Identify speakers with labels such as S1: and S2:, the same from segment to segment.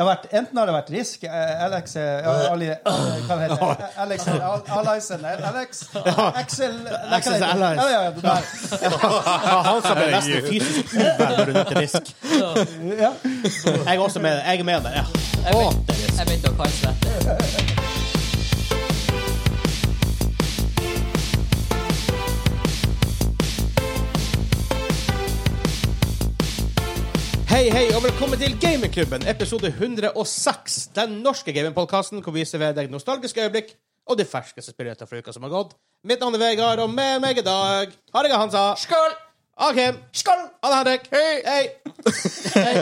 S1: har vært, enten har det vært Risk, eh, Alex eh, Ali, eh, Hva heter det? Alex eh, Al- Alaisen eh, Alex Axel eh, nei, hva
S2: Axel
S1: heter det?
S2: Alais.
S1: Ja, ja, ja, det der.
S2: Han som ble nesten fysisk uvenn når du nødte risk.
S1: Ja.
S2: Jeg er også med. Jeg er med der. Ja.
S3: Jeg begynte, jeg begynte å kalle svette.
S2: Hei, hei, og velkommen til Gamingklubben, episode 106. Den norske gamingpodkasten hvor vi serverer deg nostalgiske øyeblikk og de ferskeste spillnyhetene fra uka som har gått. Mitt navn er Vegard, og med meg i dag har jeg Hansa.
S3: Skål!
S2: Alkem. Skål! Anne Henrik. Hei! Hei!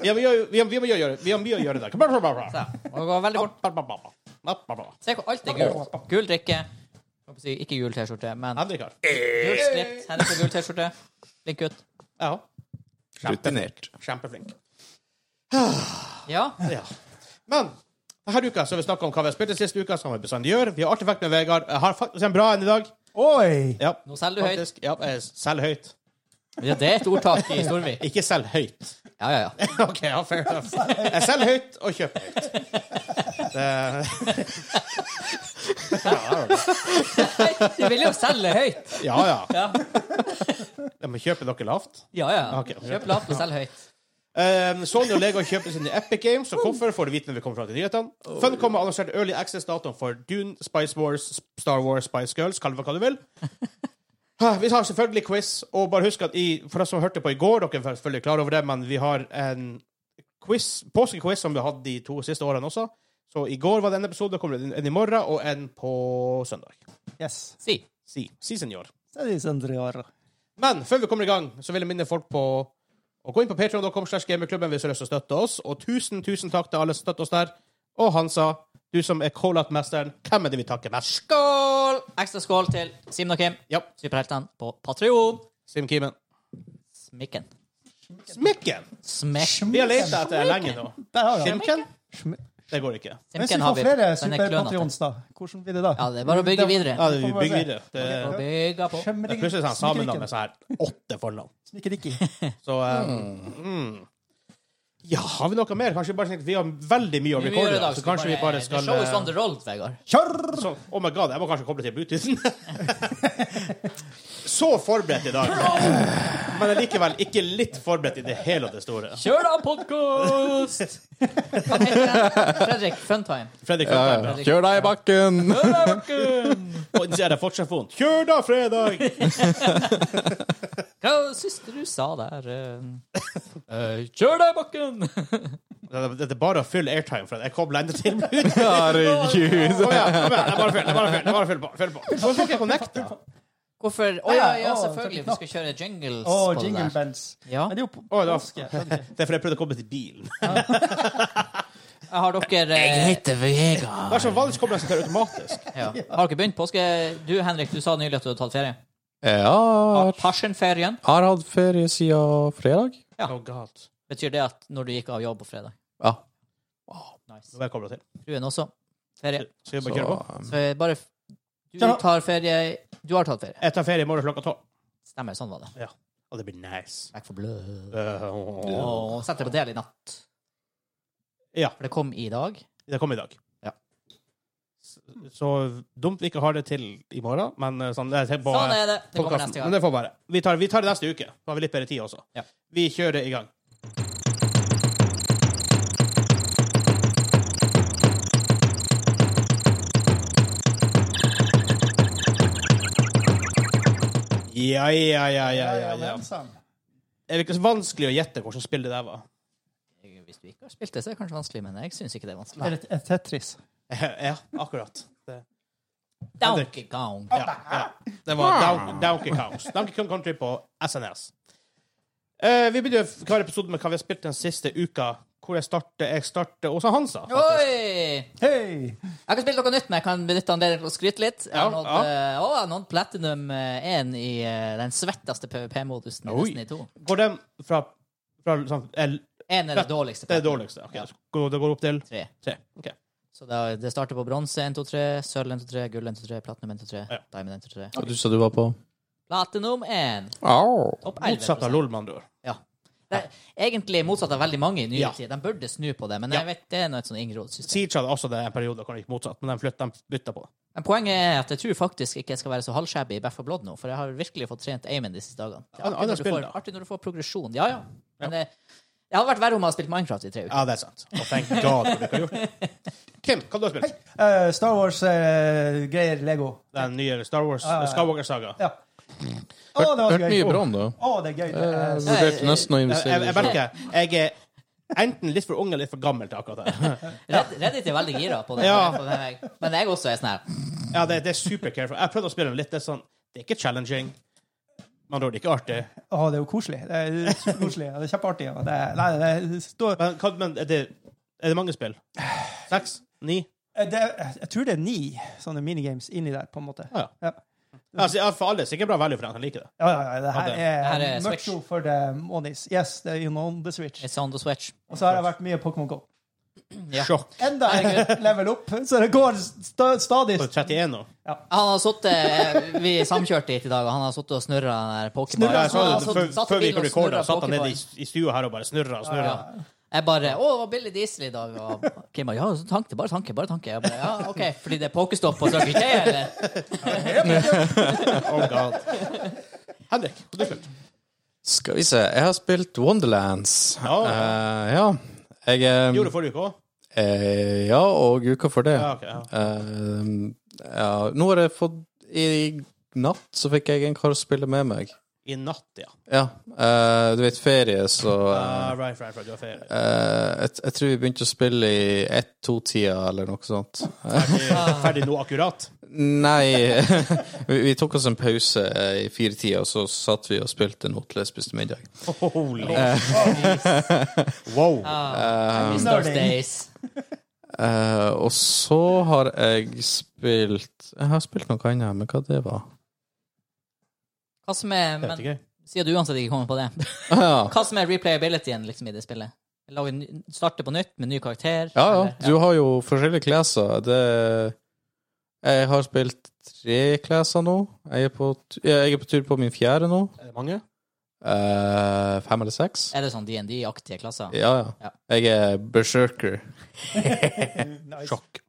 S2: Vi har mye å- vi har- vi har mye å gjøre Vi har mye å gjøre i dag. Bla, bla, bla, bla.
S3: Ja, må gå veldig fort.
S2: Bla, bla, bla, bla. Bla, bla, bla.
S3: Se hvor alt er gult. Gul drikke. Jeg håper å si Ikke gul T-skjorte, men
S2: Henrik har.
S3: gul skrift. Henrik har gul T-skjorte. Flink gutt.
S2: Jeg har.
S4: Rutinert.
S2: Kjempeflink.
S3: Ja.
S2: Ja. Men denne uka så har vi snakket om hva vi har spilt den siste uka, som vi bestandig gjør. Vi har artefakt med Vegard. Jeg har faktisk en bra en i dag.
S1: Oi!
S2: Ja,
S3: Nå selger du høyt.
S2: faktisk. Ja, eh, selg høyt.
S3: Ja, det er et ordtak i Storvik.
S2: Ikke selg høyt.
S3: Ja, ja, ja.
S2: OK, ja, fair enough. Jeg selger høyt og kjøper høyt. Det...
S3: Du vil jo selge høyt.
S2: Ja, ja.
S3: Ja,
S2: Jeg må kjøpe noe lavt.
S3: ja. ja.
S2: Ok.
S3: Kjøp lavt og selg høyt.
S2: Eh, Sony og Lego kjøper sine Epic Games, og hvorfor får du vite når vi kommer fram til nyhetene. Funcom har annonsert Early Access-datoen for Dune, Spice Wars, Star Wars, Spice Girls, kall det hva du vil. Ah, Vi har selvfølgelig quiz, og bare husk at i, for dere som hørte på i går, dere er selvfølgelig klar over det, men vi har en quiz, påskequiz som vi har hatt de to siste årene også. Så i går var det en episode, det kommer en en i morgen, og en på søndag.
S1: Yes.
S3: Si.
S2: Si, si senor.
S1: Så er det sånn tre år.
S2: Men før vi kommer i gang, så vil jeg minne folk på å gå inn på patreon.com slash gamerklubben hvis du har lyst til å støtte oss. Og tusen, tusen takk til alle som støtter oss der. Og Hansa, du som er Colat-mesteren, hvem er det vi takker mest?
S3: Skål! Ekstra skål til Simen og Kim,
S2: Ja,
S3: superheltene på Patrion.
S2: Sim Kimen.
S3: Smikken.
S2: Smikken!
S3: Smekk.
S2: Vi har leta etter lenge nå.
S1: Der har vi den.
S2: Simken?
S1: Smi-
S2: Det går ikke.
S1: Hvis vi
S3: Simken har
S1: får
S3: vi.
S1: flere
S3: Den er klønete.
S1: superpatrions, da, hvordan blir det da?
S3: Ja, det er bare å bygge videre.
S2: Ja, vi bygger videre. Det,
S3: Og bygge på.
S2: det er plutselig sånn samennavn med sånn her åtte fornavn.
S1: Smikerikki.
S2: Så eh, mm. Ja, har vi noe mer? Kanskje bare sånn at Vi har veldig mye å
S3: Vi må
S2: recorde,
S3: gjøre i dag,
S2: så kanskje vi bare skal
S3: The show is
S2: eh,
S3: on the roll, Vegard.
S1: Kjør!
S2: Så, oh my god, jeg må kanskje koble til Bluetoothen. Så forberedt i dag. Men likevel ikke litt forberedt i det hele og det store.
S3: Kjør da, podkast! Fredrik, fun time.
S2: Fredrik
S4: Ja,
S2: Løkberg,
S4: ja. Kjør deg i bakken!
S2: bra. Og så er det fortsatt vondt. Kjør da, fredag!
S3: Hva syns du du sa der? eh? Eh, Kjør deg i bakken!
S2: Det er bare å fylle airtime, for jeg kobler enda til Bluetooth.
S4: Herregud.
S2: Kom igjen, kom igjen. Det er bare å fylle, det er bare å fylle, det er bare å fylle på. Fylle på. Hvorfor får ikke jeg connect, da?
S3: Hvorfor Å ja, ja,
S1: Å,
S3: selvfølgelig. Vi skal kjøre jingles
S1: Å,
S3: på
S1: jingle
S3: det der.
S1: bells.
S3: Ja.
S1: Men det er jo på
S2: Å, da.
S1: påske. skjønner du.
S2: Det er fordi jeg prøvde å koble til bilen.
S3: Jeg har dere eh,
S5: heter Vegard.
S2: Det er som vanligvis kobler jeg seg til automatisk.
S3: ja. Har dere begynt påske... Du, Henrik, du sa nylig at du hadde tatt ferie.
S4: Ja,
S3: Passionferien.
S4: har hatt ferie siden fredag.
S3: Ja.
S2: Oh god.
S3: Betyr det at når du gikk av jobb på fredag?
S4: Ja,
S2: Nå er jeg koblet til.
S3: Fruen også. Ferie.
S2: Skal vi
S4: så
S2: bare kjøre på?
S3: Så jeg bare Du
S1: Kjør da.
S3: tar ferie Du har tatt ferie.
S2: Jeg tar ferie i morgen klokka tolv.
S3: Stemmer. Sånn var det.
S2: Ja. Og det blir nice.
S3: Back for blood.
S2: Uh,
S3: Og sett deg på del i natt.
S2: Ja.
S3: For det kom i dag.
S2: Det kom i dag.
S3: Ja.
S2: Så, så dumt vi ikke har det til i morgen, men eh, sånn, jeg tenker på
S3: Sånn er det. Det kommer
S2: podkasten.
S3: neste
S2: Men
S3: gang.
S2: det får bare. Vi tar, vi tar det neste uke. Da har vi litt bedre tid også.
S3: Ja.
S2: Vi kjører i gang. Ja, ja, ja, ja, ja, ja.
S1: men sånn.
S2: Er det ikke så vanskelig å gjette hvordan spill det der var?
S3: Hvis du ikke har spilt det, så er det kanskje vanskelig, men jeg syns ikke det er vanskelig.
S1: Det er et et Tetris.
S2: Ja, akkurat. Det.
S3: Donkey Kong.
S2: Ja, ja. Det var Down- Donkey Kong. Donkey Kong Country på SNS. Eh, vi begynner hver episode med hva vi har spilt den siste uka. Hvor jeg starter jeg starter Åsa Hansa. faktisk.
S3: Oi!
S1: Hei!
S3: Jeg har ikke spilt noe nytt, men jeg kan benytte anledningen til å skryte litt. Jeg har
S2: Ja,
S3: nådd, eh, å, jeg har nådd Platinum eh, 1 i eh, den svetteste PVP-modusen i
S2: Oi.
S3: Destiny 2.
S2: Går den fra, fra sånn, el,
S3: En er det dårligste.
S2: Det er dårligste. ok.
S3: Ja.
S2: Går, det går opp til
S3: Tre.
S2: tre. ok.
S3: Så det, er- det starter på bronse 1, 2, 3, sølv 1, 2, 3, gull 1, 2, 3, platinum 1, 2, 3,
S2: Ja.
S3: diamond 1, 2, 3.
S4: Og du sa du var på
S3: Platinum 1.
S4: Au.
S3: Topp 11
S2: Motsatt av LOL, med andre ord.
S3: Ja. Det er egentlig motsatt av veldig mange i nyere
S2: Ja.
S3: tid. De burde snu på det, men
S2: Ja.
S3: jeg vet det er noe sånn yngre system.
S2: Siege hadde også det en periode hvor det gikk motsatt, men de, flytt, de bytta på det.
S3: Men poenget er at jeg tror faktisk ikke jeg skal være så halvshabby i Back for Blood nå, for jeg har virkelig fått trent aimen de siste dagene. Det er
S2: An-
S3: artig
S2: annet
S3: når du
S2: spill,
S3: får-
S2: da.
S3: Artig når du får progresjon. Ja, ja. Men det, det hadde vært verre om jeg hadde spilt Minecraft i tre uker.
S2: Ja, det er sant. Og thank god for det du har gjort. Kim, hva har du spilt?
S1: Eh, Star Wars-greier, Lego.
S2: Den nye Star Wars,
S1: Ja, ja, ja.
S2: Skywalker-saga.
S1: Ja. Å,
S4: Hørt,
S1: det var
S4: hørt
S1: gøy.
S4: mye bra om det.
S1: Å, det er gei. Det
S4: Jeg
S1: er,
S4: vurderte nesten å
S2: Jeg,
S4: investere.
S2: jeg, jeg merker jeg er enten litt for ung eller litt for gammel til akkurat det.
S3: Red- Reddit er veldig gira på det.
S2: Ja.
S3: på det. Men jeg også er sånn her.
S2: Ja, det, det er super careful. Jeg prøvde å spille den litt. Det er sånn Det er ikke challenging. Man tror det er ikke artig.
S1: å, det er jo koselig. Det er superkoselig. og Det er kjempeartig. og Det er, nei, det er, står-
S2: Men, hva, men er, det, er det mange spill? Seks? Ni?
S1: Eh, det er, jeg tror det er ni sånne minigames inni der, på en måte.
S2: Ja, ja.
S1: Ja,
S2: Altså, ja, for alle. det er Sikkert bra value for den som liker det.
S1: ja, ja, ja det her
S2: Ja, det-
S1: er,
S3: det her er Switch.
S1: Mucho for the monies. Yes, det er on the Switch.
S3: It's on the switch.
S1: Og så har jeg vært mye Pokémon Go.
S3: Ja.
S2: Sjokk.
S1: Enda en level opp, så det går sta- stadig
S2: På 31 nå.
S3: Han har sittet Vi samkjørte hit i dag, og han har sittet og snurra den der Pokémon.
S1: Snurret,
S2: Ja, jeg så
S1: Ja,
S2: det,
S1: altså,
S2: før, før vi gikk og recorda, satt han nede i, i stua her og bare snurra og snurra.
S3: Ja. Jeg bare Å, det var Billy Diesel i dag. Og Kim bare Ja, så tanke, bare tanke, bare tanke. Jeg bare, ja, OK, fordi det er pokestopp på Circle K, eller?
S2: Oh god. Henrik, hva har du spilt?
S4: Skal vi se. Jeg har spilt Wonderlands.
S2: Ja.
S4: Eh, ja. Jeg
S2: Gjorde
S4: eh,
S2: du forrige uke òg?
S4: eh, Ja, og uka for det.
S2: Um, Ja, ok, ja.
S4: Eh, ja. Nå har jeg fått I natt så fikk jeg en kar å spille med meg.
S2: I natt, ja.
S4: Ja. eh, du vet, ferie, så eh,
S2: Ah, right, right, right, du har ferie.
S4: eh, jeg, jeg tror vi begynte å spille i ett-to-tida eller noe sånt. Eh,
S2: Ferdig- Ferdig nå akkurat?
S4: nei vi, vi tok oss en pause eh, i fire-tida, og så satt vi og spilte noe til jeg spiste middag.
S2: Holy Wow.
S3: I miss those days.
S4: Eh, og så har jeg spilt Jeg har spilt noe annet, men hva det var
S3: Hva som er
S2: Vet
S3: Men
S2: ikke.
S3: sier du uansett ikke kommer på det.
S4: ah, ja.
S3: Hva som er replayabilityen liksom, i det spillet? Lage en ny- Starte på nytt med ny karakter?
S4: ja, ja.
S3: eller-
S4: Du har jo forskjellige klasser. Det Jeg har spilt tre klasser nå. Jeg er på, tu- ja, jeg er på tur på min fjerde nå.
S2: Er det mange?
S4: Eh, fem eller seks.
S3: Er det sånn DND-aktige klasser?
S2: Eh.
S4: Ja,
S3: Ja.
S4: ja. Jeg er berserker
S1: Nice.
S2: Sjokk.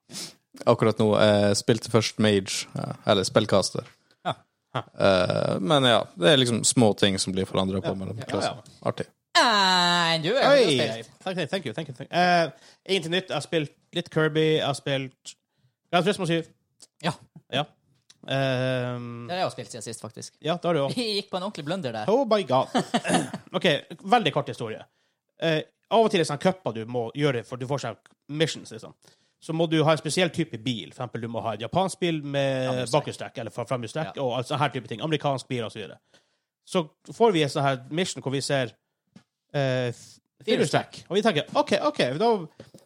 S4: akkurat nå. Jeg spilte først mage, eh, eller spillkaster.
S2: Ja. Ja.
S4: Eh, men ja, det er liksom små ting som blir forandra på mellom
S2: Ja, ja.
S4: klasser. Artig.
S3: Nei, du er
S2: Oi! Thank, thank, thank you. Thank you, thank you. Eh, ingenting nytt. Jeg har spilt litt Kirby. Jeg har spilt Grand Turismo 7.
S3: Ja.
S2: Ja. Ehm,
S3: Det har jeg jo spilt siden sist, faktisk.
S2: ja, det har du òg.
S3: Vi gikk på en ordentlig blunder der.
S2: Oh my god. OK, veldig kort historie. Eh, av og til er det sånne cuper du må gjøre, for du får sånn missions, liksom. Så må du ha en spesiell type bil. For eksempel, du må ha en japansk bil med
S3: Framhjulstrekk.
S2: bakhjulstrekk eller fra- framhjulstrekk,
S3: Ja.
S2: og alt sånne her type ting. Amerikansk bil, og så videre. Så får vi en sånn her mission hvor vi ser eh, firehjulstrekk. Og vi tenker OK, OK. Da,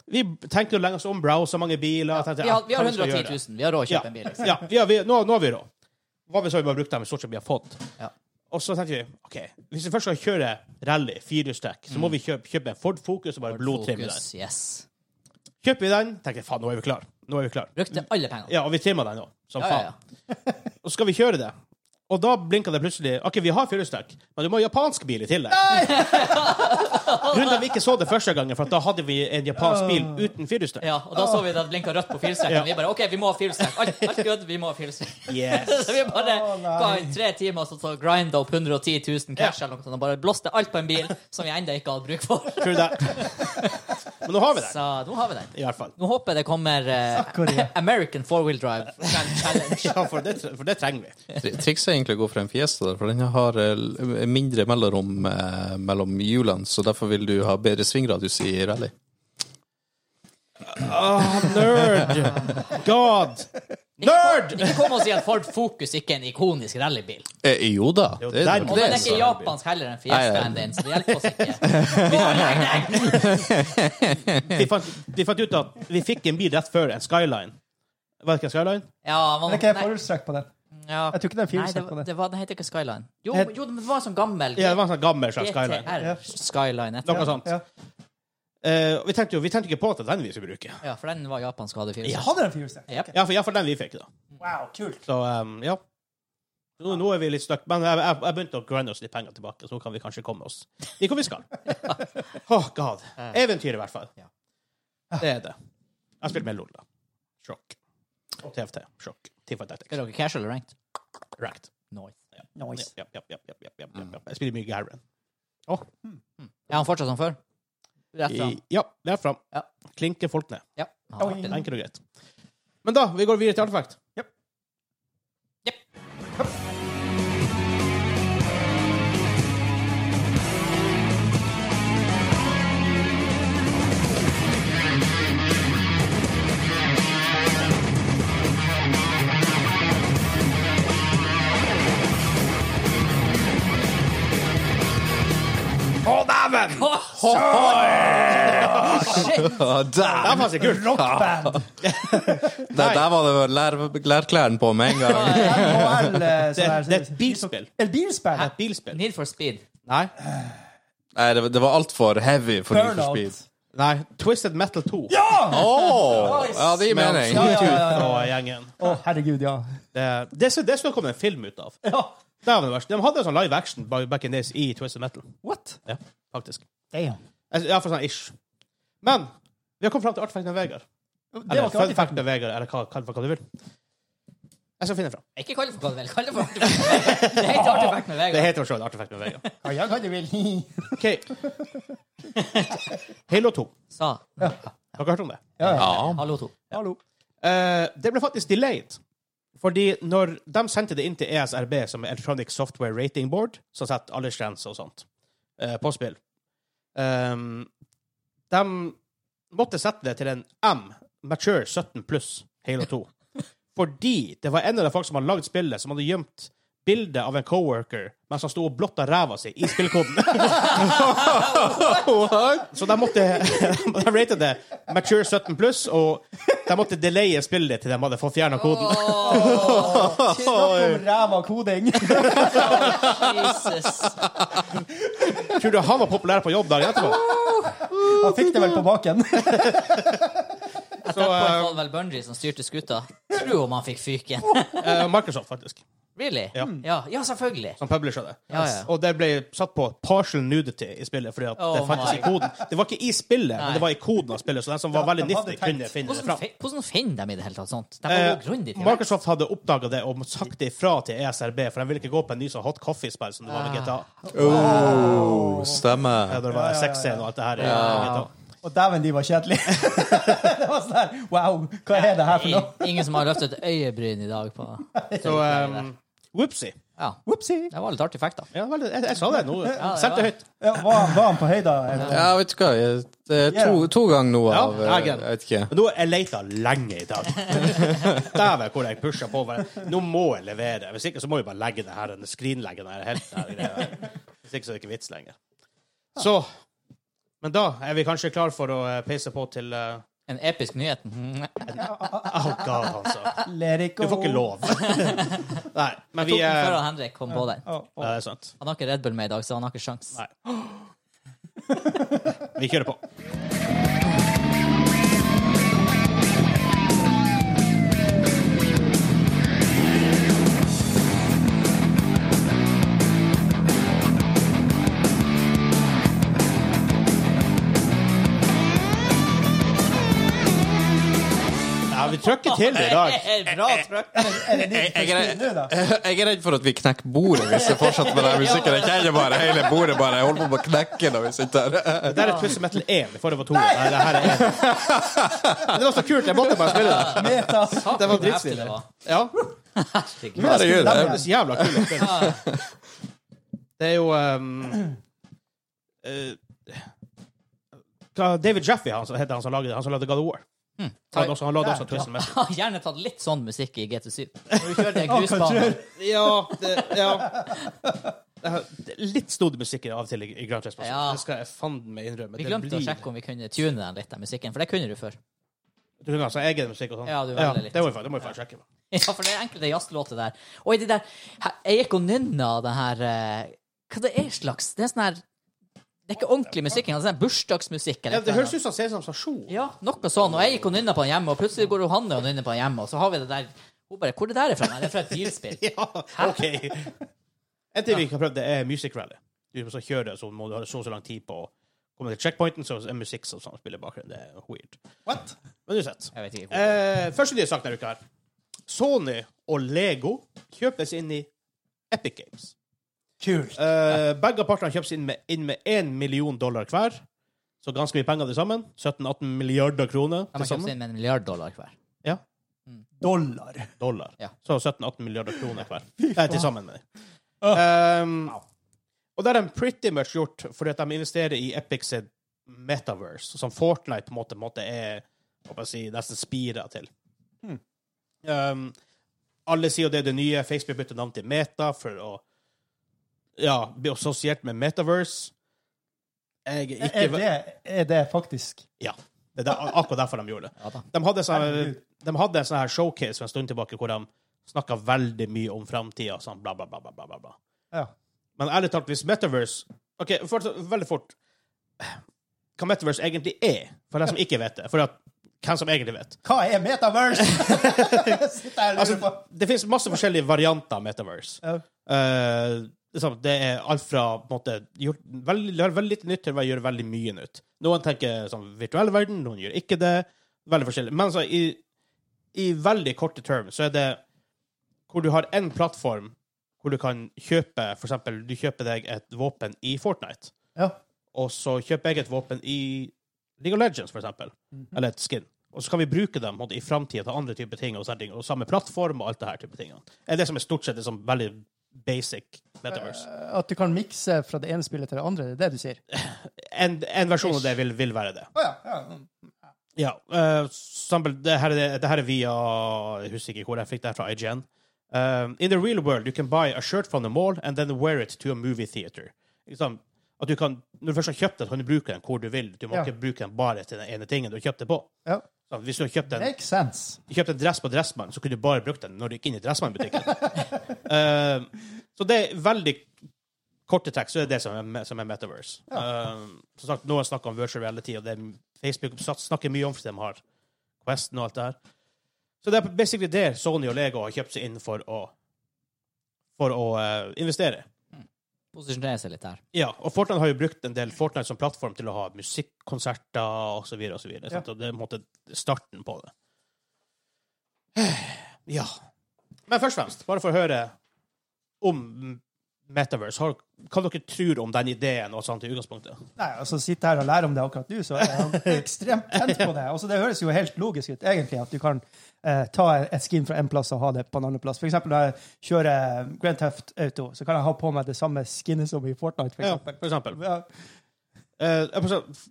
S2: vi tenkte jo lenge oss om, browse mange biler tenkte,
S3: Vi har, vi har
S2: "Ah, hva skal vi
S3: 110
S2: gjøre?"
S3: 000. Vi har råd til å
S2: Ja.
S3: kjøpe en bil. Liksom.
S2: ja, vi har, vi, nå, nå har vi råd. Hva hvis vi bare brukte dem i stort sett vi har fått?
S3: Ja.
S2: Og så tenkte vi OK, hvis vi først skal kjøre rally, firehjulstrekk, så
S3: Mm.
S2: må vi kjøpe, kjøpe en Ford Focus og bare blodtrimme den.
S3: Fokus, Yes.
S2: Kjøper vi den, tenker jeg faen, nå er vi klar. Nå er vi klar.
S3: Brukte alle pengene.
S2: Ja, og vi trimmer den nå, som
S3: Ja, ja, ja.
S2: faen. Og så skal vi kjøre det. Og da blinka det plutselig OK, vi har firehjulstrekk, men du må ha japansk bil i tillegg. Grunnen til at vi ikke så det første gangen, for at da hadde vi en japansk bil uten firehjulstrekk.
S3: Ja, og da så vi det blinka rødt på firestrekken.
S2: Ja.
S3: Vi bare OK, vi må ha firestrekk. Alt, alt good, vi må ha firestrekk.
S2: Yes.
S3: Så vi bare
S1: Å, nei.
S3: ga inn tre timer og så grinda opp 110 000 cash
S2: Ja.
S3: eller noe sånt, og bare blåste alt på en bil som vi ennå ikke hadde bruk for.
S2: True that. Men nå har vi den,
S3: Så nå har vi den.
S2: i hvert fall.
S3: Nå håper jeg det kommer eh,
S1: Korea.
S3: American four-wheel drive challenge.
S2: Ja, for det, for det trenger vi.
S4: Tri- Trikset er egentlig å gå for en Fiesta, der, for den har eh, l- mindre mellomrom eh, mellom hjulene, så derfor vil du ha bedre svingradius i rally.
S2: Ah, nerd! God! Nerd!
S3: Ikke kom og si at Ford Focus ikke er en ikonisk rallybil.
S4: Eh, jo da,
S2: Jo,
S4: det
S2: der-
S4: er
S3: Og
S4: det.
S3: den er
S2: så
S3: ikke
S2: rallybil.
S3: japansk heller enn
S4: Nei,
S3: Fiesta
S4: nei.
S3: enn den, så det hjelper oss ikke. Vi har nei, nei.
S2: De fant, de fant ut at vi fikk en bil rett før en Skyline. Var det ikke en Skyline?
S3: Ja, man,
S1: Det er ikke
S3: nei.
S1: forhjulstrekk på den.
S3: Ja.
S1: Jeg tror ikke det er
S3: Nei, det,
S1: firehjulstrekk på
S3: var-
S1: den.
S3: det, var, det heter ikke Skyline. Jo,
S1: Het-
S3: jo, men det var en sånn gammel
S2: Ja, det var en sånn gammel slags Skyline.
S1: Ja.
S3: GTR Skyline.
S2: Noe
S3: Ja.
S2: sånt.
S1: Ja.
S2: Eh, og vi tenkte jo vi tenkte ikke på at det er den vi skulle bruke.
S3: ja, for den var japansk og hadde fire.
S1: Hadde den firehjulstrekk?
S3: Jep.
S2: um, Ja, for, ja, for den vi fikk, da.
S1: Wow, kult.
S2: Så, ehm, ja. Nå, nå er vi litt stuck, men jeg, jeg, jeg begynte å grunne oss litt penger tilbake, så nå kan vi kanskje komme oss dit hvor vi skal. Åh, god. Eventyr, i hvert fall.
S3: Ja.
S2: Det er det. Jeg spilte med LOL, da. Sjokk. TFT. Sjokk. Team Fight Tactics.
S3: Er dere casual eller ranked?
S2: Racked.
S3: Nice.
S2: Ja, ja, ja, ja, ja, ja, ja, ja. Jeg spiller mye Garen.
S3: Er han fortsatt som før? Rett fram.
S2: Ja, det er fram.
S3: Ja.
S2: Klinker folk ned.
S3: Ja. Han har vært det.
S2: Enkelt og greit. Men da, vi går videre til artefakt. Å, dæven!
S3: Shit!
S4: Ja,
S2: Det er
S4: der!
S2: faktisk kult.
S1: Rockband!
S4: Der, der var det vel lær, lærklærne på med en gang.
S1: NHL
S2: Det, det er et bilspill.
S1: Et bilspill?
S2: Det er et bilspill.
S3: Need for speed.
S2: Nei.
S4: Nei, det, var- det var altfor heavy for Need for
S1: Burnout.
S4: Speed.
S2: Nei. Twisted Metal 2.
S1: Ja!
S4: Åh, ja, det gir mening.
S1: Ja, ja, ja,
S2: Ut
S1: ja.
S2: og gjengen.
S1: Å, herregud, ja.
S2: Det, det, skulle- det skulle komme en film ut av.
S1: ja.
S2: Dæven verst. De hadde en sånn live action by- back in days i Twisted Metal.
S1: What?
S2: Ja, faktisk.
S1: Damn.
S2: Altså, Iallfall sånn ish. Men vi har kommet fram til artefakten Vegard.
S1: Det
S2: Eller
S1: var ikke
S2: fun
S1: alltid
S2: fact med Vegard, eller hva, kall det hva du vil. Jeg skal finne det fram.
S3: Ikke kall det for Godwell. Kall det for artefakt. Det heter artefakt med
S2: Det
S3: Vegard.
S2: heter jo selv artefakt med Vegard.
S1: Ja, jeg kan det vel.
S2: OK. Halo 2.
S3: Sa
S2: Har dere hørt om det?
S1: Ja, ja.
S4: Ja.
S3: hallo to.
S1: Hallo.
S2: Eh, det ble faktisk delayed. Fordi når de sendte det inn til E ESRB, som er Electronic Software Rating Board, som setter aldersgrense og sånt eh, på spill ehm, De måtte sette det til en M, mature 17 pluss, Halo 2. Fordi det var en av de folk som hadde lagd spillet, som hadde gjemt bilde av en coworker mens han sto og blotta ræva si i spillkoden. Så de måtte De rated det mature 17 pluss, og de måtte delaye spillet til de hadde fått fjerna koden.
S1: Snakk om ræva koding.
S3: Jesus.
S2: Tror du han var populær på jobb der etterpå?
S1: Han fikk det vel på baken.
S2: Så
S3: Derfor
S2: eh,
S3: var det vel Bungie som styrte skuta. Tro om han fikk fyken.
S2: eh, Microsoft, faktisk,
S3: Really?
S2: Ja.
S3: Ja, ja, selvfølgelig.
S2: som publisher det.
S3: Ja, ja.
S2: Og det ble satt på partial nudity i spillet, fordi at det
S3: Oh
S2: fantes
S3: my.
S2: i koden. Det var ikke i spillet,
S3: Nei.
S2: men det var i koden av spillet, så den som var
S1: Ja,
S2: veldig
S1: de hadde
S2: nifty,
S1: tenkt.
S2: kunne finne det
S3: Hvordan,
S2: fram.
S3: fin- hvordan finner de i det hele tatt sånt? De må
S2: Eh,
S3: gå grundig til verks.
S2: Microsoft hadde oppdaga det og sagt det ifra til E ESRB, for de ville ikke gå på en ny sånn hot coffee-spill som det var med GTA.
S4: Oh,
S2: Ja,
S4: stemmer.
S2: det var sexscene og alt det her. i GTA.
S1: Og dæven, de var kjedelige. det var sånn her, wow, hva er det her for noe?
S3: I- Ingen som har løftet et øyebryn i dag på
S2: Så um, whoopsie.
S3: Ja.
S1: Whoopsie.
S3: Det var litt artig fact, da.
S2: Ja, vel, jeg, jeg sa det nå. Sett det høyt.
S1: Ja, var, han- var han på høyda? eller?
S4: Ja, vet du hva. jeg- Det er to, to ganger nå
S2: Ja,
S4: av eh,
S2: jeg er
S4: Jeg vet ikke.
S2: Men nå har jeg leita lenge i dag. Dæven, hvor jeg pusha på. hverandre. Nå må jeg levere. Hvis ikke så må vi bare legge det her, skrinlegge det her helt. Der, greia. Hvis ikke så er det ikke vits lenger. Så Men da er vi kanskje klar for å eh, peise på til eh,
S3: En episk nyhet.
S2: Mhm. Oh god, altså.
S1: Let it
S2: Du
S1: go.
S2: får ikke lov. Nei, men vi
S3: Tok den før
S2: eh,
S3: han Henrik kom på den.
S1: Å,
S2: Ja,
S1: å.
S2: det er sant.
S3: Han har ikke Red Bull med i dag, så han har ikke sjans.
S2: Nei. Vi kjører på. Ja, vi trykker til det i dag.
S3: Bra trøkk.
S1: Er det ditt
S4: Jeg er,
S1: spill nå, da?
S4: jeg er redd for at vi knekker bordet hvis jeg fortsetter med den musikken. Jeg kjenner bare hele bordet bare. Jeg holder på å knekke når vi sitter her.
S2: Det er et Twisted Metal 1 i forhold til 2. Nei, det her er 1. Men det var så kult. Jeg måtte bare spille det.
S1: Meta.
S2: Det var
S3: heftig
S2: dritstilig.
S3: det var.
S2: Ja.
S1: Men jeg skulle
S4: Herregud,
S1: dem
S4: jeg-
S2: Det er så jævla kult å spille. Det er jo ehm, eh, hva- David Jaffe han, som- heter han som lagde, han som lagde God of War. Han, lagde også, han lagde også Twisted Metal.
S3: Har gjerne tatt litt sånn musikk i GT7. Når du kjører den
S1: Å, hva
S3: grusbanen.
S1: tror du?
S2: Ja, det, ja. Det er- det er Litt snodig musikk av og til i i Grand Chess.
S3: Ja.
S2: Det skal jeg fanden meg innrømme.
S3: Vi
S2: Det
S3: glemte å
S2: blir-
S3: sjekke om vi kunne tune den litt, den musikken, for det kunne du før.
S2: Du kan altså egen musikk og sånn.
S3: Ja, du velger litt.
S2: det må vi fa- det må vi faktisk sjekke.
S3: Ja, for det er enkelte jazzlåter der. Og i det der her- Jeg gikk og nynna av den her eh, Hva det er slags Det er sånn her Det er ikke ordentlig musikk engang. Det er sånn bursdagsmusikk
S2: Ja,
S3: eller
S2: det
S3: noe.
S2: høres ut som Sesam Stasjon.
S3: Ja, noe sånn. Og jeg gikk og nynna på den hjemme, og plutselig går Johanne og nynner på den hjemme, og så har vi det der Hun bare 'Hvor er det der er fra?' Nei, det er fra et bilspill.
S2: Ja, OK. En ting vi ikke har prøvd, det er music rally. Du må så kjøre, så må du ha så og så lang tid på å komme til checkpointen, så er musikk som sånn spiller i bakgrunnen. Det er weird.
S1: What?
S2: Men uansett.
S3: Jeg vet ikke hvor.
S2: Eh, første nye sak denne uka her. Sony og Lego kjøpes inn i Epic Games.
S1: Kult.
S2: Eh, begge partene kjøpes inn med, inn med 1 million dollar hver. Så ganske mye penger til sammen. 17-18 milliarder kroner
S3: De
S2: til
S3: har kjøpt
S2: sammen.
S3: inn med en milliard dollar hver.
S2: Ja,
S1: Dollar.
S2: dollar.
S3: Ja.
S2: Så 17-18 milliarder kroner hver. Eh, til sammen, mener jeg. Um, og det har de pretty much gjort fordi at de investerer i Epic sitt metaverse, som Fortnite på en måte, på en måte er hva skal jeg si, nesten spira til. Um, alle sier jo det er det nye. Facebook bytter navn til Meta for å ja, bli assosiert med metaverse. Jeg er ikke
S1: Er det, er det faktisk
S2: ja. Det er ak- akkurat derfor de gjorde det.
S3: Ja da.
S2: de hadde sånn,
S1: Herregud.
S2: de hadde en sånn her showcase for en stund tilbake hvor de snakka veldig mye om framtida. Sånn, bla, bla, bla, bla, bla, bla, bla.
S1: Ja.
S2: Men ærlig talt, hvis Metaverse OK, for, veldig fort Hva Metaverse egentlig er, for de som ikke vet det. For at, hvem som egentlig vet.
S1: Hva er metaverse? Sitter jeg og lurer
S2: Altså,
S1: på.
S2: det finnes masse forskjellige varianter av Metaverse.
S1: Ja.
S2: Eh, liksom, det er alt fra på en måte, gjort veldig, gjør veldig lite nytt til å gjøre veldig mye nytt. Noen tenker sånn virtuell verden, noen gjør ikke det. Veldig forskjellig. Men så i, i veldig korte term så er det hvor du har én plattform hvor du kan kjøpe For eksempel, du kjøper deg et våpen i Fortnite,
S1: Ja.
S2: og så kjøper jeg et våpen i League of Legends, for eksempel. Eller et skin. Og så kan vi bruke dem på en måte, i framtida til andre typer ting, og, sånne ting, og samme plattform og alt det her type tingene. Det er det som er stort sett det som veldig basic metaverse.
S5: At du kan mikse fra det ene spillet til det andre, det er det du sier?
S2: En, en versjon av det vil, vil være det.
S1: Å ja. ja. mm.
S2: Ja. eh, sample, det, her er, det her er via Jeg husker ikke hvor jeg fikk det her fra IGN. Um, in the real world, you can buy a shirt from the mall and then wear it to a movie theater. Ikke sant? At du kan, når du først har kjøpt den, kan du bruke den hvor du vil. Du må
S1: Ja.
S2: ikke bruke den bare til den ene tingen du har kjøpt den på.
S1: Ja.
S2: Så hvis du har kjøpt den
S1: Makes sense.
S2: du kjøpte en dress på Dressmann, så kunne du bare brukt den når du gikk inn i Dressmann-butikken. Eh, så det er veldig korte tekst, så det er det som er, som er Metaverse. Eh, som sagt, noen snakker om virtual reality, og det er, Facebook sats- snakker mye om fordi de har Questen og alt det her. Så det er basically det Sony og Lego har kjøpt seg inn for å, for å eh, investere.
S3: Posisjonerer seg litt her.
S2: Ja, og Fortnite har jo brukt en del Fortnite som plattform til å ha musikkonserter og så videre og så videre. sant? Og det er på en måte starten på det. Ja. Men først og fremst, bare for å høre om Metaverse. Har, hva dere tror om den ideen og sånt i utgangspunktet?
S1: Nei, altså Sitte her og lære om det akkurat nå, så er jeg jo ekstremt tent på det. Altså, det høres jo helt logisk ut, egentlig, at du kan eh, ta et skin fra en plass og ha det på en annen plass. For eksempel når jeg kjører eh, Grand Theft Auto, så kan jeg ha på meg det samme skinnet som i Fortnite, for
S2: Ja,
S1: eksempel.
S2: for eksempel.
S1: Ja.
S2: Eh, jeg får se-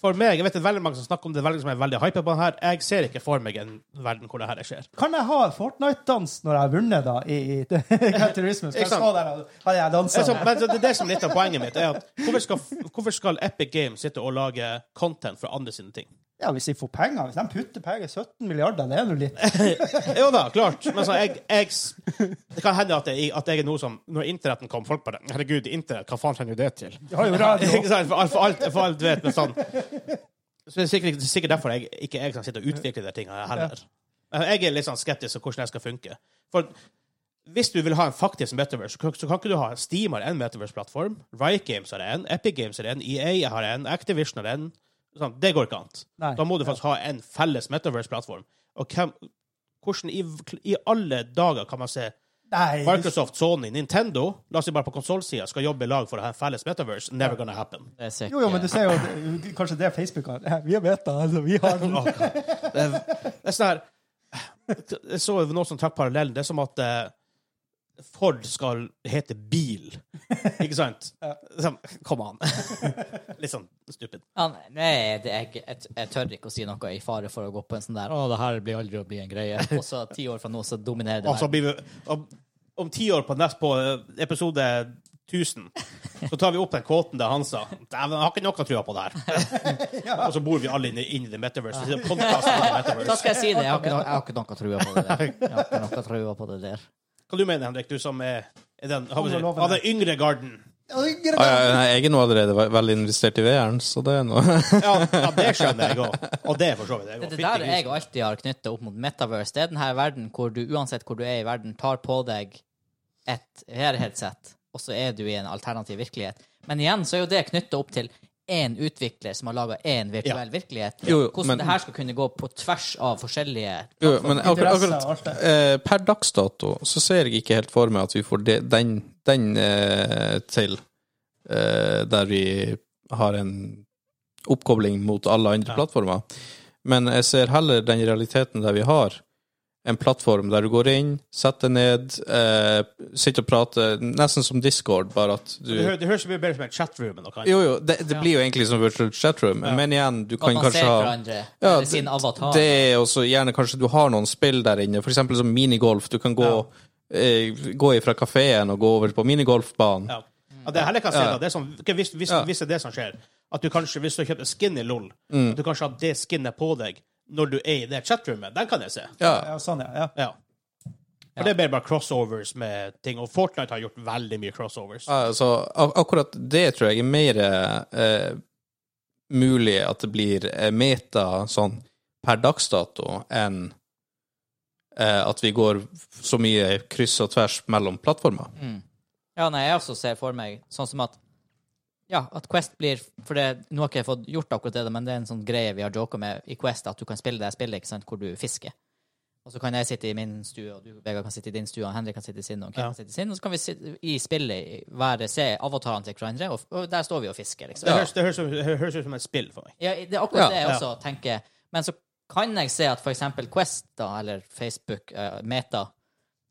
S2: for meg, jeg vet det er veldig mange som snakker om det, veldig som er veldig hypet på den her. Jeg ser ikke for meg en verden hvor det her skjer.
S1: Kan jeg ha Fortnite-dans når jeg har vunnet, da, i, i Gran Turismo? Skal jeg
S2: Ikke sant?
S1: stå der og ha jeg
S2: Det
S1: dansa?
S2: er sånn, men det er det som er litt av poenget mitt. er at Hvorfor skal, hvorfor skal Epic Games sitte og lage content for andre sine ting?
S1: Ja, hvis de får penger. Hvis de putter penger 17 milliarder, det er nå litt
S2: Jo da, klart. Men så jeg, jeg, det kan hende at jeg, at jeg er noe som Når internetten kom, folk bare Herregud, internett, hva faen trenger du det til?
S1: Du har jo radio.
S2: Ikke sant? For alt, for alt, for alt vet men sånn. Så det er sikkert, det er sikkert derfor jeg ikke jeg kan sitte og utvikle de tingene heller. Men Jeg er litt sånn skeptisk til hvordan det skal funke. For hvis du vil ha en faktisk metaverse, så kan- så kan ikke du ha Steam har en metaverse-plattform, Riot Games har en, Epic Games har en, EA har en, Activision har en. Sånn, det går ikke an.
S1: Nei.
S2: Da må du faktisk ha en felles metaverse-plattform. Og hvem, hvordan i, i alle dager kan man se
S1: Nei, du-
S2: Microsoft, Sony, Nintendo La oss si bare på konsollsida skal jobbe i lag for å ha en felles metaverse. Never gonna happen.
S3: Det er sikkert
S1: jo, jo, men du ser jo det- kanskje det er Facebook har. Vi har beta, altså. Vi har
S2: Åh, God. det er, det er sånn her Jeg så noen som trakk parallellen. Det er som at eh, Ford skal hete bil. Ikke sant? Sånn, Kom an. Litt sånn stupid.
S3: Han, nei, det, jeg, jeg, jeg tør ikke å si noe i fare for å gå på en sånn der 'Å, det her blir aldri å bli en greie'. Og så ti år fra nå, så dominerer det
S2: Og så blir
S3: verden.
S2: vi Om, om ti år på, nest, på eh, episode 1000 så tar vi opp den kvoten der han sa Dæven, jeg har ikke noe trua på det her. Og så bor vi alle inne inn i the metaverse. Så det er podcast om the
S3: Da
S2: metaverse.
S3: skal jeg si det. Jeg har ikke, no, jeg har ikke noe trua på det der. Jeg har ikke noe trua på det der.
S2: Hva du mener du, Henrik, du som er, er den, har vi-
S1: Kommer og lover
S2: av den yngre garden?
S4: Ah, ja, nei, jeg er nå allerede ve- veldig investert i VR-en, så det er noe
S2: Ja, ja, det skjønner jeg òg. Og det for så vidt. jeg også.
S3: Det, det
S2: Fytti
S3: der
S2: grisen.
S3: jeg alltid har knyttet opp mot metaverse. Det er denne verden hvor du uansett hvor du er i verden, tar på deg et VR-headset, og så er du i en alternativ virkelighet. Men igjen så er jo det knyttet opp til én utvikler som har laga én virtuell virkelighet.
S4: Jo, jo,
S3: Hvordan
S4: men-
S3: det her skal kunne gå på tvers av forskjellige
S4: Jo, men akkurat,
S1: Interesser og
S4: akkurat
S1: alt det.
S4: eh, per dags dato så ser jeg ikke helt for meg at vi får det, den, den eh, til eh, der vi har en oppkobling mot alle andre plattformer. Men jeg ser heller den realiteten der vi har en plattform der du går inn, setter ned, eh, sitter og prater, nesten som Discord, bare at du
S2: Det hø- det høres jo mye bedre ut som en chatroom enn noe annet.
S4: Jo, jo, det, det blir jo egentlig som virtual chatroom, men igjen, du
S3: At
S4: kan
S3: man ser
S4: kanskje ha
S3: hverandre,
S4: ja,
S3: eller sin avatar.
S4: det er også gjerne kanskje du har noen spill der inne, for eksempel som minigolf. Du kan gå, eh, gå ifra kafeen og gå over på minigolfbanen.
S2: Ja. Ja, det er heller hva jeg ser
S4: Ja.
S2: da. Det er sånn, ok, hvis, hvis,
S4: Ja.
S2: hvis det er det som skjer, at du kanskje, hvis du har kjøpt en skin i LOL,
S4: Mm.
S2: at du kanskje har det skinnet på deg når du er i det chatroomet, den kan jeg se.
S4: Ja.
S1: Ja, sånn, ja. ja.
S2: Ja. For det er mer bare crossovers med ting, og Fortnite har gjort veldig mye crossovers.
S4: Altså, ak akkurat det tror jeg er mer eh, mulig at det blir eh, meta sånn per dags dato enn eh, at vi går så mye kryss og tvers mellom plattformer.
S3: Ja, nei, jeg også ser for meg sånn som at ja, at Quest blir For det, nå har ikke jeg fått gjort akkurat det, men det er en sånn greie vi har joka med i Quest, at du kan spille det spillet ikke sant, hvor du fisker. Og så kan jeg sitte i min stue, og du, Vegard, kan sitte i din stue, og Henrik kan sitte i sin, og Kim
S2: Ja.
S3: kan sitte i sin, og så kan vi sitte i spillet i- være, se avatarene til hverandre, og, og der står vi og fisker, liksom.
S2: Det høres, det høres, ut- det høres ut som et spill for meg.
S3: Ja, det er akkurat
S4: Ja.
S3: det jeg også tenker. Men så kan jeg se at for eksempel Quest, da, eller Facebook, eh, Meta,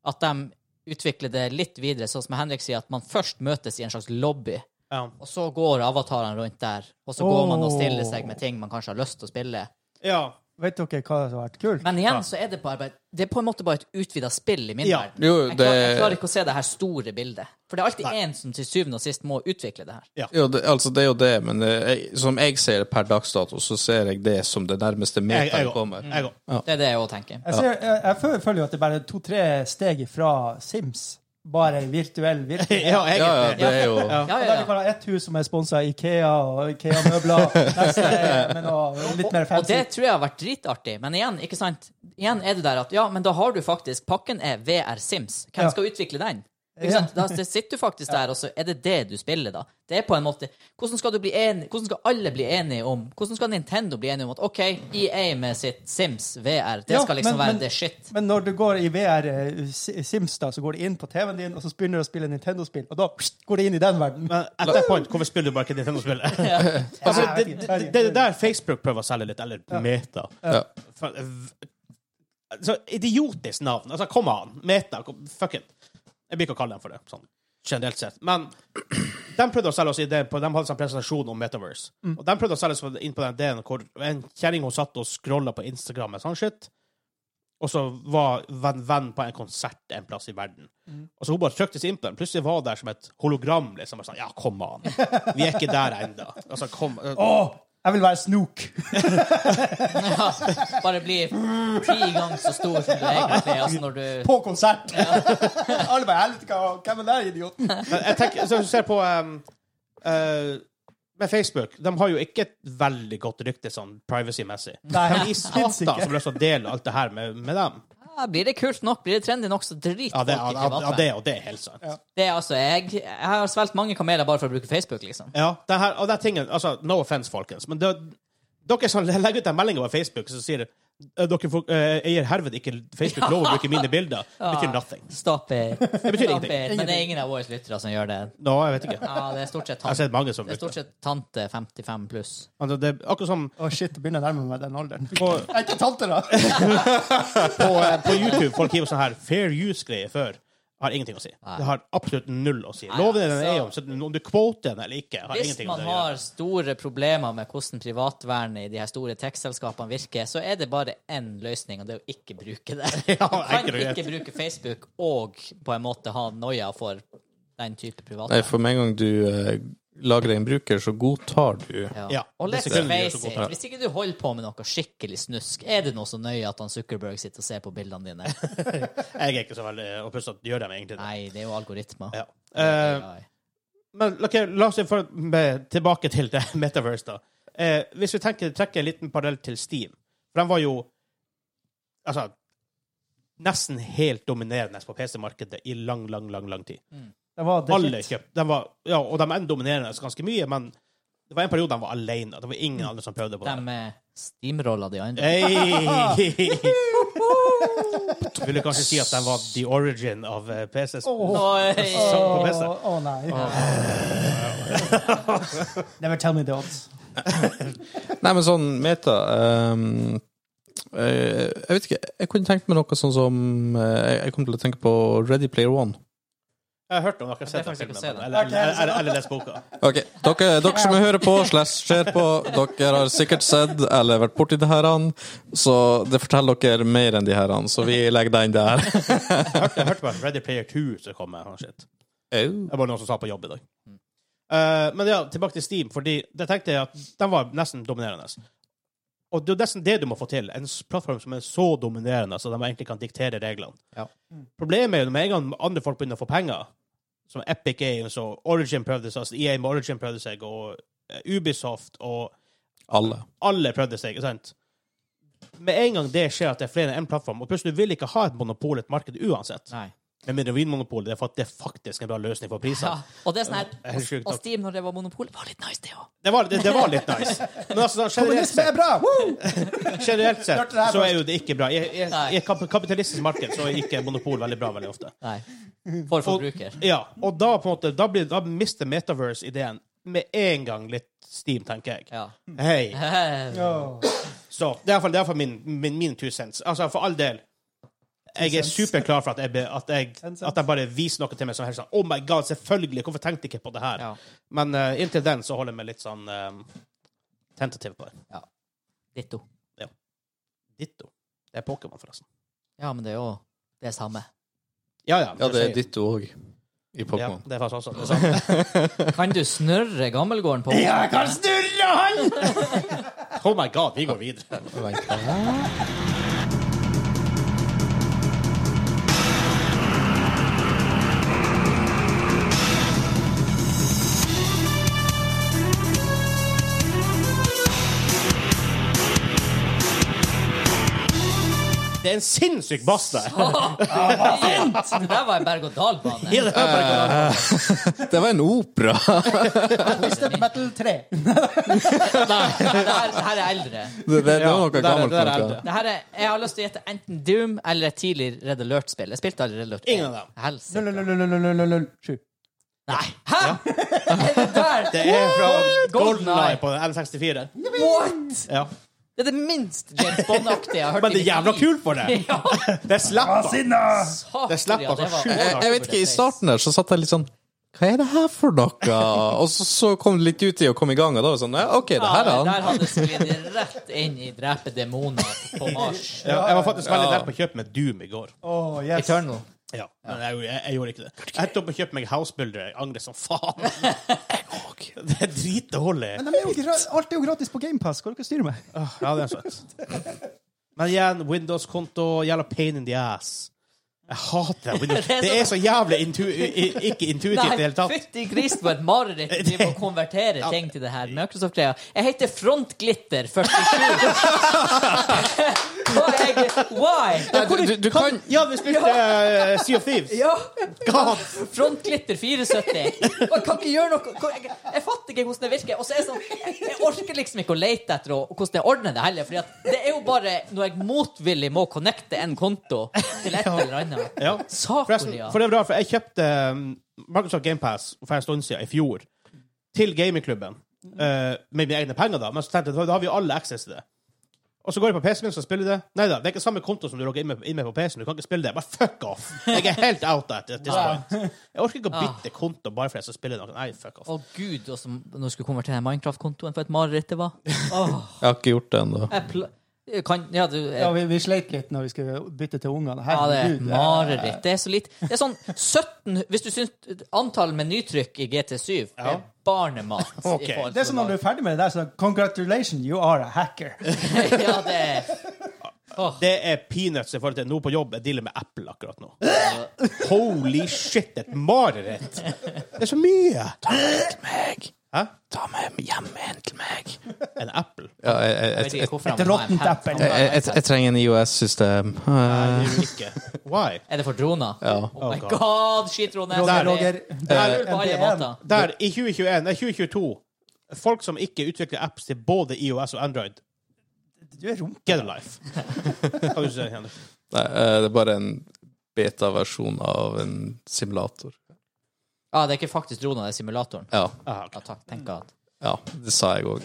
S3: at de utvikler det litt videre, sånn som Henrik sier, at man først møtes i en slags lobby,
S2: Ja.
S3: og så går avatarene rundt der, og så går man og stiller seg med ting man kanskje har lyst til å spille.
S2: ja.
S1: Vet dere hva som har vært kult?
S3: Men igjen så er det bare Det er på en måte bare et utvida spill i min
S2: Ja.
S3: verden.
S4: Jo,
S3: Jeg
S4: det-
S3: klarer, jeg klarer ikke å se det her store bildet. For det er alltid én som til syvende og sist må utvikle det her.
S4: Jo, det, altså, det er jo det, men eh, jeg, som jeg ser det per dags dato, så ser jeg det som det
S2: Jeg,
S4: nærmeste
S2: Mm.
S4: metaen
S2: jeg,
S4: kommer.
S2: jeg, jeg,
S3: Det er det jeg òg tenker.
S1: Jeg, ser, jeg, jeg føler- føler jo at det er bare to-tre steg ifra Sims. Bare virtuell virkelighet.
S2: ja,
S4: Ja, ja,
S2: egentlig.
S4: det er jo
S3: Ja,
S1: Og
S3: ja,
S1: der
S3: ja.
S1: du kan ha ett hus som er sponsa av Ikea og Ikea-møbler. Neste er- Men også litt mer
S3: Og
S1: fancy.
S3: det tror jeg har vært dritartig, men igjen, ikke sant? Igjen er det der at ja, men da har du faktisk Pakken er VR Sims. Hvem
S1: Ja.
S3: skal utvikle den?
S1: Ja.
S3: Ikke sant? Da sitter du faktisk der, og så er det det du spiller, da. Det er på en måte Hvordan skal, du bli enig, hvordan skal alle bli enige om Hvordan skal Nintendo bli enige om at OK, EA med sitt Sims VR, det
S1: Ja,
S3: skal liksom
S1: men-
S3: være
S1: men-
S3: det shit.
S1: Men når du går i VR eh, Si- Sims, da, så går du inn på TV-en din, og så begynner du å spille Nintendo-spill, og da pst, går du inn i den verden.
S2: Men at that point, hvorfor spiller du bare ikke Nintendo-spill? altså, det, det, det, det er der Facebook prøver å selge litt, eller Meta.
S4: Ja.
S2: For- Så idiotisk navn. Altså, kom an. Meta. kom- Fuck it. Jeg blir ikke å kalle dem for det, sånn generelt sett. Men de prøvde å selge oss ideen på De hadde en sånn presentasjon om Metaverse. Og de prøvde å selge oss inn på den ideen hvor en kjerring hun satt og scrolla på Instagram med sånn shit, og så var venn, venn på en konsert en plass i verden. Og så hun bare trykte seg inn på den. Plutselig var hun der som et hologram. liksom. Bare sånn, ja, kom an. Vi er ikke der ennå. Altså, kom
S1: Å, jeg vil være Snook!
S3: Ja, bare bli ti ganger så stor som du egentlig er. Altså når du
S1: På konsert! Alle bare Helvete, hva- hvem er den der idioten?
S2: Men jeg tenker, så hvis du ser på um, eh, Med Facebook De har jo ikke et veldig godt rykte sånn privacy-messig.
S1: Nei,
S2: I satan
S1: finnes
S2: som
S1: ikke.
S2: har lyst til å dele alt det her med, med dem.
S3: ja, Blir det kult nok? Blir det trendy nok, så drit
S2: Ja, det,
S3: folk
S2: ja,
S3: i
S2: ja,
S3: privatverden.
S2: det, og det er helt sant. Ja,
S3: Det er altså jeg. Jeg har svelget mange kameler bare for å bruke Facebook, liksom.
S2: det her, og det er tingen, altså, No offense, folkens, men det, dere som legger ut en melding over Facebook som sier eh, dere får, eh, eier herved ikke Facebook lov å bruke mine bilder, det betyr nothing.
S3: Stop it.
S2: Det betyr
S3: Stop it.
S2: ingenting.
S3: Men det er ingen av våre lyttere som gjør det.
S2: Nå, jeg vet ikke.
S3: Ja, det er stort sett
S2: Jeg har
S3: tante,
S2: sett mange som
S3: det er
S2: bruker
S3: stort
S2: det.
S3: sett tante 55 pluss.
S2: Altså, det er akkurat som
S1: Å, shit, jeg begynner å nærme meg den alderen.
S2: på,
S1: Jeg er ikke tante, da!
S2: på, eh, på YouTube folk gir sånn her fair use-greier før. Har ingenting å si. Det har absolutt null å si. Loven din er jo om, så om du kvoter den eller ikke. Har
S3: Hvis
S2: ingenting
S3: man
S2: med det å gjøre.
S3: har store problemer med hvordan privatvernet i de her store tekstselskapene virker, så er det bare én løsning, og det er å ikke bruke det. Du kan
S2: enkelt og greit.
S3: ikke bruke Facebook og på en måte ha noia for den type
S4: Nei,
S3: privatvernet.
S4: for med en gang du eh, lager en bruker, så godtar du
S2: Ja.
S3: Og let's
S2: Det skulle de gjøre
S3: face
S2: så
S3: it,
S2: godt.
S3: hvis ikke du holder på med noe skikkelig snusk, er det noe så nøye at han Zuckerberg sitter og ser på bildene dine?
S2: Jeg er ikke så veldig Og plutselig gjør de egentlig det.
S3: Nei, det er jo algoritmer.
S2: Ja. Eh,
S3: Ai.
S2: Men ok, la oss for, med, tilbake til det Metaverse, da. Eh, hvis vi tenker, trekker en liten parallell til Steam For den var jo altså, nesten helt dominerende på PC-markedet i lang, lang, lang lang tid.
S1: Det var det
S2: Alle
S1: shit.
S2: kjøpte. Den var, ja, og de er dominerende ganske mye, men det var en periode de var alene. Det var ingen
S3: Mm.
S2: andre som prøvde på det.
S3: De eh, steamroller de andre.
S2: Hey. Ville kanskje si at den var the origin av eh, PC.
S3: Oi.
S2: Sang på
S1: Åh,
S2: PC.
S1: åh, nei. Never tell me the odds.
S4: Nei, men sånn meta ehm, eh, Jeg vet ikke. Jeg kunne tenkt meg noe sånn som eh, Jeg kom til å tenke på Ready Player One.
S2: Jeg har hørt om dere har
S3: Jeg
S2: sett den
S3: har faktisk ikke
S2: filmen,
S3: sett den.
S2: eller, eller, eller, eller lest boka.
S4: Ok, Dere, dere som hører på, slash ser på, dere har sikkert sett eller vært borti det her, han, så det forteller dere mer enn de her, han, så vi legger den der.
S2: Jeg hørte, jeg hørte bare Ready Player 2 som kom med. og shit.
S4: Au.
S2: Det var noen som sa på jobb i dag.
S3: Mm.
S2: Eh, men ja, tilbake til Steam, fordi det tenkte jeg at den var nesten dominerende. Og det er jo nesten det du må få til. En s- plattform som er så dominerende så de egentlig kan diktere reglene.
S3: Ja.
S2: Problemet er jo når en gang andre folk begynner å få penger, som Epic Games og Origin prøvde seg, altså EA med Origin prøvde seg, og eh, Ubisoft og
S4: Alle.
S2: alle prøvde seg, ikke sant? Med en gang det skjer at det er flere enn én plattform, og plutselig du vil ikke ha et monopol, et marked, uansett.
S3: Nei.
S2: Med mindre vinmonopolet, det er for at det er faktisk en bra løsning for priser.
S3: Ja. Og det er sånn her
S2: er helt sjukt
S3: Og
S2: nok.
S3: Steam, når det var monopol, var litt nice, det òg.
S2: Det, var, det, det var litt nice. Men altså, sånn generelt
S1: Kommunisme
S2: sett,
S1: er bra! Woo!
S2: generelt sett
S1: Hørte det her
S2: så er jo det ikke bra. I, i,
S3: Nei.
S2: i et kap- kapitalistisk marked så er ikke monopol veldig bra veldig ofte.
S3: Nei. For forbruker.
S2: Ja, og da på en måte, da, blir, da mister Metaverse-ideen med en gang litt steam, tenker jeg.
S3: Ja.
S2: Hei.
S3: Eh,
S1: Åh.
S2: Så det er iallfall- det er iallfall min, min, min two cents. Altså, for all del. Jeg er superklar for at jeg, be- at jeg,
S1: Ten cents.
S2: at jeg bare viser noe til meg som helst sånn Oh my god, selvfølgelig! Hvorfor tenkte jeg ikke på det her?
S3: Ja.
S2: Men eh, inntil den så holder jeg meg litt sånn um, tentativ på det.
S3: Ditto.
S2: Ditto. Det er Pokémon, forresten.
S3: Ja, men det er jo det samme.
S2: Ja, ja. men
S4: Ja, det er
S2: sier-
S4: ditto òg. I
S2: Ja,
S4: Pokémon.
S2: det er faktisk også det samme.
S3: Kan du snørre gammelgården på
S1: Ja, jeg kan snurre han!
S2: Oh my god, vi går videre. Det er en sinnssyk bass der!
S3: Fint! Det der var en berg-og-dal-bane.
S2: Ja, det er bare-
S4: Det var en opera!
S1: Twisted Metal 3.
S3: Det her- det her er eldre.
S4: Det, det, det
S2: Ja,
S4: var noe
S2: der er-
S4: gammelt.
S2: der er
S4: kanskje.
S2: det.
S3: Det her er, jeg har lyst til å gjette enten Doom eller et tidlig Red Alert-spill. Jeg spilte aldri Red Alert.
S2: Ingen av dem.
S3: Helsike.
S1: 00007.
S3: Nei. Hæ?! Er det der?
S2: Det er fra Golden
S3: GoldenEye.
S2: Eye på N64.
S3: What?!
S2: Ja.
S3: Det er det minst James Bond-aktige jeg har hørt.
S2: Men det er
S3: i mitt
S2: jævla
S3: liv.
S2: kult for det!
S3: Ja,
S2: Det slapper.
S3: saker,
S2: Det slapp
S3: ja,
S2: altså
S3: det var-
S2: sju år.
S4: Eh, Jeg, jeg vet ikke, I starten der så satt jeg litt sånn Hva er det her for noe? Og så, så kom det litt ut i å komme i gang, og da var det sånn ja, OK, det
S3: Ja,
S4: her er
S3: det der
S4: han.
S3: hadde sklidd rett inn i drepe demoner på Mars.
S2: Ja, jeg var faktisk veldig nær på å kjøpe meg Doom i går.
S1: Åh, yes.
S3: Eternal.
S2: Ja, men jeg, jeg, jeg gjorde ikke det. Jeg endte opp med å kjøpe meg housebuilder. Jeg angrer som faen. Det er dritdårlig.
S1: Men de er jo gra- alt er jo gratis på GamePass. Hva er det dere styrer med?
S2: Ja, det er søtt. Men igjen, Windows-konto jævla pain in the ass. Jeg hater det. Windows. Det er så jævlig intu i- ikke intuitivt i det hele tatt.
S3: fytti grisen for et mareritt å drive og konvertere ting til det her. Microsoft-greia. Jeg heter Frontglitter47. Hva er jeg Why?
S4: Nei, Du, du, du kan
S2: Ja, vi spilte eh, Sea of Thieves.
S3: Ja,
S2: God.
S3: Frontglitter74. Og jeg kan ikke gjøre noe hvor- jeg, jeg fatter ikke hvordan det virker. Og så er det sånn, jeg, jeg orker liksom ikke å lete etter å- hvordan jeg ordner det heller. Fordi at det er jo bare når jeg motvillig må connecte en konto til et eller annet.
S2: Ja. Forresten,
S3: Sakoria.
S2: for det er bra, for jeg kjøpte um, Microsoft GamePass for en stund siden, i fjor, til gamingklubben. eh, med mine egne penger, da. Men så tenkte jeg, da- da har vi jo alle access til det. Og så går jeg på PC-en min og spiller det. Nei da, det er ikke samme konto som du logger inn med, inn med på PC-en. Du kan ikke spille det. Bare fuck off! Jeg er helt out at this point. Jeg orker ikke å bytte konto bare fordi jeg skal spille noe. Nei, fuck off.
S3: Å gud, og som når jeg skulle konvertere Minecraft-kontoen for et mareritt det var. Åh,
S4: Jeg har ikke gjort det ennå.
S3: jeg pl kan, ja, du, jeg,
S1: Ja, vi, vi sleit litt når vi skulle bytte til ungene.
S3: ja, det er et
S1: Herregud.
S3: mareritt. Det er så lite. Det er sånn 17 Hvis du syns antallet med nytrykk i GT7 det er barnemat. i
S2: Ok,
S3: forhold
S1: Det er som
S3: til
S1: når du er ferdig med det der, så congratulations, you are a hacker.
S3: ja, det er Åh.
S2: Det er peanuts i forhold til nå på jobb. Jeg dealer med Apple akkurat nå. Holy shit, et mareritt! Det er så mye!
S4: meg.
S2: Hæ?
S4: Ta meg hjem igjen til meg.
S2: En Apple.
S4: Ja, jeg, jeg,
S3: Jeg
S4: jeg,
S3: vet
S4: jeg,
S3: ikke hvorfor han
S1: et
S3: må ha en
S1: råttent
S3: pen-
S1: eple.
S3: han må ha
S4: jeg,
S3: en
S4: jeg,
S3: headset.
S4: jeg trenger en IOS-system.
S2: Nei, det er jo ikke. Why?
S3: Er det for droner? Oh my
S2: God.
S3: god, skitroner!
S1: Roger,
S3: Sorry.
S1: Roger. Eh,
S3: Det er null på
S1: NTN.
S3: alle måter.
S2: Der, i 2021, nei, 2022, folk som ikke utvikler apps til både IOS og Android,
S1: Du er rump.
S2: get a life. Kan du si det, Henrik?
S4: Nei, eh, det er bare en beta-versjon av en simulator.
S3: Ja, det er ikke faktisk droner, det er simulatoren.
S4: Ja.
S2: Ah, ok.
S3: Ja, takk. Tenk at
S4: ja det sa jeg òg.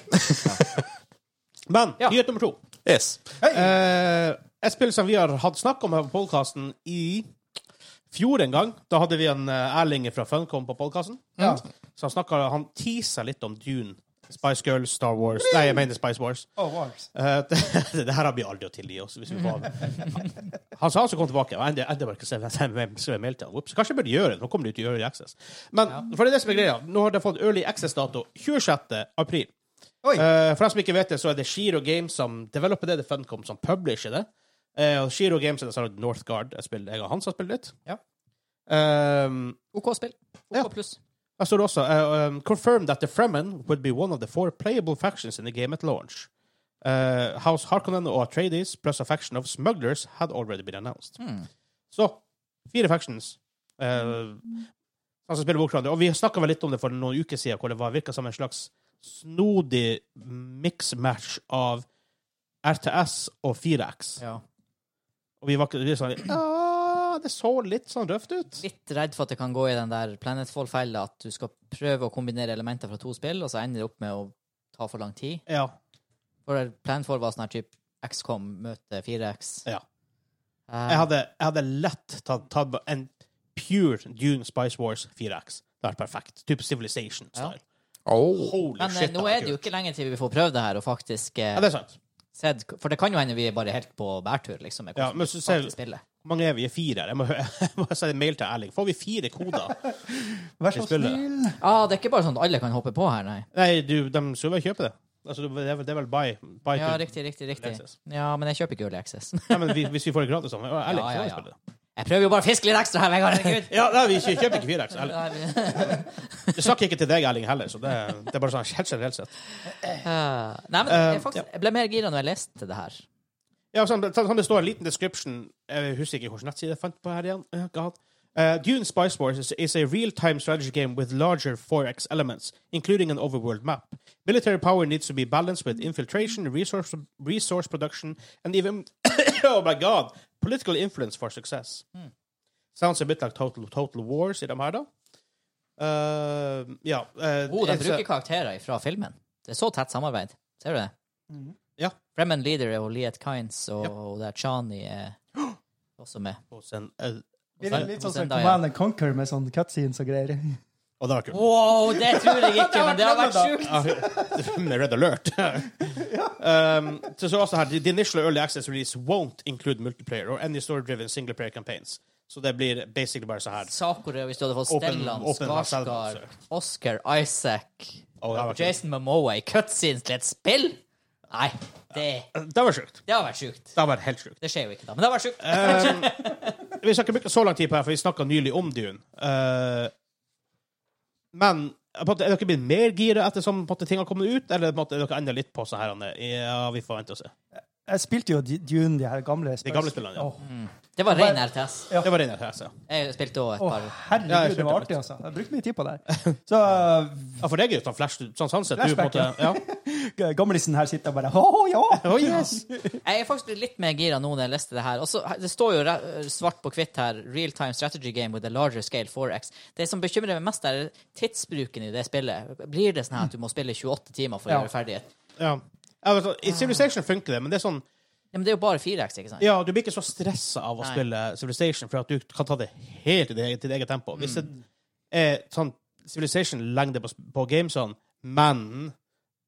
S2: Men
S3: Ja.
S2: nyhet nummer to.
S4: Yes.
S2: Eh, et spill som vi har hatt snakk om her på podkasten i fjor en gang. Da hadde vi en eh, Erling fra Funcom på podkasten.
S1: Ja.
S2: Så han snakket, han teasa litt om Dune. Spice Girls, Star Wars Nei, jeg mener Spice Wars.
S1: Oh, Wars.
S2: Eh, det, det her har vi aldri å tilgi oss. Hvis vi får. Han sa han skulle komme tilbake. og enda- enda bare ikke sende- sende mail- sende mail til han. Whoops, Kanskje jeg burde gjøre det. Nå kommer det til Early Access. Men for det er det som er greia. Nå har det fått Early Access-dato 26. april.
S1: Oi.
S2: Eh, for dem som ikke vet det, så er det Shiro Games som developer det, det er Funcom som publisher det. Eh, og Shiro Games er det som har lagd Northgard. Jeg, spiller, jeg og Hans har spilt litt.
S3: Ja.
S2: Ehm,
S3: OK spill. OK
S2: Ja.
S3: pluss.
S2: her står det også uh, um, Confirm that the Fremen would be one of the four playable factions in the game at launch. Uh, House Harkonnen og Atreides plus a faction of smugglers had already been announced.
S3: Hmm.
S2: Så fire factions. Uh,
S3: Mm.
S2: altså spiller mot hverandre. Og vi snakka vel litt om det for noen uker siden, hvor det var virka som en slags snodig mix-match av RTS og 4X.
S3: Ja.
S2: Og vi var ikke vi var sånn ah, Det så litt sånn røft ut.
S3: Litt redd for at det kan gå i den der Planetfall-fella, at du skal prøve å kombinere elementer fra to spill, og så ender det opp med å ta for lang tid.
S2: Ja.
S3: For Planetfall var sånn her type XCOM møter 4X.
S2: Ja.
S3: Eh,
S2: Jeg hadde, jeg hadde lett tatt, tatt en pure Dune Spice Wars 4X. Det hadde vært perfekt. Type Civilization-style. Holy
S3: men eh,
S2: shit. det
S3: nå er
S2: hadde
S3: det jo
S2: vært kult.
S3: ikke lenge til vi får prøvd det her, og faktisk eh,
S2: Ja, det er sant.
S3: sett For det kan jo hende vi er bare helt på bærtur, liksom, med
S2: Ja,
S3: hvordan
S2: men
S3: vi
S2: så ser-
S3: faktisk spiller.
S2: Hvor mange er vi? Vi er Fire? Jeg må, jeg må sende mail til Erling. Får vi fire koder?
S1: Vær så
S2: Vi spiller.
S1: snill.
S3: Ah, det er ikke bare sånn at alle kan hoppe på her, nei.
S2: Nei, du, de skal vel kjøpe det? Altså, det er vel, det er vel buy, buy
S3: Ja,
S2: to-
S3: riktig, riktig, riktig.
S2: Access.
S3: Ja, men jeg kjøper ikke Early Access.
S2: Nei, men vi- hvis vi får det gratis, så ja, Erling, så
S3: Ja, ja,
S2: kan vi
S3: ja.
S2: spille det.
S3: Jeg prøver jo bare å fiske litt ekstra her, Vegard. Herregud.
S2: Ja, nei, vi kjø- kjøper ikke 4X. Erling.
S3: Nei,
S2: Det snakker ikke til deg, Erling, heller, så det, det er bare sånn helt generelt sett.
S3: men jeg, faktisk, jeg ble mer gira når jeg leste det her.
S2: Ja, sånn, sånn det står en liten description Jeg husker ikke hvilken nettside jeg fant på her igjen. Ja, God. Uh, Dune Spice Wars is, is a real-time strategy game with larger 4X elements, including an overworld map. Military power needs to be balanced with infiltration, resource, resource production, and even, oh my god, political influence for success.
S3: Hmm.
S2: Sounds a bit like Total, total Wars i de her, da. Eh, ja. eh,
S3: Oh, de
S2: it's a-
S3: bruker karakterer fra filmen. Det er så tett samarbeid. Ser du det?
S2: Ja.
S3: Fremen Leader og Liet Kynes og,
S2: Ja.
S3: og der Chani er også med.
S2: hos en- eh,
S1: Blir det litt sånn som
S3: Zendaya.
S1: Command and Conquer med sånn cutscenes og greier?
S2: Og det var kult.
S3: Wow, det tror jeg ikke, men det har vært sjukt!
S2: med Red Alert. um, så så også her, the initial early access release won't include multiplayer or any story-driven single-player campaigns. Så det blir basically bare så her.
S3: Sakura, hvis du hadde fått
S2: Åpen-
S3: Stellan,
S2: åpen
S3: Skarsgård,
S2: versjon,
S3: Oscar, Isaac,
S2: Å, det har vært
S3: Jason Momoa i cutscenes til et spill? Nei, det,
S2: Det var sjukt.
S3: det har vært sjukt.
S2: Det var helt sjukt.
S3: Det skjer jo ikke da, men det har vært
S2: Eh,
S3: sjukt.
S2: Um, Vi skal ikke bruke så lang tid på det, her, for vi snakka nylig om Dune. Uh, men på en måte, er dere blitt mer gira etter som på en måte, ting har kommet ut, eller på en måte, er dere enda litt på sånn her? Anne? Ja, vi får vente og se.
S1: Jeg spilte jo D- Dune, de her gamle
S2: De gamle spillene, ja. Mm,
S1: Åh,
S3: Det var ren RTS.
S2: Det var det jeg sa.
S3: Jeg spilte òg et
S1: Å,
S3: par.
S1: herregud,
S2: Ja, jeg
S1: det var
S2: skjønte
S1: artig, altså. Jeg brukte mye tid på det. her. Så
S2: Ja, for deg er jo sånn flash, sånn, sånn sett. Du, på en måte,
S1: Flashback,
S2: ja.
S1: g- gamlisen her sitter og bare Å, ja!
S2: Oh, yes.
S3: Jeg er faktisk blitt litt mer gira nå når jeg leste det her. Også, det står jo re- svart på hvitt her 'Real time strategy game with a larger scale 4X'. Det som bekymrer meg mest, er tidsbruken i det spillet. Blir det sånn her at du må spille 28 timer for å
S1: Ja.
S3: gjøre ferdig et
S2: Ja. Ja, vet du, I Civilization funker det, men det er sånn
S3: Ja, men det er jo bare 4X, ikke sant?
S2: Ja, du blir ikke så stressa av å
S3: Nei.
S2: spille Civilization, for at du kan ta det helt i ditt eget, ditt eget tempo. Hvis det er sånn Civilization-lengde på, sp- på sånn, gamesene, men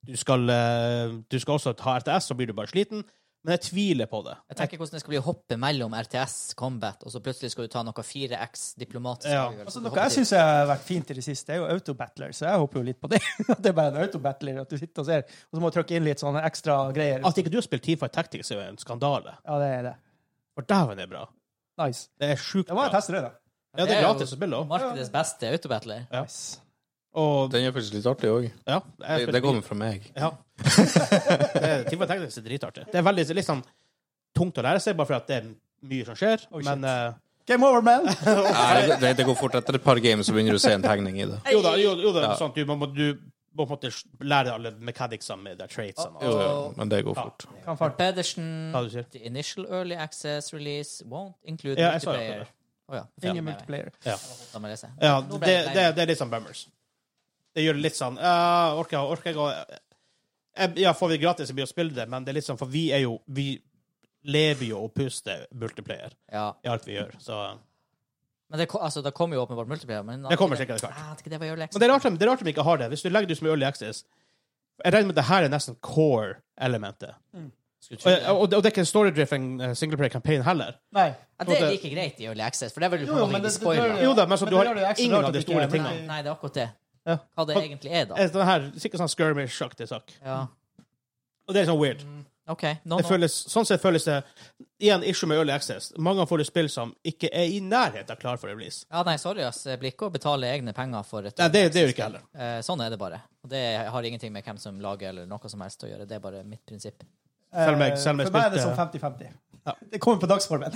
S2: du skal, eh, du skal også ta RTS, så blir du bare sliten. men jeg tviler på det.
S3: Jeg tenker hvordan det skal bli å hoppe mellom RTS, Combat, og så plutselig skal du ta noe 4X diplomatisk
S2: Ja.
S3: avgjørelse.
S1: Altså,
S3: Du
S1: noe
S3: hopper
S1: jeg
S3: dit.
S1: syns har vært fint i det siste, er jo autobattler, så jeg håper jo litt på det. At det er bare en autobattler, at du sitter og ser, og så må du trykke inn litt sånne ekstra greier.
S2: At ikke du har spilt Team Fight Tactics, er jo en skandale.
S1: Ja, det er det.
S2: For dæven, det er bra.
S1: Nice.
S2: Det er sjukt
S1: Da må
S2: bra.
S1: jeg teste det, da.
S2: Ja, det
S3: Det
S2: er
S3: er jo-
S2: gratis å spille òg.
S3: Markedets beste autobattler.
S2: Ja.
S1: Nice.
S2: Og
S4: Den er faktisk litt artig òg.
S2: ja, jeg
S4: Det,
S2: spilte-
S4: det kommer fra meg.
S2: Ja. det, er- Team Fight Tactics er dritartig. Det er veldig litt sånn tungt å lære seg, bare fordi at det er mye som skjer, men eh,
S1: Game over, man!
S4: Nei, det, det går fort. Etter et par games så begynner du å se en tegning i det.
S2: eh, Jo da, jo, jo, da
S4: Ja.
S2: sånn, at du, må, du må på en måte lære alle mechanicsene med de
S3: Ah,
S2: tradesene.
S4: Jo,
S2: Og,
S4: jo, men det går fort.
S1: Kan fart.
S3: Pedersen,
S2: hva du sier.
S3: the initial early access release won't include
S2: Ja, jeg sa
S3: multiplayer.
S2: det.
S3: Å ja.
S1: Ingen multiplayer.
S3: Da må jeg lese.
S2: Ja, det,
S3: Nå ble
S2: det,
S3: jeg lei
S2: det,
S3: meg.
S2: er litt sånn bummers. Det gjør det litt sånn ja, Orker jeg orker jeg å jeg- Ja, får vi gratis, så blir det å spille det, men det er litt sånn, for vi er jo Vi lever jo og puster multiplayer
S3: Ja.
S2: i alt vi gjør, så
S3: Men det, ko- altså, det kommer jo åpenbart multiplayer. Men
S2: Det kommer sikkert etter hvert.
S3: Ah, det, det var early access.
S2: Men det er rart, de- det er rart de ikke har det. Hvis du legger det ut som early access Jeg regner med at det her er nesten core-elementet.
S3: Skulle
S2: Og,
S3: tro det.
S2: og, og det er ikke en story-driven eh, singleplayer-campaign heller.
S1: Nei.
S3: Ja, det er like greit i early access, for det vil du på
S1: Jo,
S3: en
S1: jo,
S3: måte
S1: men
S3: ikke
S1: det- det-
S3: spoile.
S1: det-
S2: Jo da, men så
S1: Men
S2: du
S1: det
S2: har
S1: gjør det jo ekstra
S2: ingen
S1: rart
S2: av de
S1: at
S2: store
S1: ikke-
S2: tingene.
S3: Nei, det er akkurat det.
S2: Ja.
S3: Hva det egentlig er, da.
S2: Eh, Den her, sikkert sånn skirmish-aktig sak.
S3: Ja.
S2: Og det er sånn weird.
S3: OK. No,
S2: Det
S3: no.
S2: føles, sånn sett føles det igjen issue med early access. Mange får det spill som ikke er i nærheten av klar for release.
S3: Ja, nei, sorry, ass. Jeg blir ikke å betale egne penger for et
S2: Nei, det, det gjør ikke heller.
S3: Eh, Sånn er det bare. Og det har ingenting med hvem som lager eller noe som helst å gjøre. Det er bare mitt prinsipp.
S2: Selv om jeg- selv om jeg
S1: For meg er det
S2: spilte-
S1: sånn 50-50. Det kommer på dagsformen.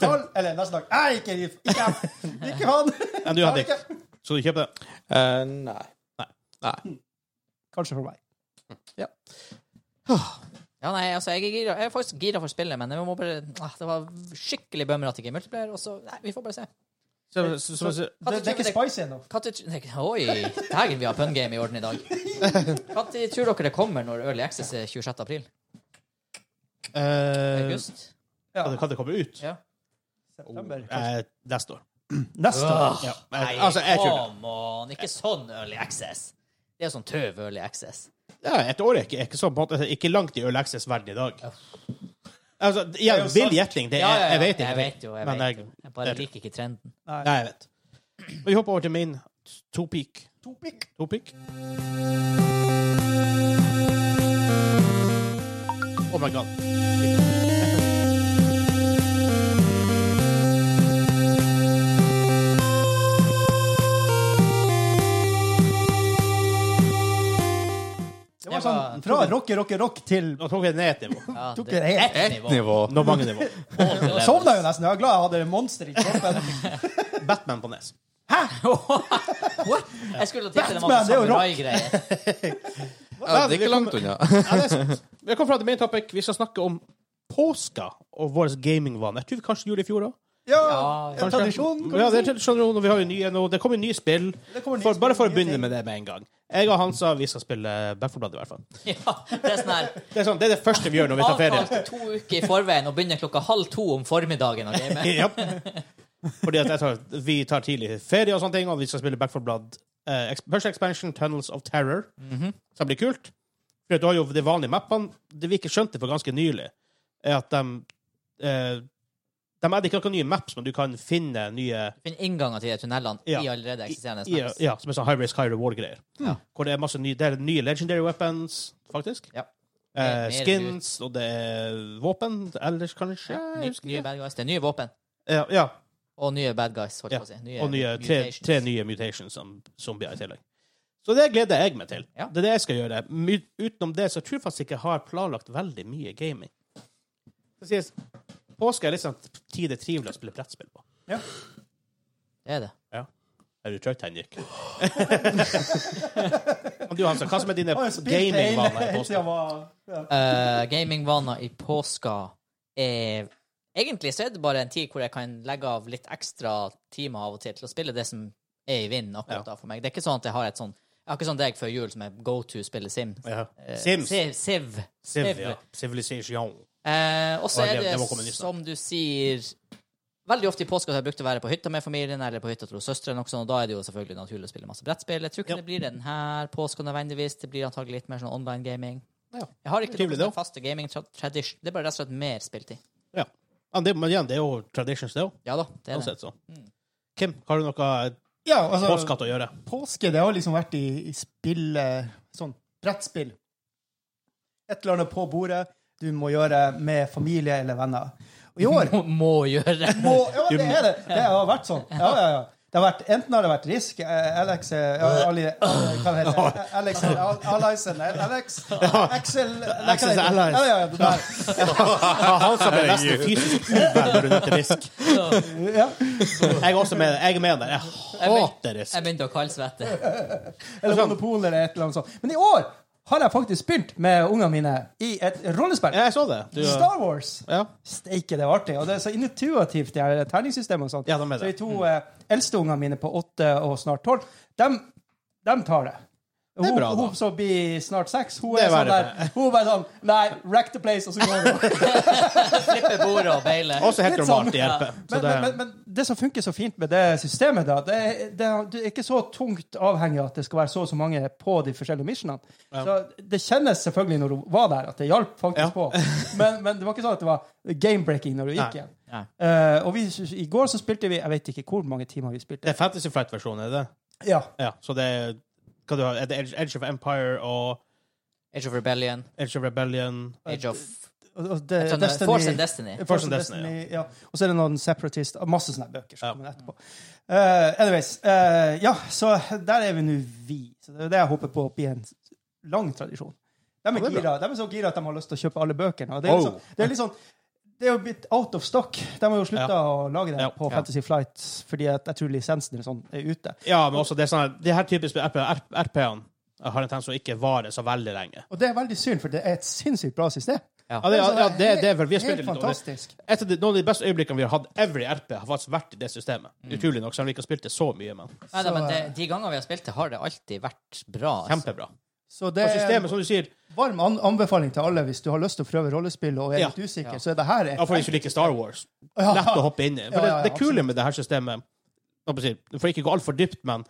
S1: Tolv, eller neste dag. Nei, ikke, ikke, han. ikke han!
S2: Men du hadde ikke. Så du kjøper det?
S4: Eh, nei.
S1: Kanskje for meg.
S3: Ja, nei, altså, jeg er, gira, jeg er faktisk gira for spillet, men jeg må bare ah, Det var skikkelig bummer at det ikke er multiplayer, og så Nei, vi får bare se.
S2: Så, så, så, så,
S1: Det, det er ikke spicy ennå.
S3: Hva tror- nei, Oi! Dægen, vi har pun game i orden i dag. Når tror dere det kommer når Early Access er 26. april?
S2: eh,
S3: August?
S2: kan, det, kan det komme ut?
S3: Ja.
S1: September.
S2: Eh, neste år.
S1: Neste år.
S2: Ja.
S3: Nei,
S2: Eh, altså, jeg tror det.
S3: come on! Ikke sånn Early Access. Det er sånn tøv Early Access.
S2: Ja, et år er ikke, er ikke sånn på en måte, ikke langt i early access-verden i dag. Altså,
S1: er
S2: igjen,
S1: jo
S2: vill
S1: sant.
S2: gjetting. Det er,
S3: Ja, ja, ja.
S2: Jeg vet
S3: Jeg
S2: ikke.
S3: vet jo, jeg
S2: Men
S3: vet
S2: jeg-
S3: jo. Jeg bare
S2: det-
S3: liker ikke trenden.
S2: Nei, jeg vet. Men Vi hopper over til min topic. Topic? Oh my god.
S1: Det var sånn fra rocke, rocke, rock til
S2: Nå tok vi det ned et nivå.
S3: Ja,
S1: Tok
S3: det-
S1: det helt-
S3: ett
S4: Ett nivå.
S2: Nå mange nivå.
S3: Levels.
S1: Sovna jo nesten. Jeg er glad jeg hadde monster i kroppen.
S2: Batman på nes.
S3: What? Jeg skulle tippe det var
S1: Batman,
S3: noe
S1: det er jo rock.
S3: samurai-greie.
S4: Ja, det er ikke langt unna.
S2: Ja, det er sant. Vi kom fra til main topic. Vi skal snakke om påska og vår gamingvaner. Jeg tror vi kanskje gjorde det i fjor òg.
S1: Ja,
S3: Ja,
S1: en tradisjon. kan
S2: Ja,
S1: du
S2: det
S1: si.
S2: er tradisjon, og vi har jo nye nå. Det kommer nye spill.
S1: kommer nye
S2: For, bare for
S1: spill,
S2: å
S1: nye
S2: begynne
S1: ting.
S2: med det med en gang. Jeg og Hansa vi skal spille Back 4 Blood, i hvert fall.
S3: Ja, det er sånn her
S2: Det er, sånn, det er det første vi gjør når vi tar ferie.
S3: Avtalt to uker i forveien og begynner klokka halv to om formiddagen å game.
S2: ja. Fordi at jeg tar, vi tar tidlig ferie og sånne ting, og vi skal spille Back 4 Blood. eh, eks- første expansion, Tunnels of Terror, som blir kult. For at du har jo de vanlige mappene. Det vi ikke skjønte for ganske nylig, er at de eh, De er ikke noen nye maps, men du kan finne nye
S3: Finn innganger til de tunnelene
S2: Ja.
S3: i allerede eksisterende
S2: ja,
S3: maps.
S2: ja, som er sånn high risk, high reward-greier. Hvor det er masse nye, det er nye legendary weapons, faktisk.
S3: Ja.
S2: Eh,
S3: Mer- mer
S2: skins, og det er våpen. Ellers, kanskje?
S3: Ny,
S2: jeg husker
S3: nye
S2: ikke.
S3: bad guys. Det er nye våpen.
S2: Ja, ja,
S3: Og nye bad guys, holdt
S2: Ja,
S3: jeg på å si. Nye
S2: og nye, tre,
S3: mutations.
S2: tre nye mutations som zombier i tillegg. Så det gleder jeg meg til.
S3: Ja.
S2: Det er det jeg skal gjøre. My, utenom det så tror jeg faktisk ikke jeg har planlagt veldig mye gaming. Det sies, påske er litt sånn tid det er trivelig å spille brettspill på.
S3: Det er det.
S2: Er du trøtt, Henrik? Men du, Hansa, hva som er dine
S1: Jeg har jo spilt det hele-
S2: gamingvaner
S1: helt siden
S2: i påske?
S1: jeg var- ja.
S3: Eh, Gamingvaner i påska er Egentlig så er det bare en tid hvor jeg kan legge av litt ekstra timer av og til til å spille det som er i vinden akkurat da for meg. Det er ikke sånn at jeg har et sånn Jeg har ikke sånn deg før jul som er go to spille Sim.
S2: Ja.
S3: Eh,
S2: Sims.
S3: Siv. Siv.
S2: Civ, ja. Civilization.
S3: Eh, og så
S2: Og
S3: er
S2: det-
S3: det,
S2: det må komme nytt snart.
S3: som du sier Veldig ofte i påska har jeg brukt å være på hytta med familien eller på hytta til søsteren, og da er det jo selvfølgelig naturlig å spille masse brettspill. Jeg tror ikke
S2: Ja.
S3: det blir det denne påska nødvendigvis. Det blir antagelig litt mer sånn online gaming. Jeg har ikke
S2: Trivelig, da.
S3: noen sånn faste gaming tra- tradition. Det er bare rett og slett mer spiltid.
S2: Ja. Ja, det, men igjen, det er jo traditions, det òg.
S3: Ja da, det
S2: Sånn
S3: er det.
S2: Kim, har du noe
S1: Ja, altså, påske.
S2: påskatt å gjøre?
S1: det har liksom vært i, i spill eh, Sånn brettspill. Et eller annet på bordet du må gjøre med familie eller venner. Og i år
S3: Må, må gjøre.
S1: må, Ja, det er det! Det har vært sånn. Ja, ja, ja. Det har vært, enten har det vært Risk, eh, Alex eh, Ali, eh, Hva det heter det? Alex eh, Al- Alison eh, Alex Axel eh, nei, hva
S2: Axel's
S1: heter det?
S2: Allies.
S1: Ja, ja, ja, det der.
S2: Han som ble nesten fysisk uvel når du nevnte risk.
S1: Ja.
S2: Jeg er også med, jeg er med der. Jeg hater risk.
S3: Jeg begynte å kaldsvette.
S1: Eller Monopol eller et eller annet sånt. Men i år har jeg faktisk spilt med ungene mine i et rollespill.
S2: Jeg så det. Du,
S1: Star Wars.
S2: ja.
S1: Steike, det var artig. Og det er så intuitivt, det her terningssystemet og sånt.
S2: Ja, de er
S1: Så
S2: det. Mm.
S1: de to eh, eldste ungene mine på åtte og snart tolv, dem, dem tar det.
S2: er
S1: Hun,
S2: bra, da.
S1: hun som blir snart seks, hun
S2: Det
S1: er
S2: er
S1: sånn
S2: verre.
S1: der Hun er bare sånn Nei, wreck the place, og så går hun.
S3: Flippe bordet og beile.
S2: Også helt
S1: Litt sånn.
S2: normalt. Det hjelper. Så
S1: Men,
S2: det,
S1: men, men, men det som funker så fint med det systemet, da, det, er- det, er- du er ikke så tungt avhengig av at det skal være så og så mange på de forskjellige missionene. Så det kjennes selvfølgelig når du var der, at det hjalp faktisk
S2: Ja.
S1: på. Men, men det var ikke sånn at det var game-breaking når du gikk
S2: Nei.
S1: igjen.
S3: Nei.
S1: Eh, og vi, i går så spilte vi Jeg vet ikke hvor mange timer vi
S2: det
S1: spilte.
S2: er Fantasy Flight-versjonen, er det?
S1: Ja.
S2: Ja, så det er hva du har, er det Edge, Edge of Empire og
S3: Age of Rebellion.
S2: Edge of Rebellion.
S3: Age of
S2: Eh,
S1: Og, og det,
S3: sånn,
S1: Destiny-
S3: Force and Destiny.
S1: Force
S2: Force and
S1: and
S2: Destiny,
S1: Destiny, ja. Og så er det noen separatist og Masse sånne bøker som
S2: Ja.
S1: kommer etterpå. Eh, anyways. eh, ja, så der er vi nå, vi. Så det er det jeg håper på blir en lang tradisjon. De er,
S2: det er bra.
S1: gira, de er så gira at de har lyst til å kjøpe alle bøkene. Og det er litt
S2: Oh.
S1: sånn- det er litt sånn det er jo blitt out of stock. De har jo slutta å lage det
S2: Ja.
S1: på
S2: Ja.
S1: Fantasy Flight fordi at jeg tror lisensen eller sånn er ute.
S2: Ja, men også det er sånn her- det her typisk med RP, RP-ene har en tendens til å ikke vare så veldig lenge.
S1: Og det er veldig synd, for det er et sinnssykt bra system.
S2: Ja, det, ja, det, det er vel, vi har
S1: Helt
S2: spilt litt over.
S1: Altså, fantastisk.
S2: Et av de, noen av de beste øyeblikkene vi har hatt every RP, har faktisk vært i det systemet. Utrolig nok, selv om vi ikke har spilt det så eh, mye, men
S3: Nei, nei,
S1: Så,
S3: men det, de ganger vi har spilt det, har det alltid vært bra. Altså.
S2: kjempebra.
S1: Så det
S2: Og
S1: er
S2: systemet, som du sier,
S1: varm an anbefaling til alle hvis du har lyst til å prøve rollespill og er
S2: Ja.
S1: litt usikker, så er det her et
S2: ja, for hvis du liker Star Wars,
S1: Ja.
S2: lett å hoppe inn i. For
S1: Ja, ja,
S2: det, det kule med det her systemet, hva skal jeg si, for ikke å gå altfor dypt, men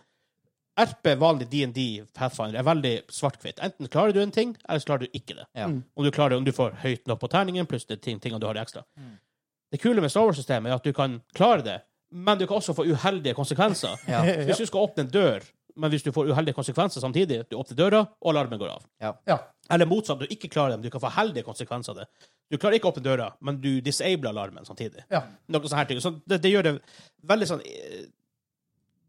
S2: RP, vanlig D&D, Pathfinder, er veldig svart-hvitt. Enten klarer du en ting, eller så klarer du ikke det.
S3: Ja.
S1: Mm.
S2: Om du klarer det, om du får høyt nok på terningen, pluss de ting, tingene du har i ekstra.
S3: Mm.
S2: Det kule med Star Wars-systemet er at du kan klare det, men du kan også få uheldige konsekvenser.
S3: Ja.
S2: Hvis du skal åpne en dør, men hvis du får uheldige konsekvenser samtidig, du åpner døra, og alarmen går av.
S1: Ja.
S2: Eller motsatt, du ikke klarer dem, du kan få heldige konsekvenser av det. Du klarer ikke å åpne døra, men du disabler alarmen samtidig.
S1: Ja.
S2: Noe sånne her ting. Så det, det gjør det veldig sånn eh,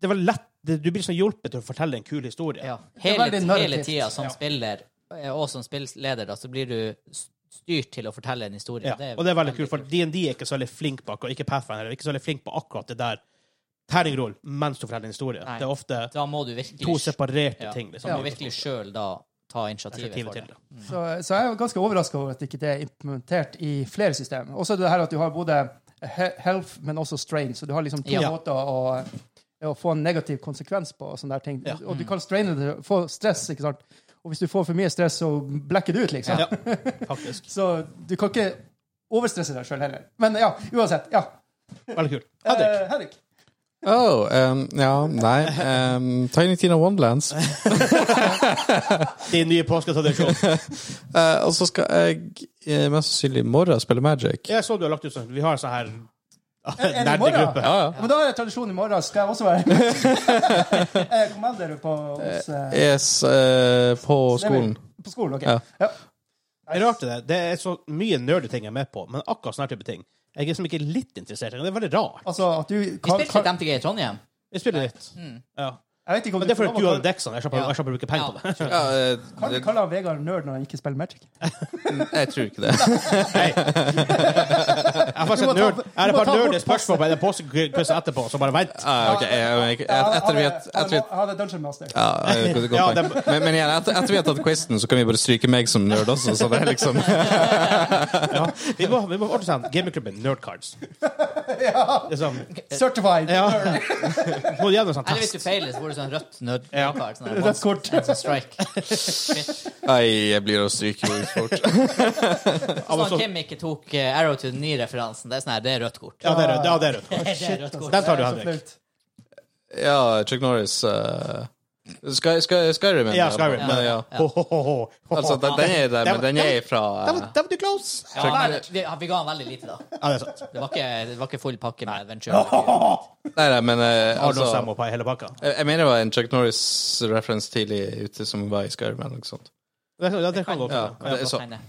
S2: Det er veldig lett det, Du blir sånn hjulpet til å fortelle en kul historie.
S3: Ja.
S1: er
S3: Hele,
S1: veldig
S3: hele
S1: narrativt.
S3: tida som
S1: Ja.
S3: spiller, eh, og som spilleder, da, så blir du s- styrt til å fortelle en historie.
S2: Ja, og det er veldig kult, for DND er ikke så veldig flink på akkurat, ikke Pathfinder, er ikke så veldig flink på akkurat det der terningrull mens du forteller en historie.
S3: Nei.
S2: Det er ofte
S3: Da må du virkelig
S2: to
S3: sj-
S2: separerte
S3: ja,
S2: ting. Liksom,
S3: Du må virkelig sjøl da ta initiativet
S2: Initiativet
S3: for
S2: til
S3: det.
S2: det.
S1: Så, så jeg er jo ganske overraska over at ikke det er implementert i flere systemer. Også det her at du har både he- health, men også strain. Så du har liksom to
S3: Ja.
S1: måter å, å få en negativ konsekvens på. Og sånne der ting. Og du kan straine det, få stress, ikke sant. Og hvis du får for mye stress, så blekker du ut, liksom.
S2: Ja, faktisk.
S1: Så du kan ikke overstresse deg sjøl heller. Men ja, uansett. Ja.
S2: Veldig kult. Henrik,
S1: Eh, Henrik.
S4: Oh, em, ja, nei em, Tiny Tina Wonderlands.
S2: din nye påsketradisjon.
S4: Eh, og så skal jeg eh, mest sannsynlig i morgen spille Magic.
S2: Jeg så du har lagt ut sånn Vi har en sånn her
S1: er det i morgen?
S2: nerdegruppe.
S4: Ja, ja.
S1: Men da er det tradisjon i morgen. Skal jeg også være Eh, Kommander du på hos eh,
S4: Yes, eh, på
S1: Stemmer.
S4: skolen.
S1: På skolen, OK.
S4: Ja.
S1: Ja.
S2: Det er rart det der. Det er så mye nerdy ting jeg er med på, men akkurat sånne type ting Jeg er liksom ikke litt interessert. i det. Det er veldig rart.
S1: Altså at du
S3: Vi spilte litt MTG i Trondheim.
S2: Vi spiller litt.
S1: Mm.
S2: Ja.
S1: Jeg vet ikke om
S2: Men det er
S1: får
S2: fordi
S1: lov å
S2: du
S1: kalle-
S2: hadde deksene. Jeg slapp jeg slapp å bruke penger på det.
S4: Ja, eh,
S1: Kan du
S4: det-
S1: kalle han Vegard nerd når han ikke spiller Magic?
S4: jeg tror ikke det.
S2: Jeg har faktisk
S1: må
S2: et nerd.
S1: ta-
S2: Jeg har
S1: du
S2: et
S1: må
S2: par
S1: ta bort
S2: nerdy spørsmål på den påskekvissen etterpå, så bare vent.
S4: Ah, ok, jeg, jeg, etter vi vet- etter vi vet-
S1: Han er dungeon master.
S4: ja, jeg vet ikke
S2: Ja,
S4: om poeng. men, men igjen, etter, etter vi har tatt quizen, så kan vi bare stryke meg som nerd også. Så det er liksom
S2: Ja. Vi må, vi må ordne sånn gamingklubben Nerdcards. Liksom,
S1: Certified.
S2: ja.
S1: nerd.
S2: Må gjennom en sånn
S3: Eller hvis du
S2: test.
S3: feiler, så får du sånn rødt nød
S2: Ja.
S3: nødkart, sånn der
S1: Rødt
S3: monster-
S1: kort.
S3: en sånn strike. Shit.
S4: Nei, jeg blir å stryke jo fort.
S2: men
S3: Sånn
S2: så-
S3: Kim ikke tok eh, Arrow to the Knee-referansen. Det er sånn her, det er rødt kort.
S2: Ja, altså. det er rødt. Ja, det er rødt.
S3: Det er rødt kort.
S2: Den tar du,
S1: Så
S2: Henrik.
S1: flaut.
S4: Ja, Chuck Norris eh, Sky, Sky, Skyrim.
S2: Ja, Skyrim.
S4: Ja, ja.
S2: Ho, ho, ho, ho.
S4: Altså, den, den er der, men den er fra
S2: Da var- da var du close!
S3: Ja, men vi, vi ga han veldig lite, da.
S2: Ja, det er sant.
S3: Det var ikke, det var ikke full pakke med Adventure.
S4: Nei, nei, men eh,
S2: Arnold Sam
S4: altså
S2: og Pai, hele pakka.
S4: jeg, jeg mener det var en Chuck Norris-reference tidlig ute som var i Skyrim eller noe sånt.
S2: Det, det, det kan gå
S4: Ja,
S2: for
S4: det er så,
S3: Nei, nei.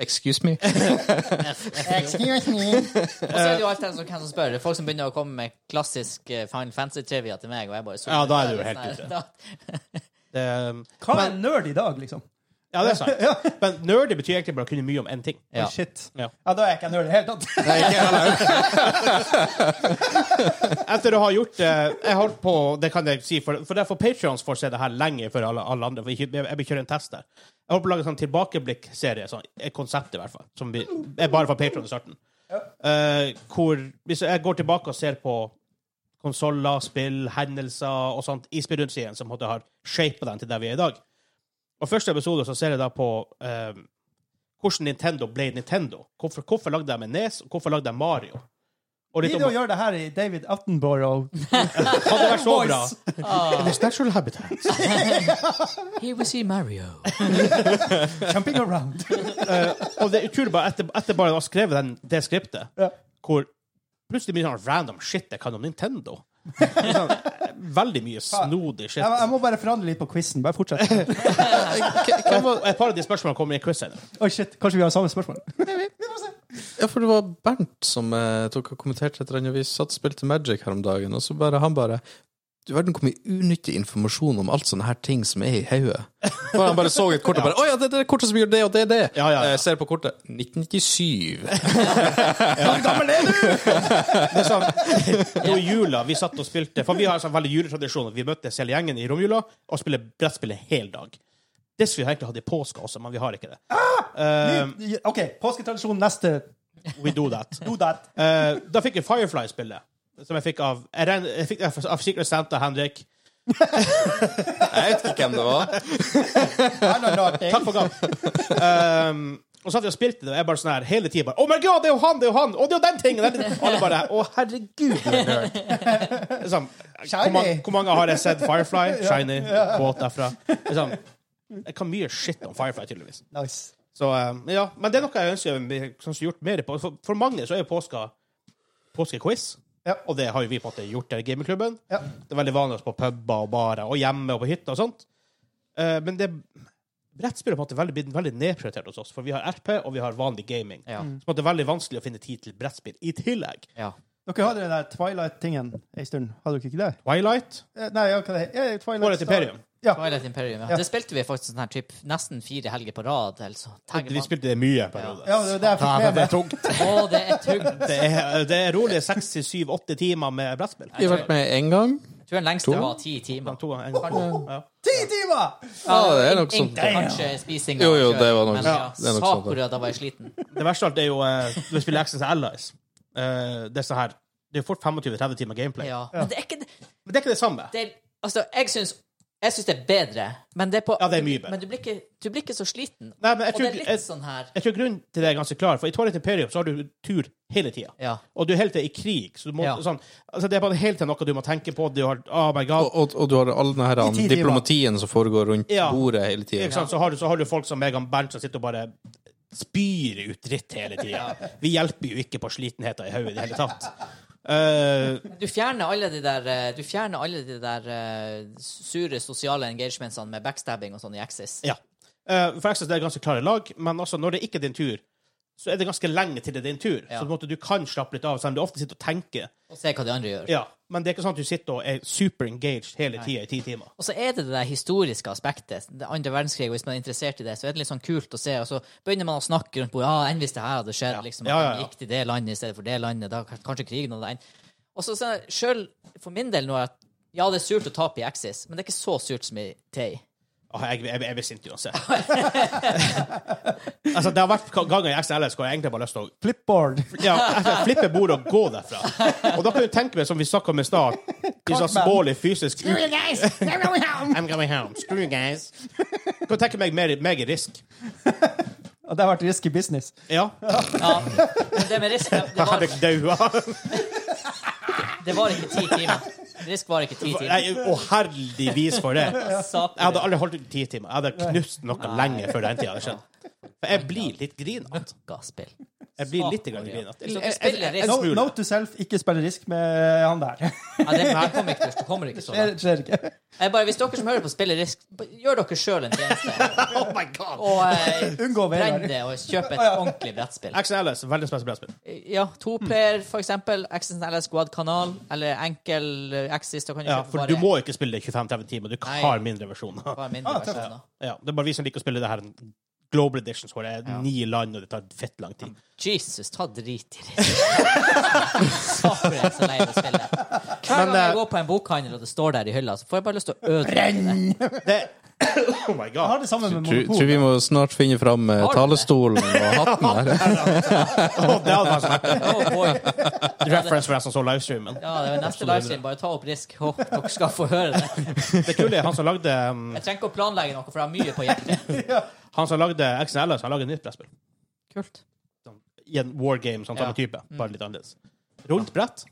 S4: excuse me?
S5: Excuse me.
S2: Eh,
S3: Og så er det jo alltid en som, hvem som spør. Det er folk som begynner å komme med klassisk eh, Final Fantasy-trivia til meg, og jeg bare
S2: Ja, da er du jo helt ute.
S3: Da-
S2: det. Um,
S1: Hva er en nerd i dag, liksom?
S2: Ja, det er sant. Men nerdy betyr egentlig bare å kunne mye om én ting.
S3: Ja.
S1: Shit.
S2: Ja. Oh,
S1: Ja. da er jeg ikke en nerd i det hele tatt.
S4: Nei, ikke heller.
S2: Etter å ha gjort det Jeg holdt på Det kan jeg si, for, for derfor Patreons får se det her lenge før alle, alle andre. For ikke, jeg, jeg vil kjøre en test der. Jeg holdt på å lage en sånn tilbakeblikk-serie, sånn, et konsept i hvert fall, som vi, er bare fra Patreon i starten. Eh, hvor Hvis jeg går tilbake og ser på konsoller, spill, hendelser og sånt i spillrundsiden, som på en måte har shapet den til der vi er i dag Og første episode så ser jeg da på eh, hvordan Nintendo ble Nintendo. Hvorfor, hvorfor lagde de en Nes, og hvorfor lagde de Mario? Og litt
S1: Gidder
S2: om,
S1: du å gjøre det her i David Attenborough?
S2: hadde det vært så bra
S1: Voice.
S2: It's natural habitat.
S3: Here we see Mario.
S1: Jumping around.
S2: Og det er utrolig bare etter, etter bare å ha skrevet den, det skriptet, hvor plutselig mye sånn random shit jeg kan om Nintendo. Sånn, Veldig mye snodig shit.
S1: Jeg, jeg må bare forandre litt på quizen. Bare fortsett.
S2: Og et par av de spørsmålene kommer i quiz senere.
S1: Oi, shit. Kanskje vi har samme spørsmål?
S4: Ja, for det var Bernt som eh, tok og kommenterte et eller annet. Vi satt og spilte Magic her om dagen, og så bare han bare Du verden hvor mye unyttig informasjon om alt sånne her ting som er i hodet. For Han bare så et kort og bare Å ja, det er det er kortet som gjør det og det er det.
S2: Ja, ja, ja.
S4: Eh, ser på kortet 1997.
S2: Det er sånn, Nå i jula vi satt og spilte For vi har en sånn veldig juletradisjon at vi møttes hele gjengen i romjula og spiller brettspill en hel dag. Det skulle vi egentlig hatt i påska også, men vi har ikke det. Eh,
S1: Ny- OK, påsketradisjon neste.
S2: we do that.
S1: Do that.
S2: Eh, da fikk jeg Firefly-spillet. Som jeg fikk av Jeg, regner- jeg fikk det av- av Secret Santa Henrik.
S4: Jeg vet ikke hvem det var.
S2: Takk for gang. Um, og så hadde jeg spilt det, og jeg bare sånn her hele tida bare Oh my god, det er jo han, det er jo han! Og det er jo den tingen! den- Og alle bare Å, herregud, du er nerd. Liksom, hvor, mange, hvor mange har jeg sett Firefly? Shiny. Båt derfra. Liksom, jeg kan mye shit om Firefly, tydeligvis.
S1: Nice.
S2: Så, um, ja. Men det er noe jeg ønsker jeg ville sånn som gjort mer på. For, for mange så er jo påska påskequiz.
S1: Ja.
S2: Og det har jo vi på en måte gjort her i gamingklubben.
S1: Ja.
S2: Det er veldig vanlig på puber og barer og hjemme og på hytta og sånt. Eh, men det brettspill har på en måte veldig, blitt veldig nedprioritert hos oss, for vi har RP og vi har vanlig gaming.
S3: Ja.
S2: Så på en måte er det veldig vanskelig å finne tid til brettspill i tillegg.
S3: ja.
S1: Dere hadde den der Twilight-tingen ei stund. Hadde dere ikke det?
S2: Twilight
S1: Eh, Nei, hva det heter det? Twilight
S2: Twilight
S1: Star.
S2: Imperium.
S1: Ja.
S3: Twilight Imperium. Ja.
S1: Ja.
S3: Det spilte vi faktisk sånn her typ, nesten fire helger på rad. Altså. Tenker
S2: Vi
S3: man-
S2: spilte det mye i en periode.
S1: ja, det var det jeg fikk med meg.
S2: tungt.
S3: Å, det er tungt.
S2: Det er, det er rolig seks til syv, åtte timer med brettspill.
S4: Vi har vært med én gang.
S3: Jeg tror den lengste var ti timer.
S2: To ganger, en gang. Ja.
S1: Ti timer!
S4: Ja, det er nok
S3: Ikke
S4: sånn.
S3: kanskje spising.
S4: Jo, jo,
S3: og kjøring,
S4: det var nok-
S3: men
S4: ja, det er nok sånn,
S3: Sakura, da var jeg sliten.
S2: Det verste av alt er jo eh, når vi spiller Access Allies. Eh, det er sånn her Det er fort 25-30 timer gameplay.
S3: Ja. Men det er ikke det
S2: Men det er ikke det samme.
S3: det er, Altså, jeg syns jeg syns det er bedre, men det er på
S2: Ja, det er mye bedre.
S3: Men du blir ikke, du blir ikke så sliten.
S2: Nei, men jeg
S3: og
S2: tror
S3: det er
S2: ikke-
S3: litt
S2: jeg-
S3: sånn her
S2: Jeg tror grunnen til det er ganske klar, for i Twilight Imperium så har du tur hele tida.
S3: Ja.
S2: Og du er hele tida i krig. Så du må,
S3: Ja.
S2: sånn, altså det er bare hele tida noe du må tenke på. Du har, oh my
S4: Og,
S2: god.
S4: og, og du har all den her
S1: timer.
S4: diplomatien som foregår rundt
S2: Ja.
S4: bordet hele
S2: Ikke
S4: tida.
S2: sant? Så, har du, så har du folk som Megan Bernt som sitter og bare spyr ut dritt hele tida. Vi hjelper jo ikke på slitenheten i hodet i det hele tatt. Eh,
S3: Du fjerner alle de der eh, Du fjerner alle de der eh, sure sosiale engagementsene med backstabbing og sånn i Axis.
S2: ja. Eh, for Access det er ganske klare lag, men også når det ikke er din tur, så er det ganske lenge til det er din tur.
S3: Ja.
S2: Så på en måte du kan slappe litt av, selv om du ofte sitter og tenker.
S3: Og se hva de andre gjør.
S2: Ja, men det er ikke sånn at du sitter og er super engaged hele tida i ti timer.
S3: Og så er det det der historiske aspektet. Det andre verdenskrig, og hvis man er interessert i det, så er det litt sånn kult å se. Og så begynner man å snakke rundt bordet. Ja, enn hvis det her hadde skjedd, liksom. At
S2: Ja, ja,
S3: man
S2: ja.
S3: gikk til det landet i stedet for det landet. Da kan- kanskje krigen hadde endt. Og så sjøl, for min del nå, er at ja, det er surt å tape i Axis, men det er ikke så surt som i TI.
S2: Åh, jeg, jeg, jeg blir sint uansett. altså, det har vært ganger i XLS hvor jeg egentlig bare har lyst til å
S1: Flipboard.
S2: ja, altså, flippe bordet og gå derfra. Og da kan du tenke meg, som vi snakka om i stad, de sånn smålig fysisk ut- I'm going home. Screw you guys. Kan du tenke meg mer, meg i risk?
S1: Og det har vært risky business.
S2: Ja.
S3: Ja, men det med risk, det
S2: Jeg
S3: var,
S2: hadde daua.
S3: det var ikke ti timer. Risk var ikke ti
S2: Nei,
S3: timer.
S2: og heldigvis for det. Jeg
S3: Satan.
S2: hadde aldri holdt ut i ti timer. Jeg hadde knust noe lenge før den tida hadde skjedd. For jeg blir litt grinete.
S3: Gasspill.
S2: Jeg blir litt grann grinete.
S3: Så
S2: Jeg- jeg-
S3: spiller
S2: jeg-
S3: Risk.
S1: No, note to self, ikke spille risk med han der.
S3: Ja, det, det kommer ikke til å- det kommer ikke så
S1: Det
S3: langt.
S1: skjer ikke.
S3: Jeg bare, hvis dere som hører på spiller Risk, b- gjør dere sjøl en tjeneste.
S2: Oh my god!
S3: Og eh,
S1: Unngå
S3: brenn
S1: Vegard.
S3: det, og kjøp et ordentlig brettspill.
S2: Action Alice, verdens beste brettspill.
S3: Ja, toplayer, for eksempel. Access LS Squad kanal, eller enkel eh, Axis. Da kan du
S2: Ja,
S3: kjøpe
S2: for
S3: bare
S2: du må ikke spille det 25-30 timer. Du
S3: Nei.
S2: har mindre versjoner.
S3: bare mindre
S1: Ah, tøft.
S3: versjoner.
S2: Ja, det er bare vi som liker å spille det her Global Editions, hvor det er ni land, og det tar fett lang tid.
S3: Jesus, ta drit i det. Saker jeg er så lei av å spille. Hver gang
S2: eh,
S3: jeg går på en bokhandel, og det står der i hylla, så får jeg bare lyst til å ødelegge det.
S2: Det, oh my
S1: Jeg har
S2: god!
S1: det samme med
S4: Tror, tror
S1: Monopol.
S4: vi må snart finne fram eh,
S3: Har du det?
S4: talestolen og hatten her.
S2: Å, det hadde vært smart.
S3: Oh, boy.
S2: Reference for jeg som så livestreamen.
S3: Ja, det er neste livestream. Bare ta opp risk. Håper dere skal få høre det.
S2: Det kule er han som lagde um,
S3: Jeg trenger ikke å planlegge noe, for jeg har mye på hjertet.
S2: Han som lagde Action Alice, han lager et nytt brettspill. Sånn,
S3: Kult.
S2: I en War Game, sånn samme
S3: Ja. Mm.
S2: type, bare litt annerledes. Rundt brett.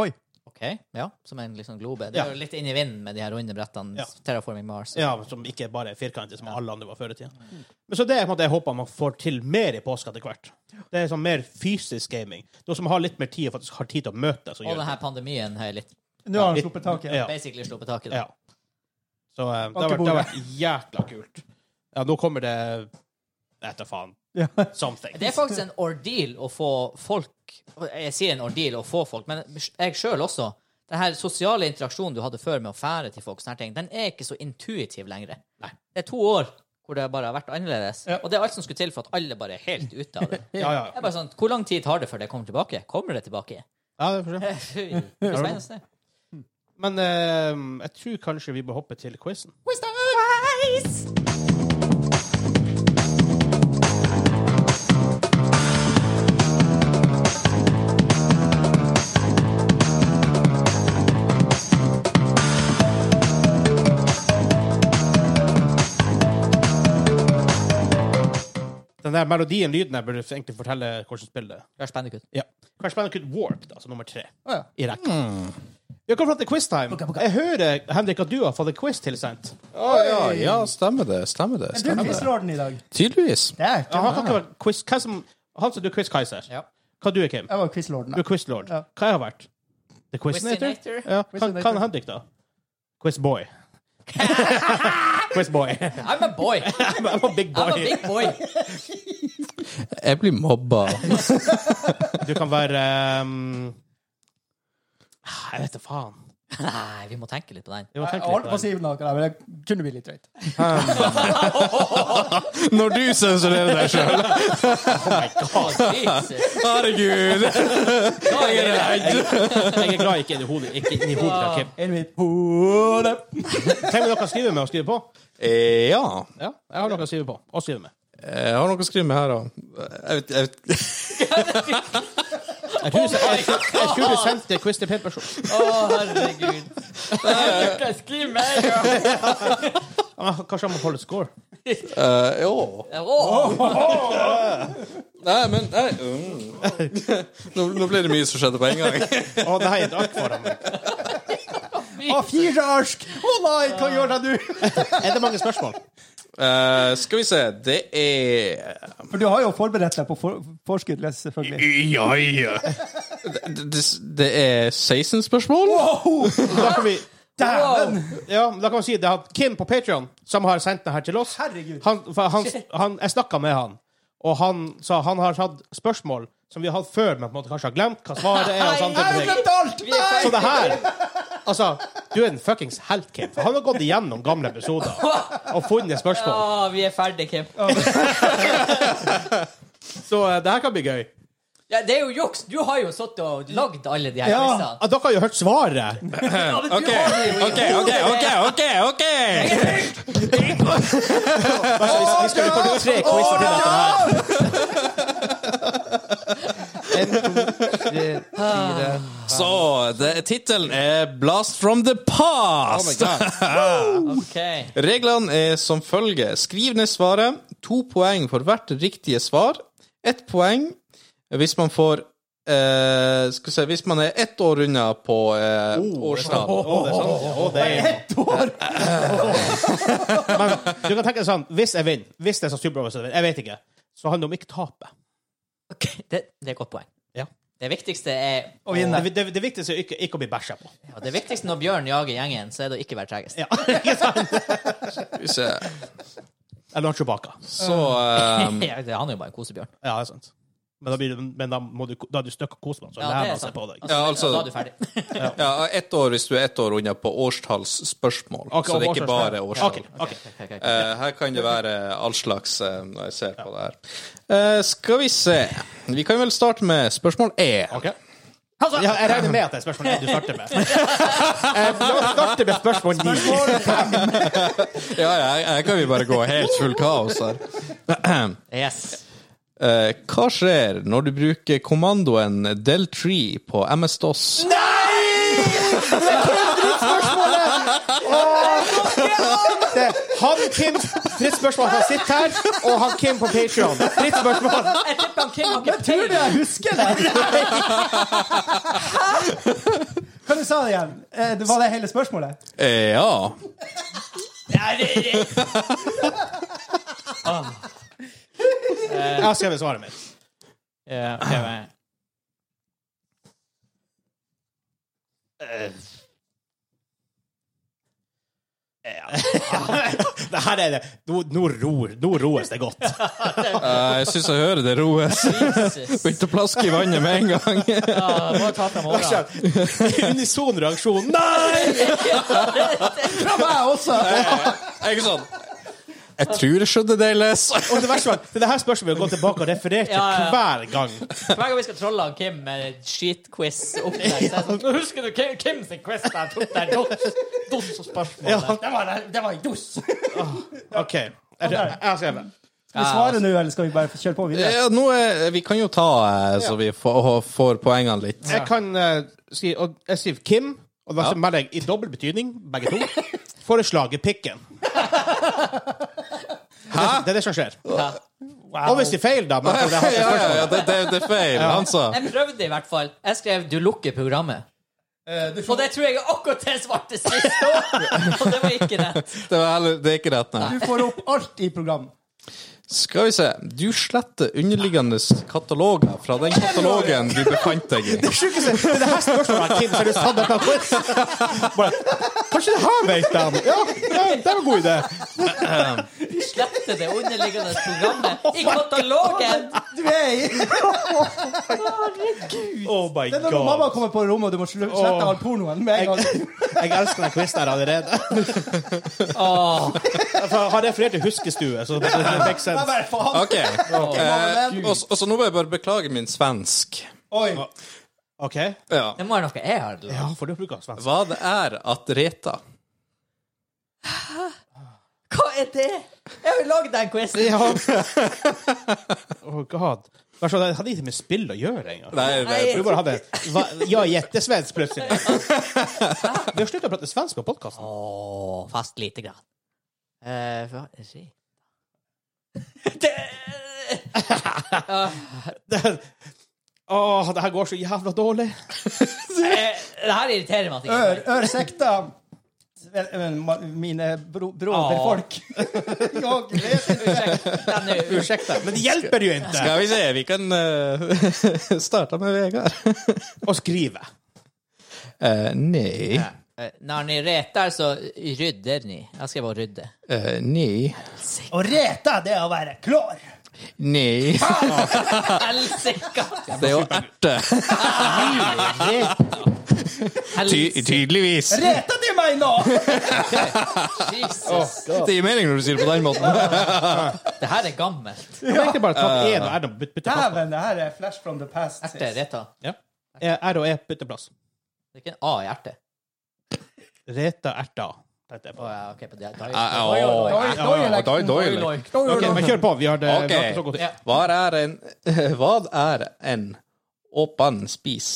S1: Oi.
S3: OK. Ja, som en liksom globe. Det er jo litt inn i vinden med de her runde brettene.
S2: Ja.
S3: Terraforming Mars.
S2: Ja, som ikke bare er firkantet, som alle andre var før i tida. Men så det er på en måte jeg håper man får til mer i påske etter hvert. Det er sånn mer fysisk gaming. Noe som har litt mer tid, og faktisk har tid til å møtes. Og
S3: Og
S2: gjøre
S3: denne pandemien har jeg litt
S1: Nå har han sluppet taket.
S2: Ja.
S3: basically sluppet taket.
S2: Ja. Så eh, det har vært, det har vært jækla kult. Ja, nå kommer det Jeg vet da faen.
S1: Ja.
S2: Something.
S3: Det er faktisk en ordeal å få folk Jeg sier en ordeal å få folk, men jeg sjøl også. Den her sosiale interaksjonen du hadde før med å fære til folk, sånne her ting, den er ikke så intuitiv lenger. Det er to år hvor det bare har vært annerledes. Og det er alt som skulle til for at alle bare er helt ute av det.
S2: Ja, ja.
S3: Det er bare sånn, Hvor lang tid tar det før det kommer tilbake? Kommer det tilbake?
S2: ja det får vi se.
S3: Fy, det er spennende.
S2: Men eh, jeg tror kanskje vi bør hoppe til quizen. Den der melodien, lyden, jeg burde egentlig fortelle hvordan spillet er.
S3: Det er spennende kutt.
S2: Ja. Crash Bandicoot Warped, altså nummer tre
S1: Å, ja.
S2: i rekka. Hmm. Vi har kommet fram til quiztime. Jeg hører Henrik at du har fått en quiz tilsendt.
S4: Å, ja, ja, stemmer det. Stemmer det.
S1: Du
S4: Stemmer det.
S1: misrår den i dag.
S4: Tydeligvis.
S2: Ja,
S1: Dæken.
S2: han kan ikke være quiz... Hva som... Han som du er quiz-keiser.
S3: Ja.
S2: Hva du er, Kim?
S1: Jeg var quizlorden.
S2: Du er quiz-lord.
S1: Ja.
S2: Hva jeg har vært? The Quiznator?
S3: Quizinator?
S2: Ja. Hva
S1: Quizinator.
S2: hva er Henrik, da? Quiz-boy. Quiz-boy.
S3: I'm a boy!
S2: I'm a big
S3: I'm a
S2: boy.
S3: big boy!
S4: Jeg blir mobba.
S2: Du kan være um... ah, Jeg vet da faen.
S3: Nei, vi må tenke litt på den.
S2: Vi må
S1: Jeg
S2: tenke
S1: holdt på å
S2: litt på det.
S1: si noe, der, men det kunne bli litt drøyt.
S4: Når du sensurerer deg sjøl.
S3: Jesus.
S4: Herregud.
S3: Jeg er
S2: Jeg er glad jeg ikke er i hodet ikke inn i hodet til Kim.
S1: Inn i mitt hode.
S2: Trenger vi noe å skrive med og skrive på?
S4: Eh, Ja.
S2: Ja, jeg har noe å skrive på. Og skrive med.
S4: Jeg har noe å skrive med her, da. Jeg vet, jeg vet.
S2: Jeg tror, jeg, jeg, jeg tror du sendte quiz til feil person.
S3: Å, herregud. Skriv meg!
S2: Ah, Kanskje han må holde score?
S4: Eh, jo.
S3: Åh,
S4: Nei, men nei. Mm. Nå, nå ble det mye som skjedde på en gang.
S2: Å nei, jeg drakk for ham.
S1: Å, fire arsk! Å nei, hva gjør jeg nå?
S2: Er det mange spørsmål?
S4: Eh, skal vi se. Det er
S1: For du har jo forberedt deg på for forskudd, les selvfølgelig.
S4: Ja, ja. Det, det- det er 16 spørsmål?
S2: Da kan vi
S1: Dæven!
S2: Ja, men da kan vi si det er Kim på Patreon som har sendt den her til oss.
S1: Herregud.
S2: Han, for han, han, jeg snakka med han, og han sa han har hatt spørsmål som vi har hatt før, men på en måte kanskje har glemt hva svaret er. og sånne
S1: Jeg har
S2: type
S1: jo
S2: ting.
S1: glemt alt! Nei!
S2: Så det her Altså, du er en fuckings helt, Kim. For han har gått igjennom gamle episoder og funnet spørsmål.
S3: Åh, vi er ferdig, Kim.
S2: Så eh, det her kan bli gøy.
S3: Ja, det er jo juks. Du har jo sittet og lagd alle de her
S1: Ja.
S3: quizene.
S2: Ah, dere har jo hørt svaret.
S4: OK, OK, OK, OK, OK! ok
S2: Vi- Vi skal rekortere tre quizer til etter det her. En, to, tre, fire
S4: Så det- tittelen er 'Blast from the past'.
S2: Oh
S3: OK.
S4: Reglene er som følger. Skriv ned svaret. To poeng for hvert riktige svar. Ett poeng hvis man får eh, Skal vi se Hvis man er ett år unna på eh, årsdag
S2: Å, det er sant. Å, det er-
S1: Ett år!
S2: Men du kan tenke deg sånn, hvis jeg vinner, hvis det er sånn superoverraskende, jeg vinner, jeg vet ikke, så handler det om ikke tape.
S3: Ok, det, det er et godt poeng.
S2: Ja.
S3: Det viktigste er
S1: Å vinne.
S2: Det, det, det viktigste er ikke, ikke å bli bæsja på.
S3: ja, Det viktigste når Bjørn jager gjengen, så er det å ikke være tregest.
S2: Ja, ikke sant?
S4: Skal vi se
S2: Eller han Chewbacca.
S4: Så eh,
S3: Ja, det- han er jo bare en kosebjørn.
S2: Ja, det er sant. Men da, blir, du- men da, må du, da er du støkk og koser deg, så
S3: Ja,
S2: lærer
S3: det er
S2: man seg
S3: sant.
S2: på deg.
S4: Ja, altså-
S3: Da er du ferdig.
S4: Ja, ett år hvis du er ett år unna på årstallsspørsmål.
S2: Ok,
S4: så det er
S2: årstallsspørsmål.
S4: ikke bare årstall.
S2: Ok, ok.
S3: Ok, ok, ok.
S4: Eh, her kan det være all slags eh, når jeg ser på det her. Eh, skal vi se Vi kan vel starte med spørsmål E.
S2: Ok. Ja, jeg regner med at det er spørsmålet du starter med. Eh, La oss starte med spørsmål ni.
S4: Ja, ja, her kan vi bare gå helt full kaos her.
S3: Yes.
S4: Eh, hva skjer når du bruker kommandoen del3 på MS-DOS?
S2: Det, han Kim Fritt spørsmål han sitter her, og han Kim på Patreon Fritt spørsmål.
S3: Jeg tipper han Kim har ikke
S1: Tror du
S3: peiling.
S1: jeg husker det? Kan du sa det igjen? Eh, Det var det hele spørsmålet?
S4: Eh, ja.
S3: Nei, det- det-
S2: Jeg har skrevet svaret mitt.
S3: Ja, ok, men-
S2: Det her er det. Nå, nå ror Nå roes det godt.
S4: Eh, jeg syns jeg hører det roes.
S3: Jesus.
S4: Begynte å plaske i vannet med en gang.
S3: Ja, må ta fram åra.
S2: Unison reaksjon. Nei!
S1: Fra meg også!
S4: Jeg er sånn Jeg tror jeg skjønner det, Les.
S2: Og det verste var, det er det her spørsmålet vi har gått tilbake og referert til
S3: Ja, ja.
S2: hver gang.
S3: Hver gang vi skal trolle han Kim eh, med et skitquiz-opplegg så er det sånn, Husker du Kim, Kim sin quiz der han tok der dos, dos og spørsmål?
S2: Ja.
S1: Det var, det var en dos! Skal
S2: OK. Jeg, jeg har skrevet.
S1: vi svare nå, eller skal vi bare kjøre på videre?
S4: Ja, Eh, nå er, vi kan jo ta eh, så vi får, får poengene litt.
S2: Jeg kan eh, si og Jeg sier Kim, og da
S4: Ja.
S2: melder jeg i dobbel betydning, begge to, foreslaget pikken. Det er, det- det er det som skjer.
S3: Ja.
S2: Og hvis de feiler, da. Men for det
S4: Ja,
S2: har jeg
S4: ja,
S2: hatt et spørsmål.
S4: ja, det, det, det er feil, han sa.
S3: Jeg prøvde i hvert fall. Jeg skrev 'du lukker programmet'. Og det tror jeg er akkurat det svarte sist òg! Og det var ikke rett.
S4: Det, var, heller- det er ikke rett, nei.
S1: Du får opp alt i program.
S4: Skal vi se. Du sletter underliggende kataloger fra den katalogen du befant deg i.
S2: sjukeste Men det her spørsmålet har Kim seriøst tatt dette quiz. Bare, Kanskje det her vet de? Ja, ja, det var en god idé.
S3: Slette det underliggende programmet i katalogen!
S1: Du er i
S2: Oh my
S1: Det er når mamma kommer på rommet, og du må slu- slette all pornoen med en gang.
S2: Jeg, jeg elsker den quizen her allerede.
S3: Åh,
S2: For jeg har referert til Huskestue, så det, det fikk
S1: Jeg
S2: sens.
S1: bare, faen.
S4: OK. Eh, og, så- og så nå må jeg bare beklage min svensk.
S1: Oi.
S2: OK?
S4: Ja.
S3: det må være noe jeg har lagd.
S2: Ja, for du bruker svensk.
S4: Hva det er at reta?
S3: Hva er det?! Jeg har jo lagd den quizen!
S2: Ja. Oh god. Bare så, det hadde ikke med spill å gjøre engang.
S4: Nei,
S3: Nei.
S4: det,
S2: Du bare hadde hva- Ja, jettesvensk plutselig. Vi har sluttet å prate svensk på podkasten.
S3: Åh, fast lite grann. Eh, hva er det? det eh,
S2: Åh, det her går så jævla dårlig.
S3: Eh, det her irriterer meg. at jeg
S1: Ør,
S3: ikke-
S1: ørsekta. Vel, men, ma- Mine bro, broder
S3: Åh.
S1: folk. Jeg vet ikke.
S3: Den er jo-
S2: Ursäkta, men det hjelper jo ikke
S4: skal vi se. Vi kan eh, starte med Vegard.
S2: å skrive.
S4: Eh, nei.
S3: Eh, Når ni retar, så rydder ni. Jeg skrev å rydde.
S4: Eh, nei.
S1: Å reta, det er å være klar.
S4: Nei.
S3: Helsike!
S4: Det er jo erte. Ty tydeligvis.
S1: Reta de meg nå!
S3: Jesus.
S4: Det gir mening når du sier det på den måten.
S3: Det her er gammelt.
S2: Jeg tenkte bare ta en og R og bytte plass.
S1: Dæven, det her er flash from the past.
S3: Erte, reta.
S2: Ja. Eh, R og E bytte plass.
S3: Det er ikke en A i erte.
S2: Reta erta. tenkte jeg
S3: Å
S2: på.
S3: ja, ok. på det. Da-
S4: Ja,
S3: Oi, oi, oi.
S1: Oi, oi,
S4: ja,
S1: lekten,
S4: oi, oi,
S1: oi,
S2: Ok,
S1: oi.
S2: men kjør på. Vi har det.
S4: Ok.
S2: Vi har ikke så god tid.
S3: Ja.
S4: Hva er en Hva er en åpan spis?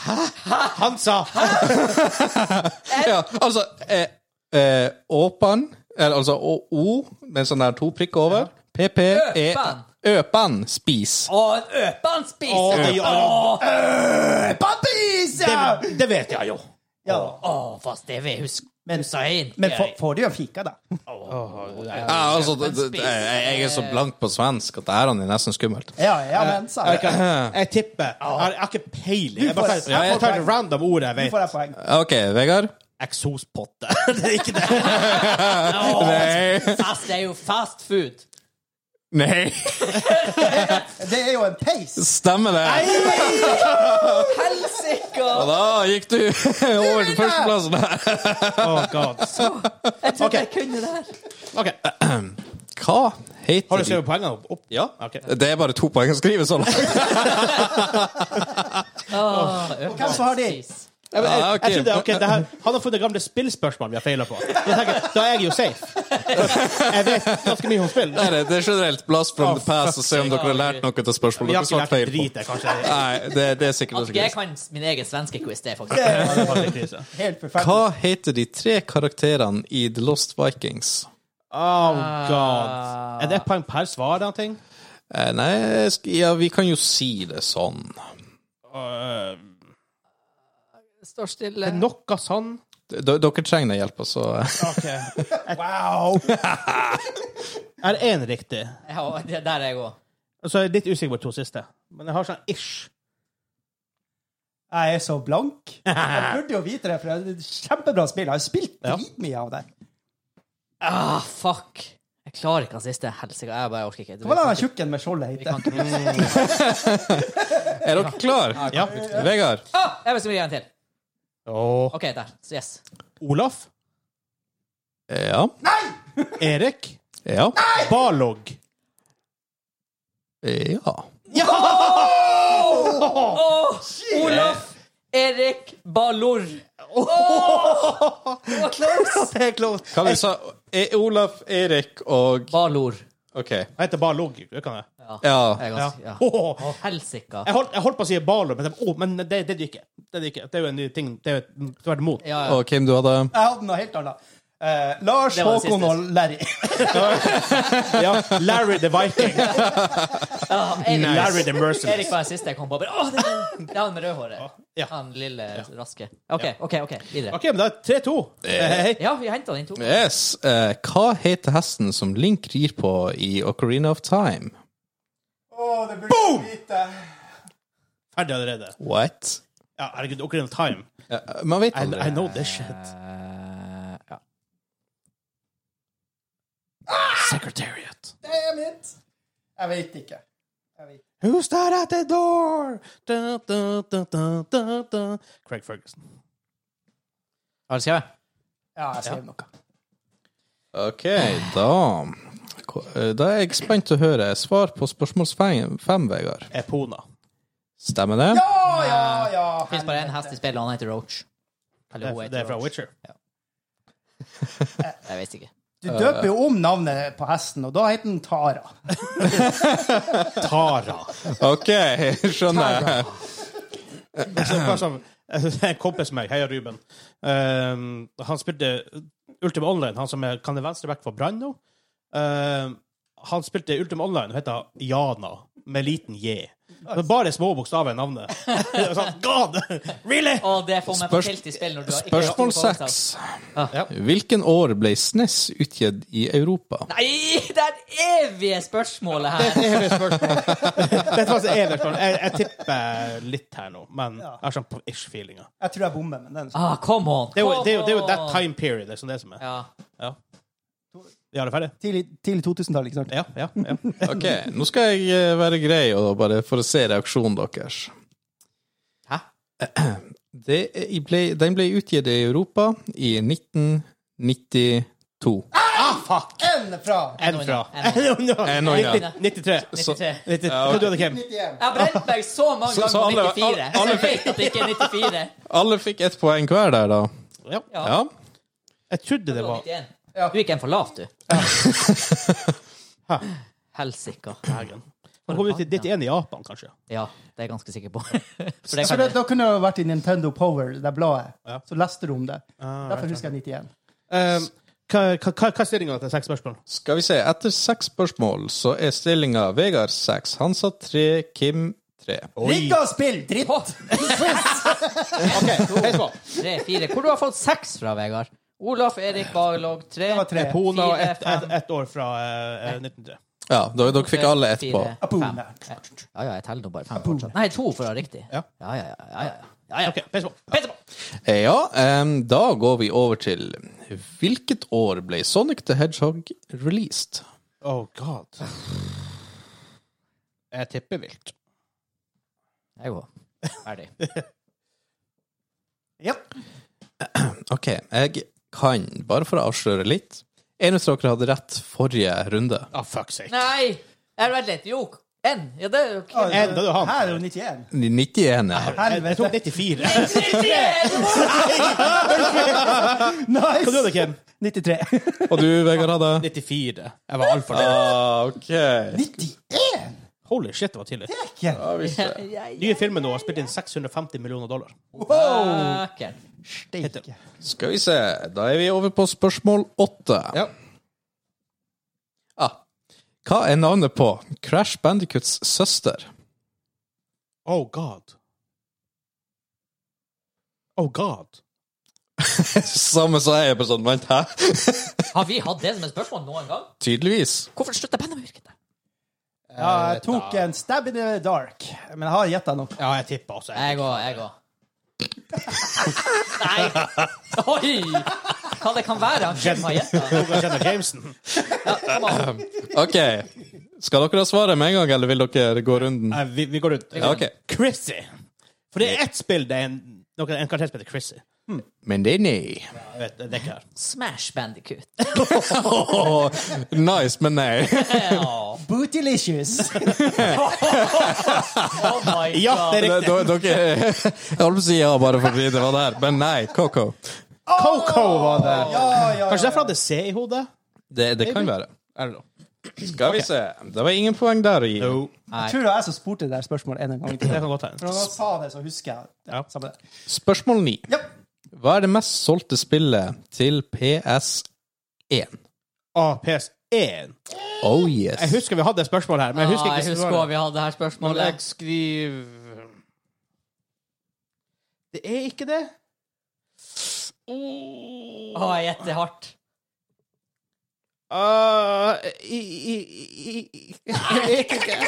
S2: Han sa
S4: Ja, altså eh, eh, Åpan eh, Altså O, o med sånn der to prikker over.
S3: Øpan.
S4: PPE Øpen spis.
S3: Å, en øpenspis!
S2: Å, det gjør han.
S1: Øh, Pappis! Ja!
S2: Det, det vet jeg jo.
S1: ja.
S3: Å, fast det vil jeg huske. Men sa jeg
S1: Men får- får de jo fika, da?
S4: Ja, altså, det, det, det- jeg, jeg er så blank på svensk at det her er nesten skummelt.
S1: Ja, ja, men sa
S2: Jeg,
S1: jeg.
S2: kan, jeg tipper. Jeg har jeg har ikke peiling. Jeg
S1: Du
S2: bare
S1: får-
S2: tar, jeg tar et random ord jeg
S1: Nå får
S2: vet.
S1: jeg poeng.
S4: OK, Vegard?
S2: Eksospotte. Det er ikke det.
S4: Nei.
S3: Fast, det er jo fast food.
S4: Nei.
S1: Det er jo en peis!
S4: Stemmer det.
S3: Helsike!
S4: Og da gikk du over til førsteplassen.
S2: Oh god.
S3: Jeg trodde
S2: Ok.
S3: jeg kunne det her.
S2: Ok.
S4: Hva
S2: Har
S4: heter
S2: du skrevet poengene opp? opp?
S4: Ja.
S2: Ok.
S4: Det er bare to poeng å skrive så langt.
S3: Åh,
S1: hvem som har de?
S3: øpenspis.
S2: Jeg, jeg,
S4: Ja,
S2: jeg,
S4: Ah, ok.
S2: jeg trodde, ok, det her, Han har funnet gamle spillspørsmål vi har feila på. Da tenker jeg, da er jeg jo safe. Jeg vet ganske mye om spill.
S4: Det er det er generelt blast from the past og se om dere har lært noe av spørsmålet
S2: Vi Ah, har
S4: dere
S2: ikke lært
S4: svarte feil på.
S2: drit, jeg, kanskje.
S4: Nei, det, det er sikkert
S3: At
S4: også
S3: jeg
S4: greit.
S3: kan min egen svenske quiz, det er faktisk
S2: Ja, det er faktisk krise.
S1: Helt forferdelig.
S4: Hva heter de tre karakterene i The Lost Vikings?
S2: Oh god. Er det et poeng per svar, den ting?
S4: Eh, nei, jeg sk- ja, vi kan jo si det sånn.
S2: Uh,
S3: Står stille.
S2: noe sånn?
S4: D dere trenger hjelp, altså.
S1: Wow!
S2: Er én riktig?
S3: Ja, det- der er jeg òg.
S2: Så jeg er litt usikker på de to siste. Men jeg har sånn ish.
S1: Jeg er så blank. Jeg burde jo vite det, for det er et kjempebra spill. Jeg har spilt dritmye av det.
S3: Ah, fuck. Jeg klarer ikke den siste. Helsike, jeg bare orker ikke.
S1: Hva var det han tjukken med skjoldet
S3: Vi
S1: het?
S3: kan ikke
S4: Er dere klare?
S2: Ja.
S4: Vegard?
S3: ah, Jeg vil skrive en til.
S2: Og
S3: OK, der. Så Yes.
S2: Olaf?
S4: Ja.
S2: Erik?
S4: Ja.
S2: Balog?
S4: Ja.
S3: Olaf Erik Ballor. Det var close!
S2: Det er close.
S4: Hva vi sa E- Olaf, Erik og
S3: Ballor.
S4: OK.
S2: Jeg heter Balog. Det kan jeg.
S4: Ja.
S3: Jeg er
S2: Ja.
S3: ganske- ja.
S2: Åh.
S3: Å, Helsike.
S2: Jeg holdt, jeg holdt på å si Balog, men, det- åh, men det, det er det ikke. Det er det ikke. Det er jo en ny ting. Det er jo et- tvert imot.
S3: Ja, ja.
S4: Og Kim, du hadde
S1: Jeg hadde noe helt annet. Eh, Lars,
S3: Det var det
S1: Håkon
S3: siste.
S1: og Larry.
S2: Ja. Larry the Viking.
S3: Ah, Erik,
S2: Larry the Merciless.
S3: Erik var den siste jeg kom på. Bare, Åh, det er det er han med rødhåret.
S2: Ja.
S3: Han lille raske. OK, OK, ok, videre.
S2: OK, men da er det 3-2. Hei, hei, hei.
S3: Ja, vi henta den to.
S4: Yes. Eh, hva heter hesten som Link rir på i Ocarina of Time?
S1: Boom!
S2: Ferdig allerede.
S4: What?
S2: Ja, herregud, Ocarina of Time.
S4: Ja, man vet
S2: I, I
S4: aldri.
S2: know this shit.
S3: Eh, ja.
S2: Ah!
S4: Secretariat.
S1: Damn it! Jeg vet ikke. Jeg vet.
S2: Who's that at the door? Da, da, da, da, da, da. Craig Ferguson.
S3: Har du skrevet?
S1: Ja, jeg skrev noe.
S4: OK, da Eh, Da er jeg spent å høre svar på spørsmål fem, fem, Vegard.
S2: Epona.
S4: Stemmer det?
S1: Å, ja, ja!
S3: Det fins bare én hest i spillet, og han heter Roach.
S2: Det
S3: Eller
S2: er,
S3: hun
S2: det er
S3: heter
S2: fra
S3: Roach.
S2: Witcher.
S3: Jeg vet ikke.
S1: Du døper jo om navnet på hesten, og da heter den Tara.
S2: Tara.
S4: OK, skjønner jeg.
S2: Altså, bare sånn, en kompis med meg, heia Ruben, Ehm, han spilte Ultima Online, han som er, kan det venstre back for Brann nå? Ehm, han spilte Ultima Online og heter Jana, med liten J. Men bare små bokstaver i navnet. Det var sånn, God! Really?
S3: Å, det får meg på
S4: Spørs-
S3: tilt i spill når du har ikke
S4: Spørsmål
S3: kontroll på
S4: seks.
S2: Ja.
S4: Hvilken år ble SNES utgitt i Europa?
S3: Nei, det er det evige spørsmålet her!
S2: Evig spørsmål. Dette var så evig spørsmål. Jeg, jeg tipper litt her nå, men jeg har sånn på ish-feelinga.
S1: Jeg tror jeg bommer, men den
S3: Ah, come on!
S2: Det er jo
S3: come
S2: det er jo- det er jo that
S3: on.
S2: time period, det er sånn det som er.
S3: Ja.
S2: Ja. Ja, det er ferdig?
S1: Tidlig, tidlig 2000-tall, ikke sant?
S2: Ja, ja, ja.
S4: Ok, nå skal jeg eh, være grei og bare for å se reaksjonen deres.
S3: Hæ?
S4: Det er- i ble, den ble utgitt i Europa i 1992.
S1: En fra
S2: En fra.
S3: Ennå
S4: En og en.
S2: 93. 90,
S3: 93.
S4: Ja, ok.
S2: Hva du hadde Kim?
S1: 91.
S3: Jeg har brent meg så mange
S4: Så-
S3: ganger
S4: så
S3: på
S4: alle-
S3: 94,
S4: alle-
S3: så
S4: alle
S3: jeg vet at det ikke er 94.
S4: Alle fikk ett poeng hver der, da.
S2: Ja.
S3: Ja,
S4: Ja.
S2: Jeg trodde
S3: det
S2: det
S3: var
S2: var
S3: 91.
S1: Ja.
S3: Du gikk en for lavt, du. Helsika.
S2: Hagen. Man kom ut til 91 i Japan, kanskje.
S3: Ja, det er jeg ganske sikker på. For det
S1: Så
S3: kan
S1: Altså, det, da kunne det jo vært
S2: Ah,
S3: Ehm.
S1: i Nintendo Power, det bladet. Så leste du om det. Derfor husker jeg 91.
S2: Um, Hva, hva, hva hva er stillinga til seks spørsmål?
S4: Skal vi se. Etter seks spørsmål så er stillinga Vegard seks, Hansa tre, Kim tre.
S1: Ligg og spill, dritt!
S2: OK, heis på.
S3: Tre, fire. Hvor du har fått seks fra, Vegard? Olaf Erik Barlog, tre.
S1: Det var tre.
S2: Pona og
S3: Fire,
S2: ett
S3: fem.
S2: et, et år fra eh, 1903.
S4: Ja, dere, dere fikk alle ett på.
S3: Fire,
S1: Apu,
S3: fem.
S1: nei.
S3: Ja, ja, jeg teller nå bare fem fortsatt. Nei, to for å ha riktig. Ja, ja, ja. ja, ja, ja, ja.
S2: OK, peis på.
S3: Peter på.
S4: Ja, em, da går vi over til Hvilket år ble Sonic the Hedgehog released?
S2: Oh god. Jeg tipper vilt.
S3: Jeg går. Ferdig.
S1: Japp.
S4: OK, jeg kan, bare for å avsløre litt En av dere hadde rett forrige runde.
S2: Ah, fuck sake.
S3: Nei! Jeg vent litt. Jo, en. Ja, det er jo ikke
S1: Ja,
S2: En, da er det han.
S1: Her er jo 91.
S4: 91, ja.
S2: Jeg
S1: Helvete.
S2: tok 94. Hva du
S1: Nice!
S2: hadde, Kim?
S1: 93.
S4: Og du, Vegard, hadde?
S2: 94. Jeg var altfor nær.
S4: Ah, OK.
S1: 91?
S2: Holy shit, det var tidlig.
S1: Ikke.
S4: Ja, visst det.
S2: Nye filmen nå har spilt inn 650 millioner dollar.
S3: Fucker.
S1: Steike.
S4: Skal vi se, da er vi over på spørsmål åtte.
S2: Ja.
S4: Ah. Hva er navnet på Crash Bandicoots søster?
S2: Oh god. Oh god.
S4: Samme som jeg er på sånn, vent, hæ?
S3: Har vi hatt det som et spørsmål noen gang?
S4: Tydeligvis.
S3: Hvorfor slutta penna å virke? der?
S1: Ja, jeg tok en stab in the dark, men jeg har gjetta nok.
S2: Ja, jeg tipper også.
S3: Jeg går, jeg går. Nei! Oi! Hva det kan være? Han Jim har gjetta.
S2: Jeg kjenner Jameson.
S3: Ja, kom an.
S4: OK. Skal dere ha svaret med en gang, eller vil dere gå runden?
S2: Nei, vi, vi går ut.
S4: Ja, OK.
S2: Chrissy. For det er ett spill det er en, noen, en karakter som heter Chrissy.
S4: Men det er nei.
S2: Jeg vet, det er ikke her.
S3: Smash Bandicoot.
S4: Åh, nice, men nei.
S3: Ja.
S1: Bootylicious.
S3: Oh my
S2: Ja,
S3: god.
S2: det er
S4: D-
S2: riktig.
S4: d- Dere Jeg holdt på å si ja bare fordi det var der, men nei. Coco.
S2: Coco var det.
S1: Ja, ja,
S2: Kanskje
S1: ja.
S2: derfor hadde C i hodet?
S4: Det, det kan være.
S2: I don't know.
S4: Skal vi se. Det var ingen poeng der å gi.
S1: Jeg tror det var jeg som spurte det der spørsmålet en gang til.
S2: Det kan godt hende.
S1: Når han sa det, så husker jeg. Ja,
S2: Ja.
S1: samme det.
S4: Spørsmål ni.
S1: Ja.
S4: Hva er det mest solgte spillet til PS1?
S2: APS1.
S4: Oh yes.
S2: Jeg husker vi hadde et spørsmål her, men jeg husker
S3: Ja, jeg
S2: ikke
S3: husker
S2: svaret.
S3: vi hadde det
S2: Men
S3: her
S2: jeg
S3: spørsmålet.
S2: skriver Det er ikke det.
S3: Å, jeg gjetter hardt.
S2: Ah, i, i, i, i. Jeg vet ikke.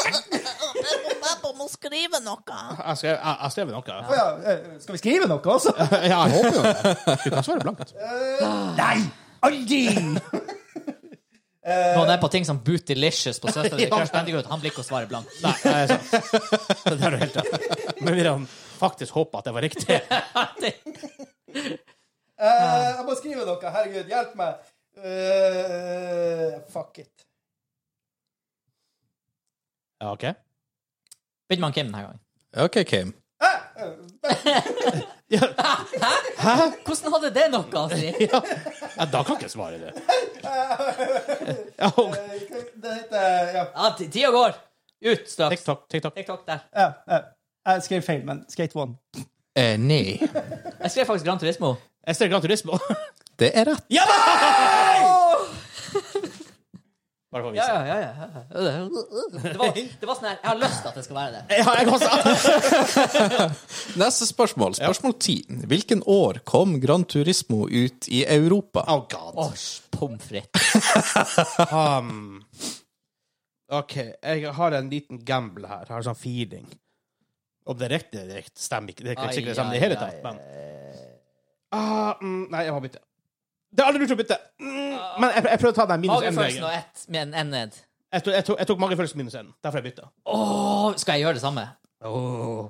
S6: Pappa må skrive noe.
S2: Jeg skrev, jeg, jeg skrev noe.
S1: Å ja, eh, skal vi skrive noe også?
S2: Ja, jeg håper jo det. Du kan svare blankt.
S1: Nei! Aldri!
S3: Når
S2: Eh,
S3: det er på ting som Bootylicious på søsteren til Crash Bandicoot, han blir ikke å svare blankt.
S2: Nei, det er sant. Det har du helt rett i. Men vi kan faktisk håpe at det var riktig.
S1: Eh, jeg må skrive noe. Herregud, hjelp meg. Eh, fuck it.
S2: Ja, OK.
S3: Begynner man Kim denne gangen?
S4: OK, Kim.
S1: Eh,
S3: Hvordan hadde det noe å si?
S2: Ja, da kan jeg ikke svare det. Ja, og-
S1: Eh, Det heter Ja.
S3: Ja, ti- tida går. Ut straks.
S2: TikTok, TikTok.
S3: TikTok der.
S1: ja, ja. Jeg skrev feil, men Skate One.
S4: Eh, nei.
S3: Jeg skrev faktisk Gran Turismo.
S2: Jeg ser Gran Turismo.
S4: Det er rett.
S2: Ja da! Bare for å
S3: Ja,
S2: vise.
S3: ja, ja. ja, ja. Det var, det var sånn her Jeg har lyst til at det skal være det.
S2: Ja, jeg også.
S4: Neste spørsmål. Spørsmål ti. Hvilken år kom Gran Turismo ut i Europa?
S2: Oh god.
S3: Åh, pommes frites.
S2: Um, OK, jeg har en liten gamble her. Jeg har en sånn feeling. Om det er riktig eller riktig, stemmer ikke. Det er ikke
S3: Ai,
S2: sikkert det stemmer i
S3: ai,
S2: det hele
S3: ai,
S2: tatt, men ah, mm, Nei, jeg må bytte. Det er aldri lurt å bytte. Mm, men jeg, jeg prøvde å ta den minus
S3: Ah. Magefølelsen og
S2: én-regelen.
S3: ett med en N ned.
S2: Jeg, tok- jeg, tok- jeg tok magefølelsen minus én. Derfor jeg bytta.
S3: Åh, skal jeg gjøre det samme?
S2: Oh.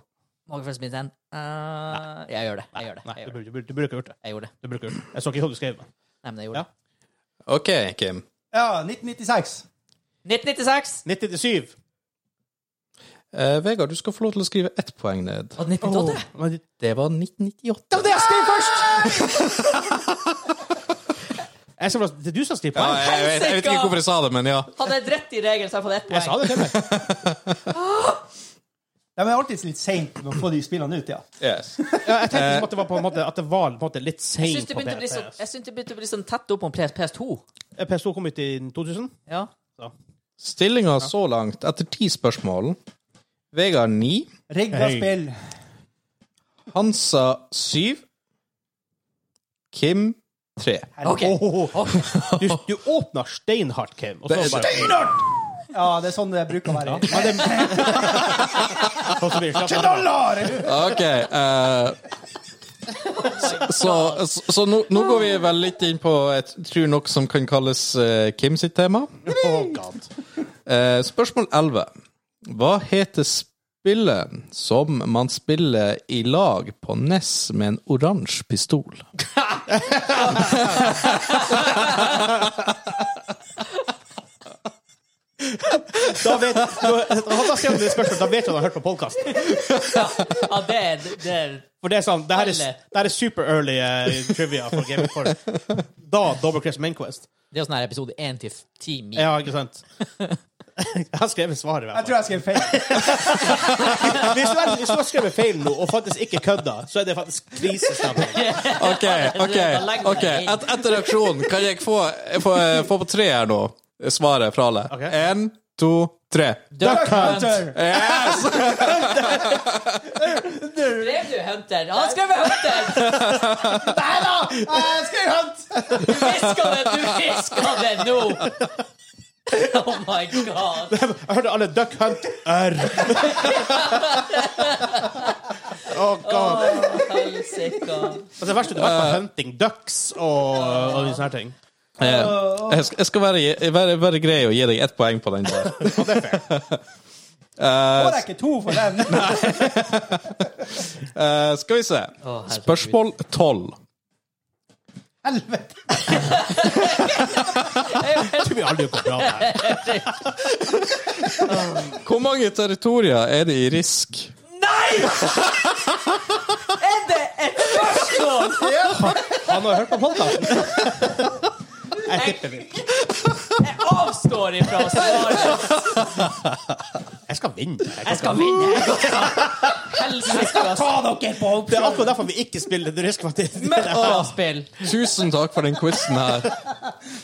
S3: Magefølelsen min N. Eh, Jeg gjør det. Jeg gjør det.
S2: Nei,
S3: Jeg
S2: du,
S3: gjør det.
S2: burde- du, burde- du burde ikke gjort det.
S3: Jeg gjorde det.
S2: Du burde ikke gjort det. Jeg så ikke hva du skrev. men-
S3: Nei, men jeg gjorde det.
S4: OK, Kim.
S1: Ja, 1996.
S3: 1996.
S2: 97.
S4: Eh, Vegard, du skal få lov til å skrive ett poeng ned.
S3: Var det 1998?
S2: Men,
S4: Det var 1998.
S2: det jeg skrev først! jeg skrev, det er du som skriver
S4: Ja,
S2: poeng.
S4: jeg, vet, jeg vet ikke hvorfor jeg sa det, men ja.
S3: Hadde jeg rett i regelen, så hadde jeg fått ett
S2: Jeg sa
S3: poeng.
S2: det til deg.
S1: Det Ja, men det er alltid litt seint å få de spillene ut, ja.
S4: Yes.
S2: Ja, jeg tenkte liksom at det var på en måte, at det var på en måte litt
S3: Eh. Jeg
S2: seint
S3: syns det
S2: på
S3: begynte å bli
S2: PS.
S3: så- jeg syns det begynte å bli sånn tett opp om PS, PS2.
S2: PS2 kom ut i 2000.
S3: Ja.
S4: Stillinga så langt, etter ti spørsmål Vegard 9,
S1: Rigga
S2: Hei.
S1: spill.
S4: Hansa 7, Kim 3.
S3: OK. Ok.
S2: Du, du åpna steinhardt, Kim. Og
S4: Det
S2: så
S4: er
S2: bare
S1: Ja, det er sånn det bruker å være.
S2: Og så blir det slapp av.
S1: Dollar!
S4: OK. eh, så så, så nå, nå går vi vel litt inn på et tror nok som kan kalles eh, Kim sitt tema.
S2: Oh, God.
S4: Eh, spørsmål 11. Hva heter spillet som man spiller i lag på NES med en oransje pistol?
S2: Da vet da- han har sendt det spørsmålet, da vet du han har hørt på podkast.
S3: Ja, det er det er-
S2: For det er sånn, det her er,
S3: Alle.
S2: det her er super early eh, trivia for Game for Da Double Crest Main Quest.
S3: det er jo sånn her episode 1 til 10 min.
S2: Ja, ikke sant? Jeg har skrevet svaret. i
S1: Jeg
S2: hvert fall.
S1: tror jeg skrev feil.
S2: Hvis du har- hvis du har skrevet feil nå, og faktisk ikke kødda, så er det faktisk krisestemning.
S4: OK, OK. ok Et, Etter reaksjonen, kan jeg få, få, få på tre her nå? Svaret fra alle.
S2: Ok.
S4: Én, to, tre.
S3: Duck Hunt.
S1: Hunter.
S4: Yes!
S3: Skrev du Hunter? Han skrev Hunter!
S1: Nei da! Jeg skrev Hunt!
S3: Du hviska det! Du hviska det nå! Oh my god.
S2: Jeg hørte alle Duck Hunt R. Å, God.
S3: Helsike.
S2: Altså, det verste er vært på Hunting Ducks og, og sånne her ting.
S4: Eh, Jeg skal, jeg skal være, være, være grei og gi deg ett poeng på den der.
S1: Får jeg ikke to for den?
S4: Eh, skal vi se.
S3: herregud.
S4: Spørsmål tolv.
S1: Helvete.
S2: Du vil aldri gå bra der.
S4: Hvor mange territorier er det i Risk?
S3: Er det et spørsmål?!
S2: Han har hørt på podkasten. Jeg tipper vi.
S3: Jeg avstår ifra å svare.
S2: Jeg skal vinne.
S3: Jeg skal vinne. Jeg skal- Helsike. ass.
S1: Ta dere på opp.
S2: Det er akkurat derfor vi ikke spiller The Risk. faktisk.
S3: Møkka spill.
S4: Tusen takk for den quizen her.
S1: De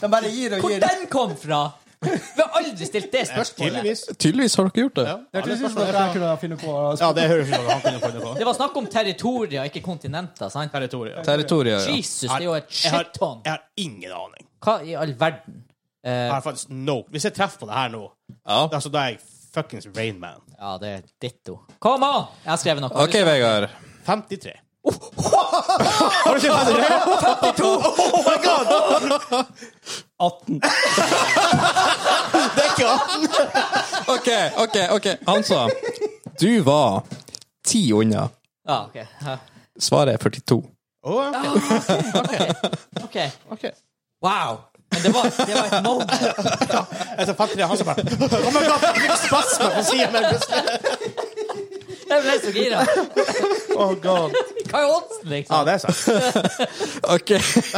S1: bare gir og
S3: Hvor
S1: gir.
S3: den kom fra? Vi har aldri stilt det spørsmålet.
S2: Tydeligvis.
S4: Tydeligvis har dere gjort det.
S1: Det hørtes ut som at jeg kunne finne på å
S2: Ja, det høres ut som han kunne funnet på.
S3: Det var snakk om territorier, ikke kontinenter. sant?
S2: Territoriet. ja.
S4: Territorier, ja.
S3: Jesus, det er jo et
S2: Jeg har,
S3: shit-ton. Eh.
S2: jeg har ingen aning.
S3: Hva i all verden?
S2: Jeg har faktisk no. Hvis jeg treffer på det her nå,
S4: ja.
S2: altså, da er jeg fuckings Rainman.
S3: Ja, det er ditto. Kom an! Jeg har skrevet noe.
S4: OK, Vegard.
S2: 53.
S3: Oh!
S2: Oh
S1: bli 18.
S2: Det er ikke 18!
S4: OK, OK. ok Hansa, du var ti unna.
S3: Ja, ok. Ja,
S4: Svaret er 42.
S3: ok. Wow! Men det var, det var et moment.
S2: Altså, 53, han som bare Oh my god, jeg fikk spasme på siden min plutselig.
S3: Jeg ble så gira.
S2: Oh god.
S3: Hva er oddsen,
S2: Ja,
S3: liksom?
S2: det er sant.
S4: OK.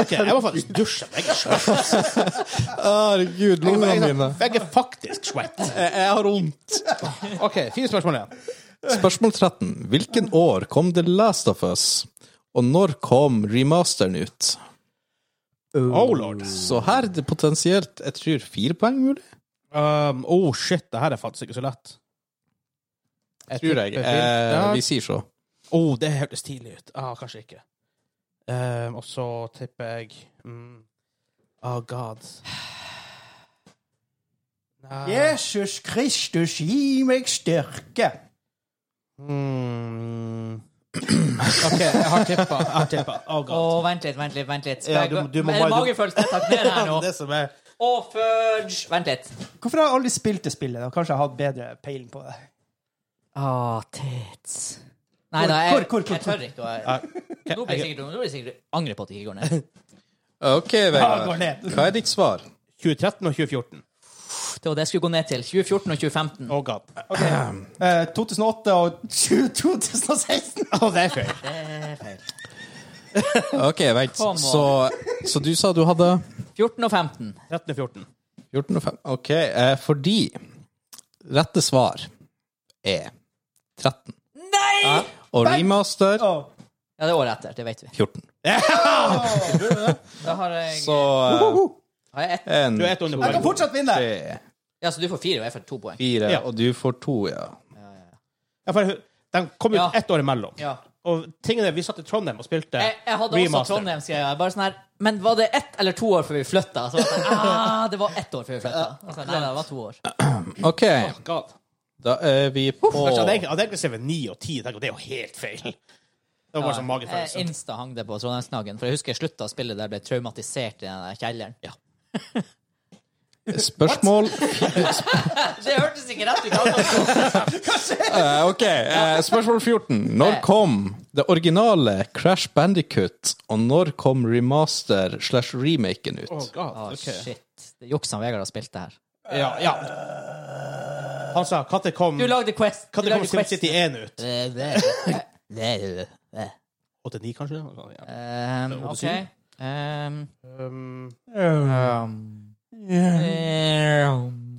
S2: Ok, jeg må faktisk dusje. Jeg er svett.
S4: Herregud,
S2: Jeg
S4: lungene
S2: er,
S4: mine.
S2: jeg er faktisk svett.
S4: Jeg, jeg har vondt.
S2: OK, fire spørsmål igjen.
S4: Spørsmål 13. Hvilken år kom The Last of Us? Og når kom remasteren ut?
S2: Oh lord.
S4: Så her er det potensielt jeg tror fire poeng mulig.
S2: Um, oh shit, det her er faktisk ikke så lett.
S4: Tror jeg. Eh, vi sier så.
S2: Oh, det hørtes tidlig ut. Ah, kanskje ikke. Um, og så tipper jeg mm. Oh god. Nei.
S1: Jesus Kristus, gi meg styrke.
S2: Mm.
S3: Ah,
S2: OK, jeg har tippa. Jeg har tippa. Oh
S3: Å,
S2: god.
S3: vent litt, vent litt. vent litt.
S2: Ja,
S3: Skal jeg
S2: du-
S3: gå
S2: du må
S3: Er
S2: bare-
S3: det magefølelsen jeg tar ned her nå?
S2: Det som er
S3: Å, fudge! Vent litt.
S1: Hvorfor har jeg aldri spilt det spillet? Da kanskje jeg har hatt bedre peiling på det.
S3: Å, tits. Nei,
S1: Hvor-
S3: nei, jeg,
S1: hvor- hvor- hvor-
S3: jeg tør ikke å Nå blir jeg sikkert, nå blir jeg sikkert angre på at jeg ikke går ned.
S4: OK,
S1: Ja, går
S4: Vegard.
S1: ned.
S4: Hva er ditt svar?
S2: 2013 og 2014.
S3: Det var det jeg skulle gå ned til. 2014 og 2015.
S2: Oh god.
S1: Eh, 2008 og 2016.
S2: Oh, det er feil.
S3: Det er feil.
S4: OK, vent.
S3: Come on.
S4: Så, så du sa du hadde
S3: 14 og 15.
S2: 13 og 14.
S4: 14 og 5. OK, eh, fordi rette svar er 13.
S6: Nei!
S4: Og remaster
S1: Åh,
S3: Ja, det er året etter. Det vet vi.
S4: 14.
S3: Da har jeg,
S4: Så eh,
S3: har jeg ett.
S4: en,
S2: Du er ett under
S1: Jeg kan
S2: poeng.
S1: fortsatt vinne!
S4: tre,
S3: Ja, så du får fire, og jeg får to poeng.
S4: fire,
S2: Ja.
S4: og du får to, ja.
S2: Ja, for De kom ut
S3: Ja.
S2: ett år imellom.
S3: Ja.
S2: Og tingene vi satt i Trondheim og spilte
S3: Jeg, jeg hadde også
S2: remaster.
S3: Trondheimsgreia. Bare sånn her Men var det ett eller to år før vi flytta? Så var det sånn, ah, det var ett år før vi flytta. Altså, nei, nei, det var to år.
S4: OK,
S2: God.
S4: da er vi på
S2: Kanskje hadde jeg hadde egentlig skrevet 9 og 10. Tenk, og det er jo helt feil. Det var bare sånn
S3: Jeg
S2: magefølelse.
S3: Eh, Insta hang det på Trondheimsknaggen. For jeg husker jeg slutta å spille der jeg ble traumatisert i den der kjelleren.
S4: Spørsmål
S3: Det hørtes ikke rett ut! altså.
S4: Eh, OK, eh, spørsmål 14. Når
S2: Eh.
S4: kom det originale Crash Bandicut, og når kom remaster slash remaken
S2: Oh,
S4: ut?
S2: God.
S3: Å,
S2: ok.
S3: Ah, Shit. Det er Juksan Vegard har spilt det her.
S2: Ja, ja. Han sa når kom,
S3: Du lagde Quest. Du
S2: kan det
S3: lagde
S2: kom SimCity 1 ut?
S3: Det- det- det- det-
S2: 89, kanskje? Ja.
S3: Um, OK. Um,
S2: Um,
S3: um, um,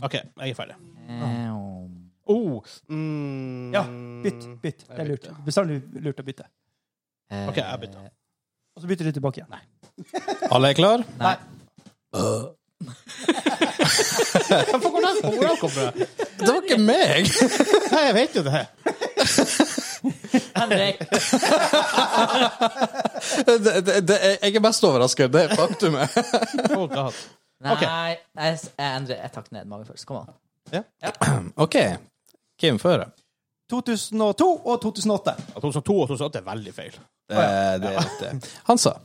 S2: OK, jeg er ferdig.
S3: um.
S2: Oh, mm,
S1: Ja, bytt. Bytt. Det er lurt. Bestandig lurt å bytte.
S2: OK, jeg
S3: uh,
S2: bytter.
S1: Og så bytter du tilbake igjen.
S4: Alle er klar?
S3: Nei.
S2: Hvordan hvordan kom det?
S4: Det var ikke meg!
S2: Nei, jeg vet jo det.
S3: Henrik.
S4: Det, det, det, jeg er mest overraska. Det er faktumet.
S2: Oh, God.
S3: Nei,
S2: Ok.
S3: jeg, jeg endrer et takk ned magefølelse. Kom an.
S4: OK. Hvem fører?
S1: 2002 og 2008.
S2: 2002 og 2008 er veldig feil.
S4: Det, det er riktig. Hansa.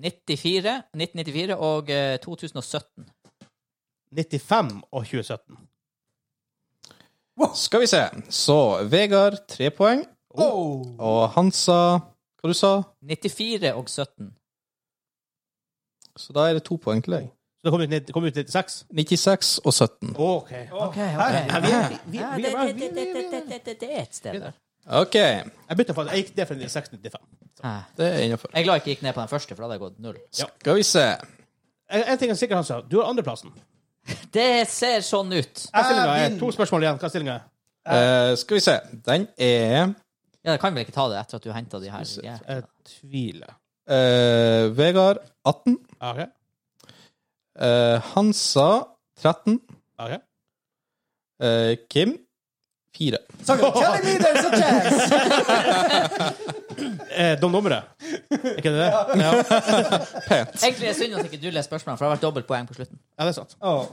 S3: 94, 1994 og eh, 2017.
S2: 95 og 2017.
S4: Skal vi se. Så Vegard, tre poeng.
S1: Oh.
S4: Og Hansa Hva du sa
S3: 94 og 17.
S4: Så da er det to poeng til deg.
S2: Så det kom ut, nitt- det kom ut 96?
S4: 96 og 17.
S2: OK.
S3: OK, OK.
S2: Ja, vi er- vi-
S3: Ja,
S2: vi
S3: det,
S2: er bare-
S3: det, det, det, det, det, det, det er et sted der.
S4: OK.
S2: Jeg bytta faktisk. Jeg gikk ned fra 96 til 95.
S3: Ah.
S4: Det er innafor.
S3: Jeg er glad jeg ikke gikk ned på den første, for da hadde jeg gått null.
S4: Skal vi se.
S2: En en ting er sikkert, han sa. Du har andreplassen.
S3: Det ser sånn ut.
S2: Hva er stillinga?
S1: Jeg
S2: er? To spørsmål igjen. Hva er stillinga? er?
S4: Eh, skal vi se. Den er
S3: Ja, Jeg kan vel ikke ta det etter at du henta de her. jævla-
S2: Jeg tviler.
S4: eh, Vegard 18.
S2: OK.
S4: eh, Hansa 13.
S2: ok.
S4: eh, Kim 4.
S1: Sorry. Tell me there's a chance!
S2: Eh, de numre. Er ikke det det? Ja,
S4: Pent.
S3: Egentlig er det synd at ikke du leser spørsmålene, for det har vært dobbeltpoeng på slutten.
S2: det er sant.
S1: Åh.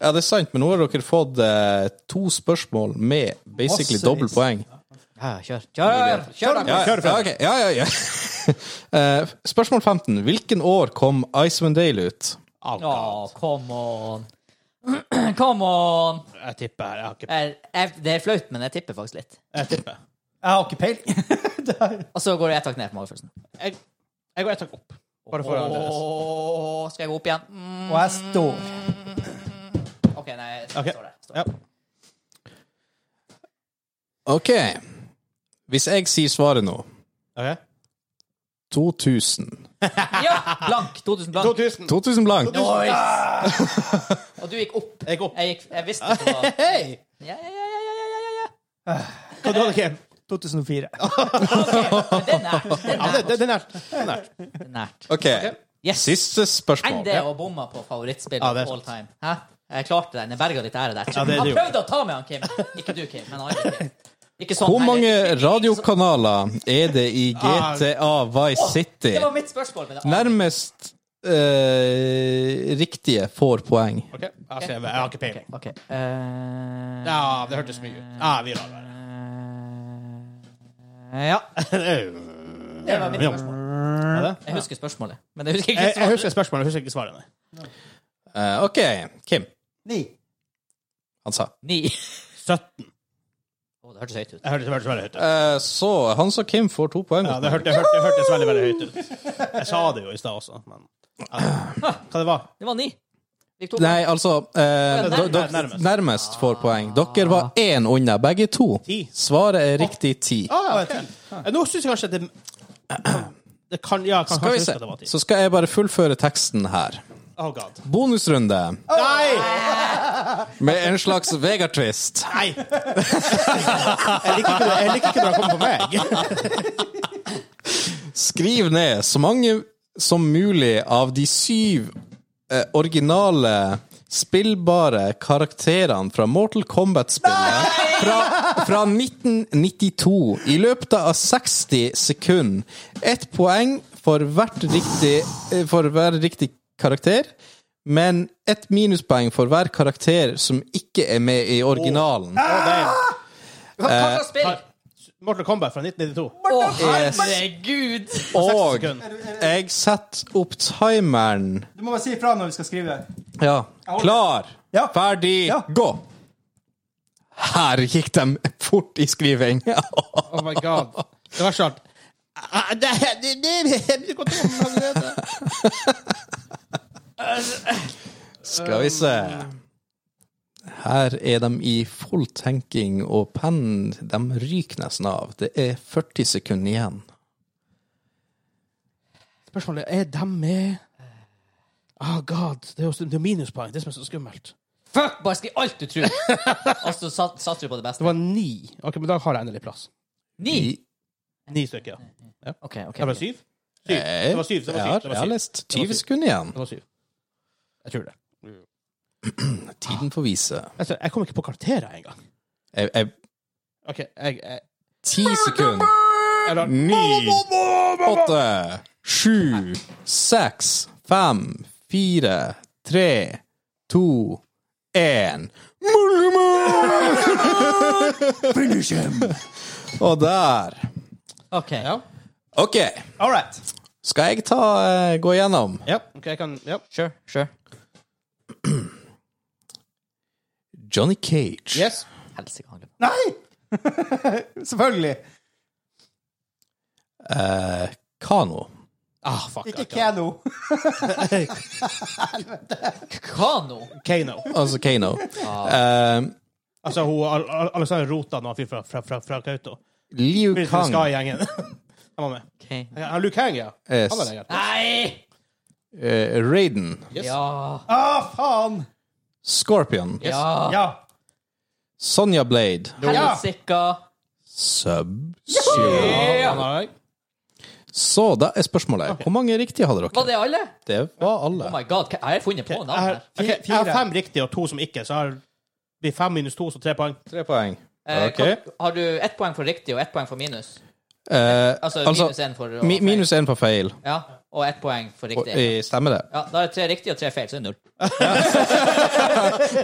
S4: Ja, det er sant, men nå har dere fått eh, to spørsmål med basically
S1: Massevis.
S4: dobbelt poeng.
S3: Ja, ja, kjør. Kjør! kjør, da.
S4: Ja, ja, ok. ja, ja, ja. Eh, spørsmål 15. Hvilken år kom Icewind Dale ut?
S2: Oh,
S3: Å, come on. Come on!
S2: Jeg tipper her. Jeg har ikke
S3: Jeg, jeg, det er flaut, men jeg tipper faktisk litt.
S2: Jeg tipper.
S1: Jeg har ikke peiling. Det er-
S3: Og så går det ett hakk ned på magefølelsen.
S2: Jeg, jeg går ett hakk opp. Bare for Andreas.
S3: Åh, skal jeg gå opp igjen? Mm.
S1: Og jeg står.
S3: OK, nei, jeg
S2: Ok.
S3: står der. Står.
S2: Ja.
S4: OK. Hvis jeg sier svaret nå
S2: Ok.
S4: 2000.
S3: Ja! Blank. 2000 blank.
S2: 2000.
S4: 2000 blankt.
S3: Nice! Og du gikk opp.
S2: Jeg går opp.
S3: Jeg, gikk, jeg visste det var
S2: Hei!
S3: Ja, ja, ja, ja, ja, ja, ja, ja.
S2: Hva du hadde Kim?
S1: 2004.
S3: Men det er
S2: Ja,
S3: nært. Det er
S2: det,
S3: nært.
S2: det, det er nært. Det er nært.
S3: Det er nært.
S4: OK.
S3: Yes.
S4: Siste spørsmål.
S3: Enn det å bomme på favorittspill
S2: Ja, det er
S3: all
S2: sant.
S3: time. Hæ? Jeg klarte den. Jeg berga litt ære
S2: Ja,
S3: der.
S2: det er
S3: Han
S2: det jo.
S3: prøvde å ta med han, Kim. Ikke du, Kim, men andre Kim. Ikke sånn.
S4: Hvor
S3: heller.
S4: mange radiokanaler er det i
S2: Ah.
S4: GTA Vice City?
S3: Det var mitt spørsmål. Men det
S4: Nærmest eh, riktige får poeng.
S2: Ok, Jeg har skrevet. Jeg har ikke peiling.
S3: OK. eh,
S2: Ja, det hørtes mye ut. Ja, vi lar være.
S3: eh, ja. Det var mitt spørsmål.
S2: Er det?
S3: Jeg husker spørsmålet, men jeg husker ikke
S2: Jeg, jeg
S3: svaret.
S2: husker spørsmålet, jeg husker ikke svaret. nei.
S4: Eh, OK, Kim.
S1: Ni.
S4: Han sa.
S3: Ni.
S2: 17.
S3: Å, det hørtes høyt ut.
S2: Jeg hørte det hørtes veldig høyt ut.
S4: Eh, så Hans og Kim får to poeng.
S2: Ja, det hørte- det hørte- det hørtes veldig, veldig høyt ut. Jeg sa det jo i stad også, men ja. Hva det var?
S3: Det var ni. Vi tok
S4: Nei, altså eh,
S3: Nærmest.
S4: do- do-
S2: Nærmest. Ah.
S4: Nærmest får poeng. Dere var én unna, begge to.
S2: Ti.
S4: Svaret er riktig ti.
S2: Ah, ok. Eh, Nå syns jeg kanskje at det det kan, ja, kan
S4: Skal vi
S2: kanskje
S4: se.
S2: huske at det var ti.
S4: Så skal jeg bare fullføre teksten her.
S2: Å, Oh god.
S4: Bonusrunde
S2: Nei!
S4: med en slags Vegard-twist.
S2: Nei! Jeg liker ikke, jeg liker ikke når han kommer på meg.
S4: Skriv ned så mange som mulig av de syv eh, originale spillbare karakterene fra Mortal Kombat-spillet fra, fra 1992 i løpet av 60 sekunder. Ett poeng for, hvert riktig, eh, for hver riktig karakter, men ett minuspoeng for hver karakter som ikke er med i originalen.
S2: Å, nei.
S3: Hva hva slags spill?
S2: Mortal Kombat fra 1992.
S3: Å,
S4: Yes.
S3: herregud!
S4: Og
S2: sekunder.
S4: jeg setter opp timeren.
S1: Du må bare si ifra når vi skal skrive.
S4: Ja. Klar,
S1: Ja.
S4: ferdig,
S1: Ja.
S4: gå! Her gikk de fort i skriving.
S2: Oh my god. Det var snart. Ah, Det det- det- det går til å komme med det.
S4: Skal vi se. Her er de i full tenking, og pennen de ryker nesten av. Det er 40 sekunder igjen.
S2: Spørsmålet er dem med Oh god. Det er jo det er minuspoeng. Det som er så skummelt.
S3: Fuck, bare skriv alt du tror! Og så sat- satser du på det
S2: Det
S3: beste.
S2: var ni. Ok, Men da har jeg endelig plass.
S3: Ni?
S2: Ni stykker.
S3: OK. ok.
S2: Det var syv? Eh, Syv. Det var syv. Det
S4: Jeg
S2: var syv.
S4: har,
S2: Det
S4: jeg
S2: var
S4: har
S2: syv.
S4: lest
S2: Det var
S4: 20
S2: syv.
S4: sekunder igjen.
S2: Det var syv. Jeg tror det.
S4: Tiden får vise.
S2: Altså, jeg kom ikke på karakterer engang.
S4: Jeg, jeg,
S2: OK, jeg, jeg
S4: 10 sekunder.
S2: eller,
S4: Ni, åtte, sju, seks, fem, fire, tre, to, én Og der.
S3: OK.
S2: Ja.
S4: OK.
S1: All right.
S4: Skal jeg ta, eh, gå gjennom?
S2: ja. OK, jeg kan Ja.
S3: Sure. sure.
S4: Johnny Cage.
S2: Yes.
S3: Helsike, han glemte.
S1: Nei! Selvfølgelig.
S4: Eh, Kano.
S2: Ah, fuck.
S1: Ikke
S2: jeg
S1: Keno.
S3: Kano!
S2: kan- Kano.
S4: Altså Kano. Eh,
S2: Altså, hun, Al- Al- Alexander Rota når han fyr fra, fra, fra, fra Kautokeino.
S4: Liu
S2: Virtual
S4: Kang.
S2: Sky-gjengen. Han var med.
S3: Okay.
S2: Ja, Luke Hang, ja.
S4: Yes.
S2: Han var der. ja.
S3: Nei!
S4: Eh, Raiden.
S2: Yes.
S3: Ja.
S1: Ah, faen!
S4: Scorpion.
S3: Ja.
S1: Ja.
S4: Sonja Blade.
S3: Helsika.
S4: Sub.
S2: Han var der.
S4: Så da er spørsmålet Hvor mange riktige hadde dere?
S3: Var det alle?
S4: Det var alle.
S3: Oh my god, hva- jeg har funnet på
S2: Jeg
S3: navn
S2: har,
S3: her.
S2: ok, jeg har fem riktige og to som ikke, så har vi fem minus to, så tre poeng.
S4: Tre poeng.
S3: Eh,
S4: Ok.
S3: kan- Har du ett poeng for riktig og ett poeng for minus?
S4: Eh,
S3: Altså, minus én for og
S4: mi-
S3: feil.
S4: minus én på feil.
S3: Ja, og ett poeng for
S4: Og,
S3: riktig.
S4: eh, stemmer det?
S3: Ja, da er det tre riktige og tre feil, så er det null.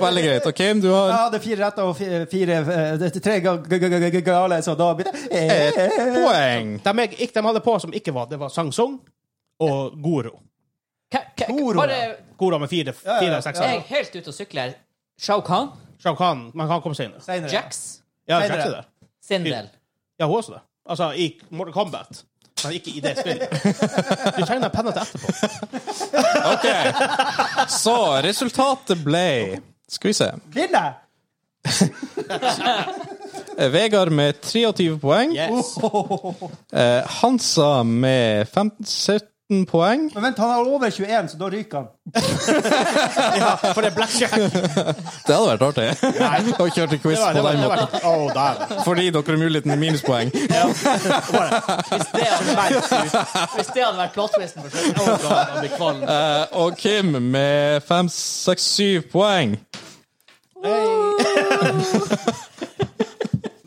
S4: Veldig greit. OK, men du
S1: Jeg
S4: har
S1: hadde fire retter og fi- fire eh, det- tre ga- ga- ga- ga- ga- gale, så da blir det
S4: ett
S1: eh,
S4: poeng.
S2: De, jeg, ikke, de hadde på som ikke var, det var Sang Song og Goro.
S3: Hva- hva-
S1: Toro,
S3: Bare
S2: Goro med fire,
S1: ja,
S2: fire av seks.
S1: ja.
S3: Jeg er helt ute og sykler. Shao Kahn,
S2: Shao Kahn, men han kom senere.
S1: senere.
S3: Jax,
S2: Ja,
S1: Senere.
S2: Jax er der.
S3: Sindel.
S2: Ja, hun er også det. Altså, i Mortal Kombat. Men ikke i det spillet. Du trenger den penna til etterpå.
S4: OK. Så resultatet ble Skal vi se.
S1: Vinner jeg?
S4: Eh, Vegard med 23 poeng.
S2: Yes.
S4: Eh, Hansa med 15, 17 poeng.
S1: Men vent, han har over 21, så da ryker han.
S2: Uh, For det er blackjack.
S4: Det hadde vært artig å kjøre til quiz
S2: Det var-
S4: på
S2: det var-
S4: den
S2: det var-
S4: måten.
S2: Å, der.
S4: Fordi dere har muligheten til minuspoeng.
S3: Hvis det hadde vært, hvis det hadde vært plot-twisten for slutten, oh god, jeg blir kvalm.
S4: Eh, og Kim med 5, 6, 7 poeng.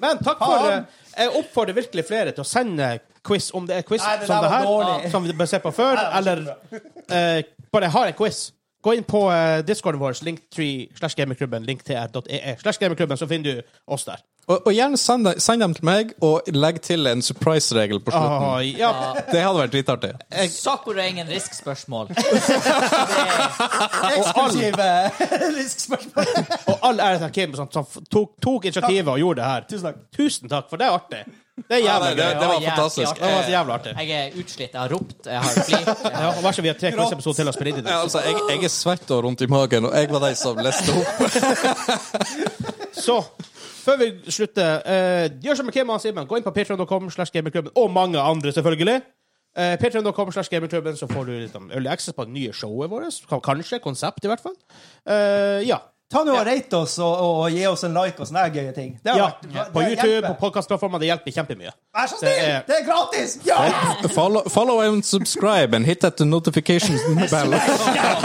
S2: Men takk for eh, Jeg oppfordrer virkelig flere til å sende quiz om det er quiz
S1: Nei, det
S2: som
S1: der
S2: det
S1: var
S2: her,
S1: dårlig.
S2: som vi ble sett på før, eller eh, bare har en quiz. Gå inn på eh, discorden vår, link3 slash gamingklubben, linktr.ee e slash gamingklubben, så finner du oss der.
S4: Og, og gjerne send, de- send dem til meg, og legg til en surprise-regel på slutten.
S2: Åh, Ah, ja.
S4: Det hadde vært dritartig.
S3: Sakura er ingen risk-spørsmål.
S1: Eksklusive eh, risk-spørsmål.
S2: Og all ære til Kim som, som tok, tok initiativet og gjorde det her.
S1: Tusen takk.
S2: Tusen takk, for det er artig. Det er
S4: Ja,
S2: jævla
S4: nei, det,
S2: gøy.
S4: det var
S3: Ja, jævlig
S4: fantastisk.
S2: Det var
S4: Eh,
S2: så jævla artig.
S3: Jeg er utslitt, jeg har ropt, jeg har flirt. jeg
S2: Ja,
S3: har-
S2: og vær så vi har tre quiz-episoder til å spille inn i det.
S4: altså, jeg, jeg er svett og rundt i magen, og jeg var den som leste opp.
S2: Så, før vi slutter, eh, gjør som Kim og Simen. Gå inn på patreon.com slash gamingklubben, og mange andre, selvfølgelig. Uh, Patreon.com slash gamingklubben, så får du litt om early access på det nye showet vårt. Kan- Kanskje. Konsept, i hvert fall. Eh, ja.
S1: Ta nå og rate oss og, og, og gi oss en like og sånne her gøye ting. Det har
S2: ja.
S1: vært- det-
S2: På
S1: det
S2: YouTube,
S1: hjelper.
S2: på podkastplattformer. Det hjelper kjempemye.
S1: Vær så
S2: Det
S1: snill!
S2: er-
S1: Det er gratis! Ja!
S4: Follow, follow and subscribe and hit that notification bell.
S2: Jeg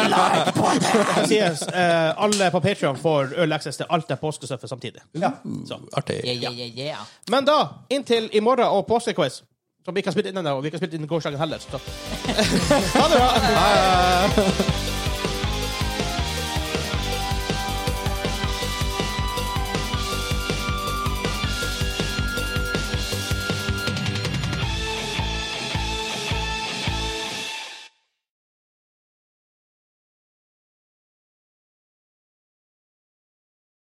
S2: sier, eh, alle på Patreon får early access til alt jeg poster stuffet samtidig.
S4: Artig.
S3: Yeah, yeah, yeah, yeah.
S2: Men da, inntil i morgen og påskequiz, som vi ikke har spilt inn ennå, og vi ikke har spilt inn gårsdagen heller. Så. ha det bra!